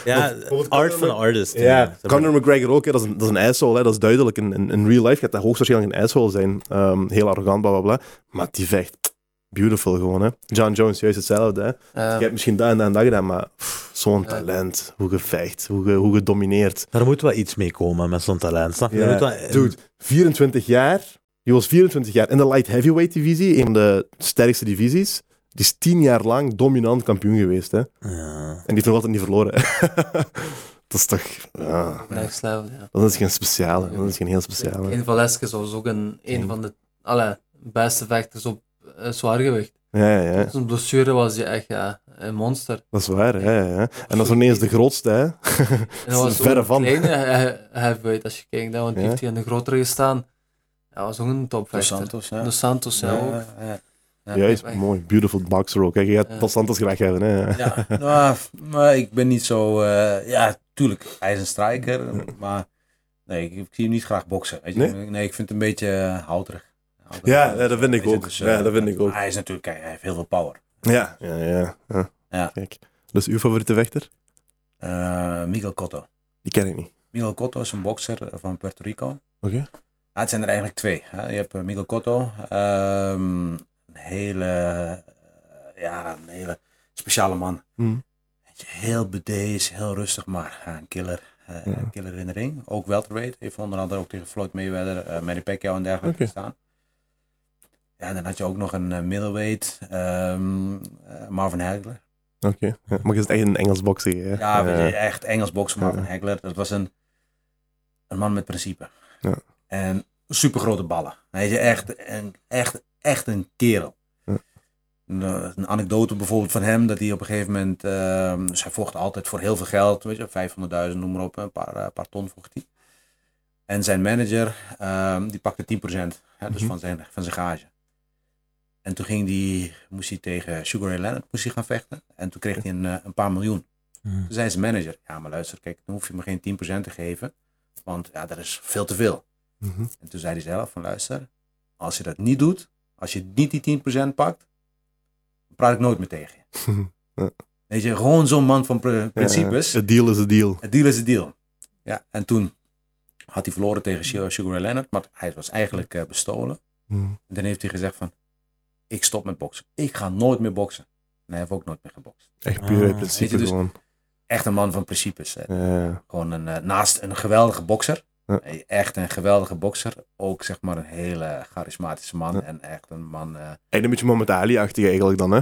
Speaker 3: Ja,
Speaker 1: bijvoorbeeld
Speaker 3: art
Speaker 1: Conor
Speaker 3: van de
Speaker 1: Mc-
Speaker 3: artist.
Speaker 1: ja. Conor McGregor ook, hè, dat, is een, dat is een asshole, hè, dat is duidelijk. In, in, in real life gaat hij hoogstwaarschijnlijk een asshole zijn. Ehm, heel arrogant, bla bla bla. Maar die vecht, beautiful gewoon, hè. John Jones, juist hetzelfde, hè.
Speaker 2: Ehm,
Speaker 1: Je hebt misschien dat en dat en dat gedaan, maar pff, zo'n
Speaker 2: Ja.
Speaker 1: talent. Hoe gevecht, hoe, ge, hoe gedomineerd.
Speaker 3: Daar moet wel iets mee komen met zo'n talent. Snap je?
Speaker 1: Ja.
Speaker 3: Er moet wel-
Speaker 1: Dude, 24 jaar. Die was 24 jaar in de light heavyweight divisie, een van de sterkste divisies. Die is 10 jaar lang dominant kampioen geweest. Hè? En
Speaker 3: Ja.
Speaker 1: die heeft nog altijd niet verloren. dat is toch... ja,
Speaker 2: Next level, ja.
Speaker 1: dat is geen speciale. Dat is geen heel speciale.
Speaker 2: Een van Leskes was ook een, een
Speaker 1: King.
Speaker 2: van de allee, beste vechters op eh, zwaargewicht.
Speaker 1: Ja, ja, ja.
Speaker 2: Zijn blessure was hij echt ja, een monster.
Speaker 1: Dat is waar. Ja, ja, ja. En dat is nog niet eens de grootste. Hè?
Speaker 2: En dat was ook
Speaker 1: verre
Speaker 2: een
Speaker 1: van.
Speaker 2: kleine he- heavyweight als je kijkt, hè, want die
Speaker 1: Ja.
Speaker 2: heeft hij in de grotere gestaan. Dat was ook een
Speaker 4: Dos
Speaker 2: topvechter.
Speaker 4: Santos, ja.
Speaker 2: Dos Santos, ja, ook.
Speaker 4: Ja, ja.
Speaker 1: Juist,
Speaker 2: echt.
Speaker 1: mooi. Beautiful boxer ook. Hè? Je gaat
Speaker 2: Ja.
Speaker 1: Dos Santos graag hebben. Hè?
Speaker 4: Ja, nou, maar ik ben niet zo. eh, ja, tuurlijk, hij is een strijker, maar nee, ik, ik zie hem niet graag boksen. Weet je?
Speaker 1: Nee?
Speaker 4: Nee? ik vind het een beetje eh, houterig. Houterig.
Speaker 1: Ja, ja, dat vind ik
Speaker 4: Weet je,
Speaker 1: ook. Ja, dat vind ik
Speaker 4: maar
Speaker 1: ook.
Speaker 4: Hij is natuurlijk, kijk, hij heeft heel veel power.
Speaker 1: Ja. Ja, ja, ja.
Speaker 4: Ja.
Speaker 1: Kijk. Dus uw favoriete vechter?
Speaker 4: Eh Miguel Cotto.
Speaker 1: Die ken ik niet.
Speaker 4: Miguel Cotto is een bokser eh, van Puerto Rico.
Speaker 1: Oké.
Speaker 4: Ah, het zijn er eigenlijk twee. Hè? Je hebt eh, Miguel Cotto, ehm, een hele, eh, ja, een hele speciale man.
Speaker 1: Hm.
Speaker 4: Weet je, Heel bedeesd, heel rustig, maar eh, een killer. eh,
Speaker 1: Ja.
Speaker 4: Een killer in de ring. Ook welterweight. Heeft onder andere ook tegen Floyd Mayweather, eh Manny Pacquiao en dergelijke
Speaker 1: Oké.
Speaker 4: gestaan. Ja, dan had je ook nog een eh, middleweight, ehm, eh, Marvin Hagler.
Speaker 1: Oké, ja. maar je zit echt een Engels bokser. Hè?
Speaker 4: Ja,
Speaker 1: Eh,
Speaker 4: weet je, echt Engels boksen, Marvin
Speaker 1: Ja.
Speaker 4: Hagler. Dat was een, een man met principe.
Speaker 1: Ja.
Speaker 4: En super grote ballen. Weet je, echt een, echt, echt een kerel.
Speaker 1: Ja.
Speaker 4: Een, eh, een anekdote bijvoorbeeld van hem, dat hij op een gegeven moment, ehm, dus hij vocht altijd voor heel veel geld, weet je, 500.000, noem maar op, een paar, eh, paar ton vocht hij. En zijn manager, ehm, die pakte 10%, hè, dus
Speaker 1: Mhm.
Speaker 4: van, zijn, van zijn gage. En toen ging die, moest hij tegen Sugar Ray Leonard moest hij gaan vechten. En toen kreeg hij een, eh, een paar miljoen.
Speaker 3: Mm.
Speaker 4: Toen zei zijn manager, ja maar luister, kijk, dan hoef je me geen 10% te geven, want ja, dat is veel te veel.
Speaker 1: mhm.
Speaker 4: En toen zei hij zelf van luister, als je dat niet doet, als je niet die 10% pakt, praat ik nooit meer tegen je.
Speaker 1: Ja.
Speaker 4: Weet je, gewoon zo'n man van pr- principes.
Speaker 1: Het deal is het deal.
Speaker 4: Het deal is het deal. Ja, en toen had hij verloren tegen Su- Sugar Ray Leonard, maar hij was eigenlijk eh, bestolen.
Speaker 1: Mhm.
Speaker 4: En dan heeft hij gezegd van, ik stop met boksen. Ik ga nooit meer boksen. En hij heeft ook nooit meer gebokst.
Speaker 1: Echt puur uit
Speaker 3: Ah.
Speaker 1: principe
Speaker 4: Weet je, dus-
Speaker 1: gewoon.
Speaker 4: Echt een man van principes. hè.
Speaker 1: Ja.
Speaker 4: Gewoon een, eh, naast een geweldige bokser.
Speaker 1: Ja.
Speaker 4: Echt een geweldige bokser. Ook zeg maar een hele charismatische man.
Speaker 1: Ja.
Speaker 4: En echt een man. eh,
Speaker 1: Echt een beetje Mohamed Ali-achtig eigenlijk dan, hè?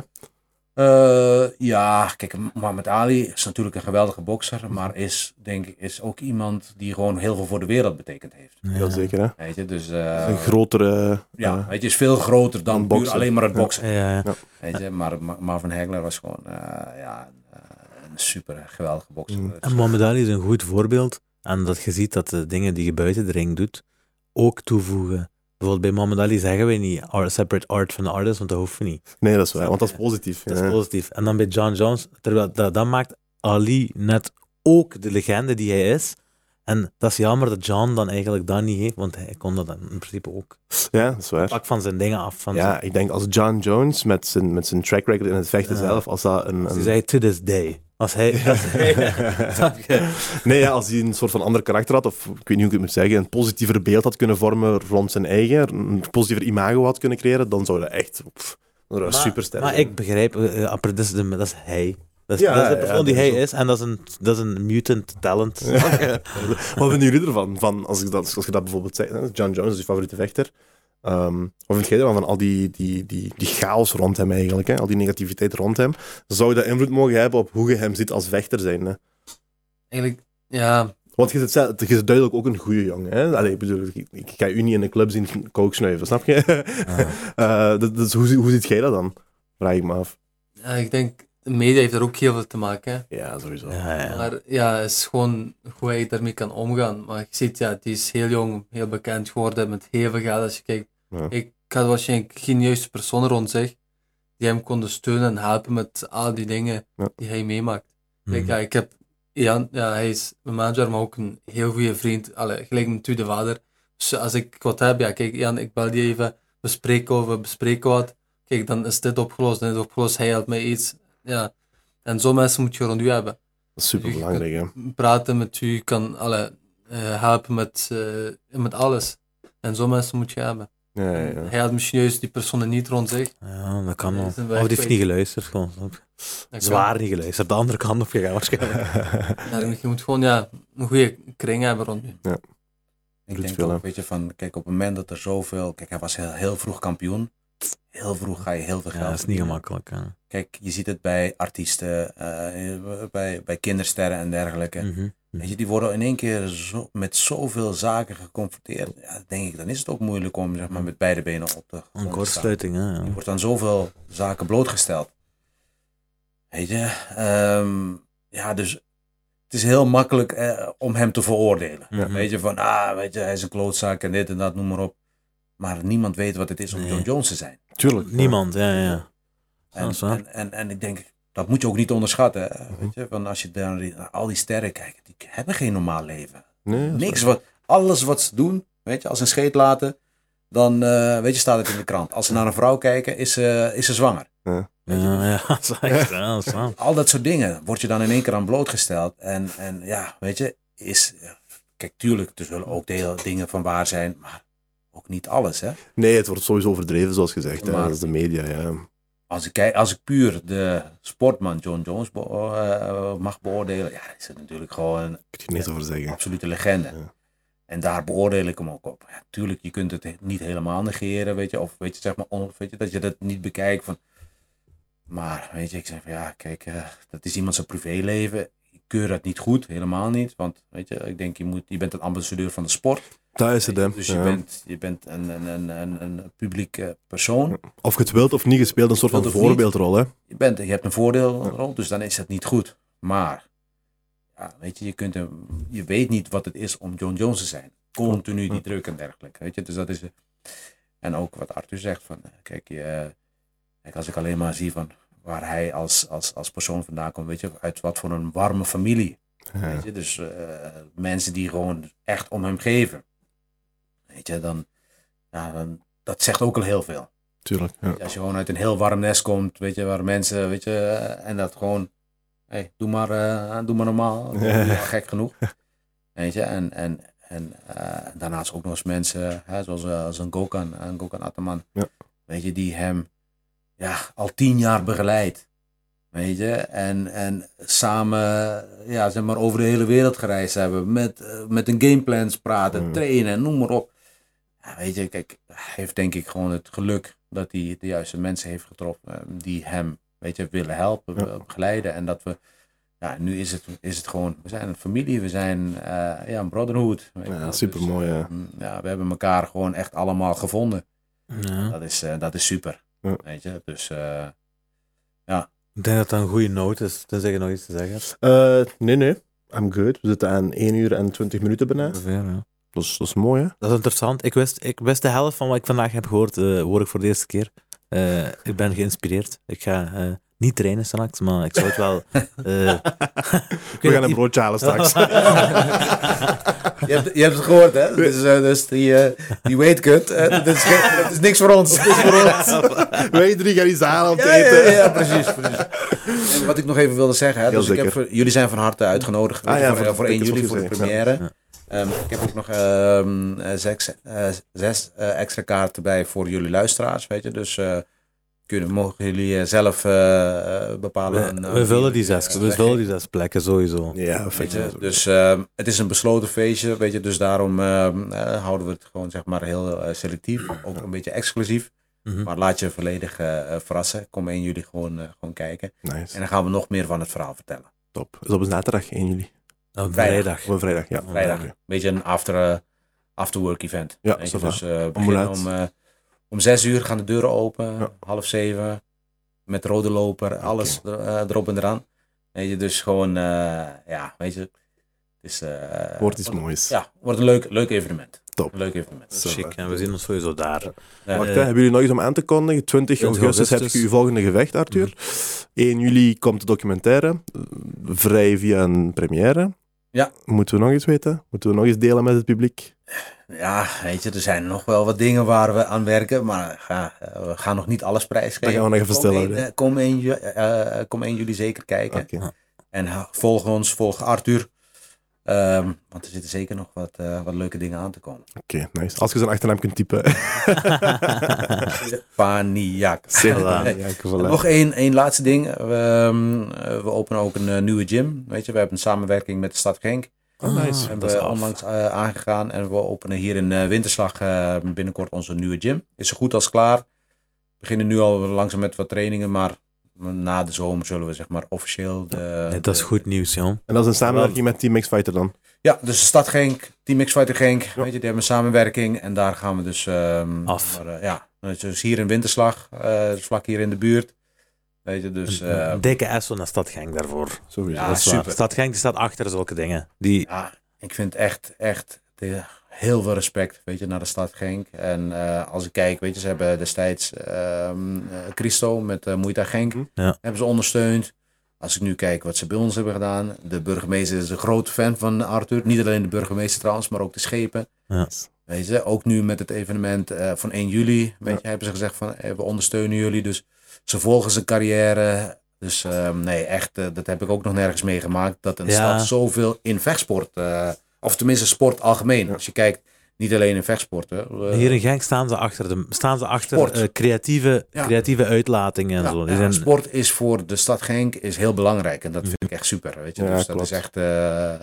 Speaker 4: eh, ja, kijk, Muhammad Ali is natuurlijk een geweldige bokser. Maar is, denk ik, is ook iemand die gewoon heel veel voor de wereld betekend heeft.
Speaker 1: Ja, zeker, hè?
Speaker 4: Weet je, dus. eh,
Speaker 1: Een grotere...
Speaker 4: ja,
Speaker 1: eh,
Speaker 4: weet je, is veel groter
Speaker 1: Een
Speaker 4: dan puur
Speaker 1: bokser.
Speaker 4: alleen maar het
Speaker 1: Ja.
Speaker 4: boksen.
Speaker 3: Ja, ja.
Speaker 4: Weet je, maar Ma- Marvin Hagler was gewoon eh, ja, een, eh, een super geweldige bokser. Dus
Speaker 1: Mm.
Speaker 3: En Mohamed Ali is een goed voorbeeld aan dat je ziet dat de dingen die je buiten de ring doet ook toevoegen. Bijvoorbeeld bij Mohamed Ali zeggen wij niet art, separate art van de artist, want dat hoeft niet.
Speaker 1: Nee, dat is waar, want dat is positief.
Speaker 3: Dat is
Speaker 1: ja.
Speaker 3: positief. En dan bij John Jones, terwijl dat, dat maakt Ali net ook de legende die hij is. En dat is jammer dat John dan eigenlijk dat niet heeft, want hij kon dat dan in principe ook.
Speaker 1: ja, dat is waar.
Speaker 3: Pak van zijn dingen af. Van
Speaker 1: Ja, ik denk als John Jones met zijn, met zijn track record in het vechten
Speaker 3: Ja.
Speaker 1: zelf, als dat een...
Speaker 3: Ze
Speaker 1: een-
Speaker 3: zei to this day. Als hij. Dat Snap je?
Speaker 1: nee, ja, als hij een soort van ander karakter had, of ik weet niet hoe ik het moet zeggen, een positiever beeld had kunnen vormen rond zijn eigen, een positiever imago had kunnen creëren, dan zou dat echt pff, dan zou dat
Speaker 3: Maar-
Speaker 1: superster
Speaker 3: Maar
Speaker 1: zijn.
Speaker 3: ik begrijp, eh, eh, Apper, dat, is de, dat is hij. Dat is,
Speaker 1: Ja,
Speaker 3: dat is de
Speaker 1: ja,
Speaker 3: persoon
Speaker 1: ja,
Speaker 3: die
Speaker 1: dat
Speaker 3: hij
Speaker 1: is ook-
Speaker 3: is en dat is een, dat is een mutant talent.
Speaker 1: Wat vinden jullie ervan? Van, als, ik dat, als je dat bijvoorbeeld zegt, hè, John Jones is je favoriete vechter. Ehm, wat vind jij ervan van al die, die, die, die chaos rond hem eigenlijk, hè? al die negativiteit rond hem? Zou dat invloed mogen hebben op hoe je hem ziet als vechter zijn? Hè?
Speaker 2: Eigenlijk, ja,
Speaker 1: Want je zit, zelf- je zit duidelijk ook een goede jongen. Hè? Allee, ik bedoel, ik, ik ga u niet in een club zien kook snuiven, snap je? Eh, dat- dus hoe, zie- hoe ziet jij dat dan? Vraag ik me af.
Speaker 2: ja, Eh, ik denk, de media heeft daar ook heel veel te maken. Hè.
Speaker 1: Ja, sowieso.
Speaker 3: Ja, ja.
Speaker 2: Maar ja, het is gewoon hoe hij daarmee kan omgaan. Maar je ziet, ja, die is heel jong, heel bekend geworden met heel veel geld. Als je kijkt,
Speaker 1: Ja.
Speaker 2: ik had waarschijnlijk geen juiste persoon rond zich die hem konden steunen en helpen met al die dingen
Speaker 1: Ja.
Speaker 2: die hij meemaakt.
Speaker 3: Hmm.
Speaker 2: Kijk,
Speaker 1: Mhm.
Speaker 2: ja, ik heb Jan, ja, hij is mijn manager, maar ook een heel goede vriend. Allee, gelijk mijn tweede vader. Dus als ik wat heb, ja, kijk, Jan, ik bel die even, we spreken over, we bespreken wat. Kijk, dan is dit opgelost, dit opgelost, hij helpt mij iets. Ja. En zo'n mensen moet je rond u hebben
Speaker 1: Dat is super belangrijk, hè?
Speaker 2: praten met u, kan alle, eh, helpen met, eh, met alles. En zo'n mensen moet je hebben.
Speaker 1: Ja, ja, ja.
Speaker 2: Hij had misschien juist die personen niet rond zich.
Speaker 3: Ja, dat kan wel.
Speaker 2: Dat is een
Speaker 3: Of die heeft
Speaker 2: werkwijze.
Speaker 3: niet geluisterd. Gewoon. snap je?
Speaker 2: Dat
Speaker 3: Zwaar niet geluisterd. De andere kant op gegaan waarschijnlijk.
Speaker 2: kan. Ja, je moet gewoon ja, een goede kring hebben rond je.
Speaker 4: Ik
Speaker 1: Doet
Speaker 4: denk
Speaker 1: veel, hè?
Speaker 4: ook, weet je, van, kijk, op het moment dat er zoveel... Kijk, hij was heel, heel vroeg kampioen. Heel vroeg ga je heel veel
Speaker 3: Ja,
Speaker 4: geld
Speaker 3: dat is niet
Speaker 4: verdienen.
Speaker 3: gemakkelijk. hè.
Speaker 4: Kijk, je ziet het bij artiesten, eh, bij, bij kindersterren en dergelijke.
Speaker 3: Mhm.
Speaker 4: Weet je, die worden in één keer zo, met zoveel zaken geconfronteerd. Ja, dan denk ik, dan is het ook moeilijk om
Speaker 3: Mm.
Speaker 4: zeg maar, met beide benen op te
Speaker 3: Een
Speaker 4: grond te staan.
Speaker 3: kortsluiting, hè. ja.
Speaker 4: Je wordt aan zoveel zaken blootgesteld. Weet je, ehm, ja, dus het is heel makkelijk eh, om hem te veroordelen.
Speaker 3: Mhm.
Speaker 4: Weet je, van, ah, weet je, hij is een klootzak en dit en dat, noem maar op. Maar niemand weet wat het is om
Speaker 3: Nee.
Speaker 4: John Jones te zijn.
Speaker 1: Tuurlijk.
Speaker 3: Niemand, ja, ja.
Speaker 4: En,
Speaker 3: Dat is waar. Mhm.
Speaker 4: en, en, en ik denk, dat moet je ook niet onderschatten. hè. Weet je, van als je daar die- naar al die sterren kijkt, die hebben geen normaal leven.
Speaker 1: Nee, dat is
Speaker 4: Niks wat, alles wat ze doen, weet je, als ze een scheet laten, dan eh, weet je, staat het in de krant. Als ze naar een vrouw kijken, is ze, is ze zwanger.
Speaker 3: Ja, ja, dat is echt, ja, dat is waar.
Speaker 4: Al dat soort dingen word je dan in één keer aan blootgesteld. En, en ja, weet je, is. Kijk, tuurlijk, er zullen ook deel, dingen van waar zijn, maar ook niet alles. Hè?
Speaker 1: Nee, het wordt sowieso overdreven, zoals gezegd. Hè.
Speaker 4: Maar-
Speaker 1: Dat is de media, ja.
Speaker 4: Als ik, kijk, als ik puur de sportman John Jones beo- eh, mag beoordelen, ja, is het natuurlijk gewoon
Speaker 1: Ik kan er niks over zeggen.
Speaker 4: absolute legende.
Speaker 1: Ja.
Speaker 4: En daar beoordeel ik hem ook op. Ja, tuurlijk, je kunt het he- niet helemaal negeren, weet je. Of weet je, zeg maar, on- weet je, dat je dat niet bekijkt van... Maar, weet je, ik zeg van, ja, kijk, eh, dat is iemand zijn privéleven. Ik keur dat niet goed, helemaal niet. Want, weet je, ik denk, je, moet, je bent een ambassadeur van de sport.
Speaker 1: Daar is het, hè.
Speaker 4: Dus je
Speaker 1: Ja.
Speaker 4: bent, je bent een, een, een, een, een publiek eh, persoon.
Speaker 1: Of je het wilt of niet, gespeeld een soort van
Speaker 4: Wilt of niet.
Speaker 1: voorbeeldrol, hè.
Speaker 4: Je, bent, je hebt een voordeelrol, dus dan is dat niet goed. Maar, ja, weet je, je, kunt hem, je weet niet wat het is om John Jones te zijn. Continu die druk en dergelijke. Weet je, dus dat is. En ook wat Arthur zegt: van, eh, kijk, je, kijk als ik alleen maar zie van waar hij als, als, als persoon vandaan komt, weet je, uit wat voor een warme familie.
Speaker 1: Ja.
Speaker 4: Weet je, dus eh, mensen die gewoon echt om hem geven. Weet je, dan, ja, dan, dat zegt ook al heel veel.
Speaker 1: tuurlijk. Ja.
Speaker 4: Als je gewoon uit een heel warm nest komt, weet je, waar mensen, weet je, eh, en dat gewoon, hey, doe, maar, eh, doe maar normaal, doe maar gek genoeg. Weet je, en, en, en eh, daarnaast ook nog eens mensen, hè, zoals eh, als een Gokan, een Gokan Ataman,
Speaker 1: Ja.
Speaker 4: weet je, die hem ja, al tien jaar begeleidt. Weet je, en, en samen, ja, zeg maar, over de hele wereld gereisd hebben, met, eh, met een gameplans praten,
Speaker 1: Mm.
Speaker 4: trainen, noem maar op. Ja, weet je, kijk, hij heeft denk ik gewoon het geluk dat hij de juiste mensen heeft getroffen eh, die hem, weet je, willen helpen,
Speaker 1: Ja.
Speaker 4: eh, begeleiden. En dat we, ja, nu is het, is het gewoon, we zijn een familie, we zijn eh, ja, een brotherhood. weet je wel.
Speaker 1: Ja,
Speaker 4: Dus,
Speaker 1: super mooi.
Speaker 4: eh, mm, ja, we hebben elkaar gewoon echt allemaal gevonden.
Speaker 3: Ja.
Speaker 4: Dat is, eh, dat is super,
Speaker 1: Ja.
Speaker 4: weet je. Dus eh,
Speaker 3: Ik denk dat dat een goede noot is, tenzij je nog iets te zeggen hebt.
Speaker 1: Eh, nee, nee. I'm good. We zitten aan 1 uur en 20 minuten bijna.
Speaker 3: Ongeveer, ja.
Speaker 1: Dat is, dat is mooi, hè?
Speaker 3: Dat is interessant. Ik wist, ik wist de helft van wat ik vandaag heb gehoord, eh, hoor ik voor de eerste keer. Eh, ik ben geïnspireerd. Ik ga eh, niet trainen straks, maar ik zou het wel... eh, ik
Speaker 1: We
Speaker 3: weet
Speaker 1: gaan
Speaker 3: dat
Speaker 1: een
Speaker 3: i-
Speaker 1: broodje halen straks.
Speaker 4: je, hebt, je hebt het gehoord, hè? Dus, eh, dus die, eh, die weight cut, eh, dat, is, geen- dat is niks voor ons.
Speaker 1: Wij drie gaan iets halen om te
Speaker 4: Ja, ja,
Speaker 1: eten.
Speaker 4: ja, ja, precies. precies. En wat ik nog even wilde zeggen, hè,
Speaker 1: Heel
Speaker 4: dus ik heb
Speaker 1: zeker.
Speaker 4: voor- jullie zijn van harte uitgenodigd
Speaker 1: Ah,
Speaker 4: weet je,
Speaker 1: ja,
Speaker 4: voor,
Speaker 1: voor-
Speaker 4: voor
Speaker 1: ik
Speaker 4: 1
Speaker 1: heb het
Speaker 4: juli
Speaker 1: ook
Speaker 4: voor de
Speaker 1: gezien,
Speaker 4: première.
Speaker 3: ja.
Speaker 4: Ehm, ik heb ook nog ehm, eh, zes, eh, zes eh, extra kaarten bij voor jullie luisteraars, weet je. Dus eh, kunnen, mogen jullie eh, zelf eh, eh, bepalen. aan,
Speaker 3: We,
Speaker 4: eh,
Speaker 3: we vullen die
Speaker 4: jullie,
Speaker 3: zes,
Speaker 4: eh,
Speaker 3: we
Speaker 4: weggeven.
Speaker 3: vullen die zes plekken sowieso.
Speaker 1: Ja,
Speaker 4: Weet
Speaker 1: perfect.
Speaker 4: je, dus ehm, het is een besloten feestje, weet je, dus daarom ehm, eh, houden we het gewoon zeg maar heel eh, selectief, ook een beetje exclusief.
Speaker 3: Mhm.
Speaker 4: Maar laat je volledig eh, eh, verrassen. Kom 1 juli gewoon, eh, gewoon kijken. En
Speaker 1: Nice.
Speaker 4: dan gaan we nog meer van het verhaal vertellen.
Speaker 1: Top. Is op een zaterdag 1 juli.
Speaker 3: Op
Speaker 4: Vrijdag.
Speaker 3: vrijdag.
Speaker 1: Of een vrijdag, ja.
Speaker 4: Vrijdag.
Speaker 1: Oké.
Speaker 4: Beetje een after, eh, afterwork event.
Speaker 1: Ja,
Speaker 4: Weet je,
Speaker 1: zo
Speaker 4: dus eh, we
Speaker 1: Om hoe
Speaker 4: beginnen
Speaker 1: laat?
Speaker 4: om, eh, om zes uur gaan de deuren open.
Speaker 1: Ja.
Speaker 4: Half zeven. Met rode loper. Alles er- eh, erop en eraan. Weet je, dus gewoon, eh, ja, weet je. Het is, eh,
Speaker 1: Wordt iets moois.
Speaker 4: Ja, wordt een leuk, leuk evenement.
Speaker 1: Top.
Speaker 4: Een leuk evenement.
Speaker 1: Zo.
Speaker 3: Chic, en we zien ons sowieso daar.
Speaker 4: Ja.
Speaker 1: Wacht,
Speaker 3: Eh,
Speaker 1: hè, hebben jullie nog iets om aan te kondigen? 20
Speaker 3: 20
Speaker 1: augustus, heb
Speaker 3: augustus. Mhm.
Speaker 1: je uw volgende gevecht, Arthur. 1 juli komt de documentaire. eh, Vrij via een première.
Speaker 4: Ja.
Speaker 1: Moeten we nog iets weten? Moeten we nog iets delen met het publiek?
Speaker 4: Ja, weet je, er zijn nog wel wat dingen waar we aan werken, maar ja, eh, we gaan nog niet alles prijsgeven.
Speaker 1: Dat gaan we nog even
Speaker 4: Kom
Speaker 1: stilhouden.
Speaker 4: één, eh, Kom 1 eh, kom één juli zeker kijken.
Speaker 1: Oké.
Speaker 4: En ha- volg ons, volg Arthur. Ehm, want er zitten zeker nog wat, eh, wat leuke dingen aan te komen.
Speaker 1: Oké, nice. Als je zijn achternaam kunt typen.
Speaker 4: Paniak.
Speaker 3: Voilà.
Speaker 1: Ja, ik wil, eh,
Speaker 4: Nog één, één laatste ding. We, ehm, eh, we openen ook een eh, nieuwe gym. Weet je, we hebben een samenwerking met de stad Genk.
Speaker 3: Ah,
Speaker 1: nice.
Speaker 4: hebben
Speaker 3: dat is
Speaker 4: we
Speaker 3: af.
Speaker 4: onlangs eh, aangegaan. En we openen hier in eh, Winterslag eh, binnenkort onze nieuwe gym. Is zo goed als klaar. We beginnen nu al langzaam met wat trainingen, maar na de zomer zullen we zeg maar officieel eh, de...
Speaker 3: Nee, dat is goed nieuws, jong.
Speaker 1: En dat is een samenwerking met Team X Fighter dan.
Speaker 4: Ja, dus de Stad Genk, Team X Fighter Genk, weet je, die hebben een samenwerking en daar gaan we dus... ehm,
Speaker 3: Af.
Speaker 4: maar, eh, ja, dus hier in Winterslag, eh, vlak hier in de buurt. Weet je, dus... eh,
Speaker 3: Dikke S naar Stad Genk daarvoor.
Speaker 1: Sowieso.
Speaker 4: Ja,
Speaker 3: dat is waar.
Speaker 4: Ah, super.
Speaker 3: Stad Genk die staat achter zulke dingen. Die,
Speaker 4: Ja, ik vind echt, echt de- heel veel respect, weet je, naar de stad Genk. En eh, als ik kijk, weet je, ze hebben destijds ehm, eh, Christo met eh Moeita Genk,
Speaker 1: Hm.
Speaker 3: Ja.
Speaker 4: hebben ze ondersteund. Als ik nu kijk wat ze bij ons hebben gedaan. De burgemeester is een groot fan van Arthur. Niet alleen de burgemeester trouwens, maar ook de schepen.
Speaker 3: Ja.
Speaker 4: Weet je, ook nu met het evenement eh, van 1 juli, weet je, hebben ze gezegd van eh, we ondersteunen jullie. Dus ze volgen zijn carrière. Dus ehm, nee, echt, eh, dat heb ik ook nog nergens meegemaakt. Dat een
Speaker 3: Ja.
Speaker 4: stad zoveel in vechtsport, eh, of tenminste sport algemeen. Als je kijkt, niet alleen in vechtsport. Hè. Eh,
Speaker 3: hier in Genk staan ze achter, de, staan ze achter
Speaker 4: Sport.
Speaker 3: eh, creatieve,
Speaker 4: Ja.
Speaker 3: creatieve uitlatingen en
Speaker 4: ja,
Speaker 3: zo. Die
Speaker 4: ja,
Speaker 3: zijn,
Speaker 4: Sport is voor de stad Genk is heel belangrijk. En dat vind ik echt super. Weet je?
Speaker 1: Ja,
Speaker 4: dus dat
Speaker 1: klopt.
Speaker 4: is echt eh,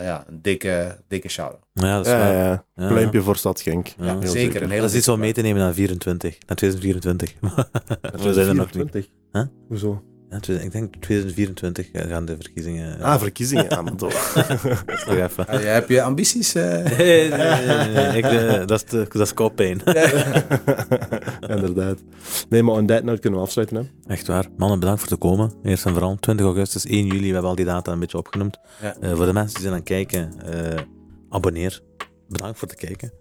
Speaker 4: ja, een dikke, dikke shout
Speaker 3: ja, dat is
Speaker 1: Ja,
Speaker 3: waar.
Speaker 1: ja, ja.
Speaker 3: Ja.
Speaker 1: Pluimpje voor Stad Genk.
Speaker 3: Ja,
Speaker 1: Heel
Speaker 4: zeker. Een hele
Speaker 3: Dat is iets om
Speaker 4: dikke
Speaker 3: mee te nemen naar 24, naar 2024. We zijn er nog niet.
Speaker 1: 24.
Speaker 3: Huh?
Speaker 1: Hoezo?
Speaker 3: Ja, twe- ik denk 2024 gaan de verkiezingen.
Speaker 1: Ah, verkiezingen aan het
Speaker 3: dat nog even.
Speaker 4: shout-out. Eh, heb je ambities? eh?
Speaker 3: Nee, nee, nee, nee, nee. Ik, eh, dat is, de- dat is koppijn.
Speaker 1: Inderdaad. Nee, maar on that note kunnen we afsluiten. Hè?
Speaker 3: Echt waar. Mannen, bedankt voor te komen. Eerst en vooral 20 augustus, 1 juli. We hebben al die data een beetje opgenoemd.
Speaker 4: Ja.
Speaker 3: Eh, voor de mensen die zijn aan het kijken, eh, abonneer. Bedankt voor het kijken.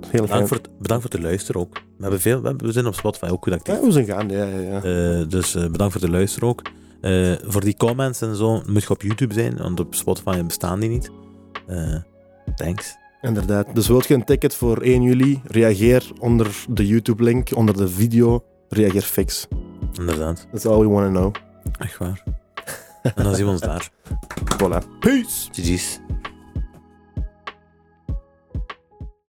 Speaker 1: Heel fijn.
Speaker 3: Bedankt voor het, bedankt voor het luisteren ook. We, hebben veel, we, hebben- we zijn op Spotify ook goed actief.
Speaker 1: Ja, we zijn gaan. Ja, ja, ja.
Speaker 3: Eh, dus eh, bedankt voor het luisteren ook. Eh, voor die comments en zo moet je op YouTube zijn, want op Spotify bestaan die niet. Eh, thanks.
Speaker 1: Inderdaad. Dus wilt je een ticket voor 1 juli? Reageer onder de YouTube-link, onder de video. reageer fix.
Speaker 3: Inderdaad,
Speaker 1: That's all we want to know.
Speaker 3: echt waar. En dan zien we ons daar.
Speaker 1: Voilà. Peace!
Speaker 3: GG's.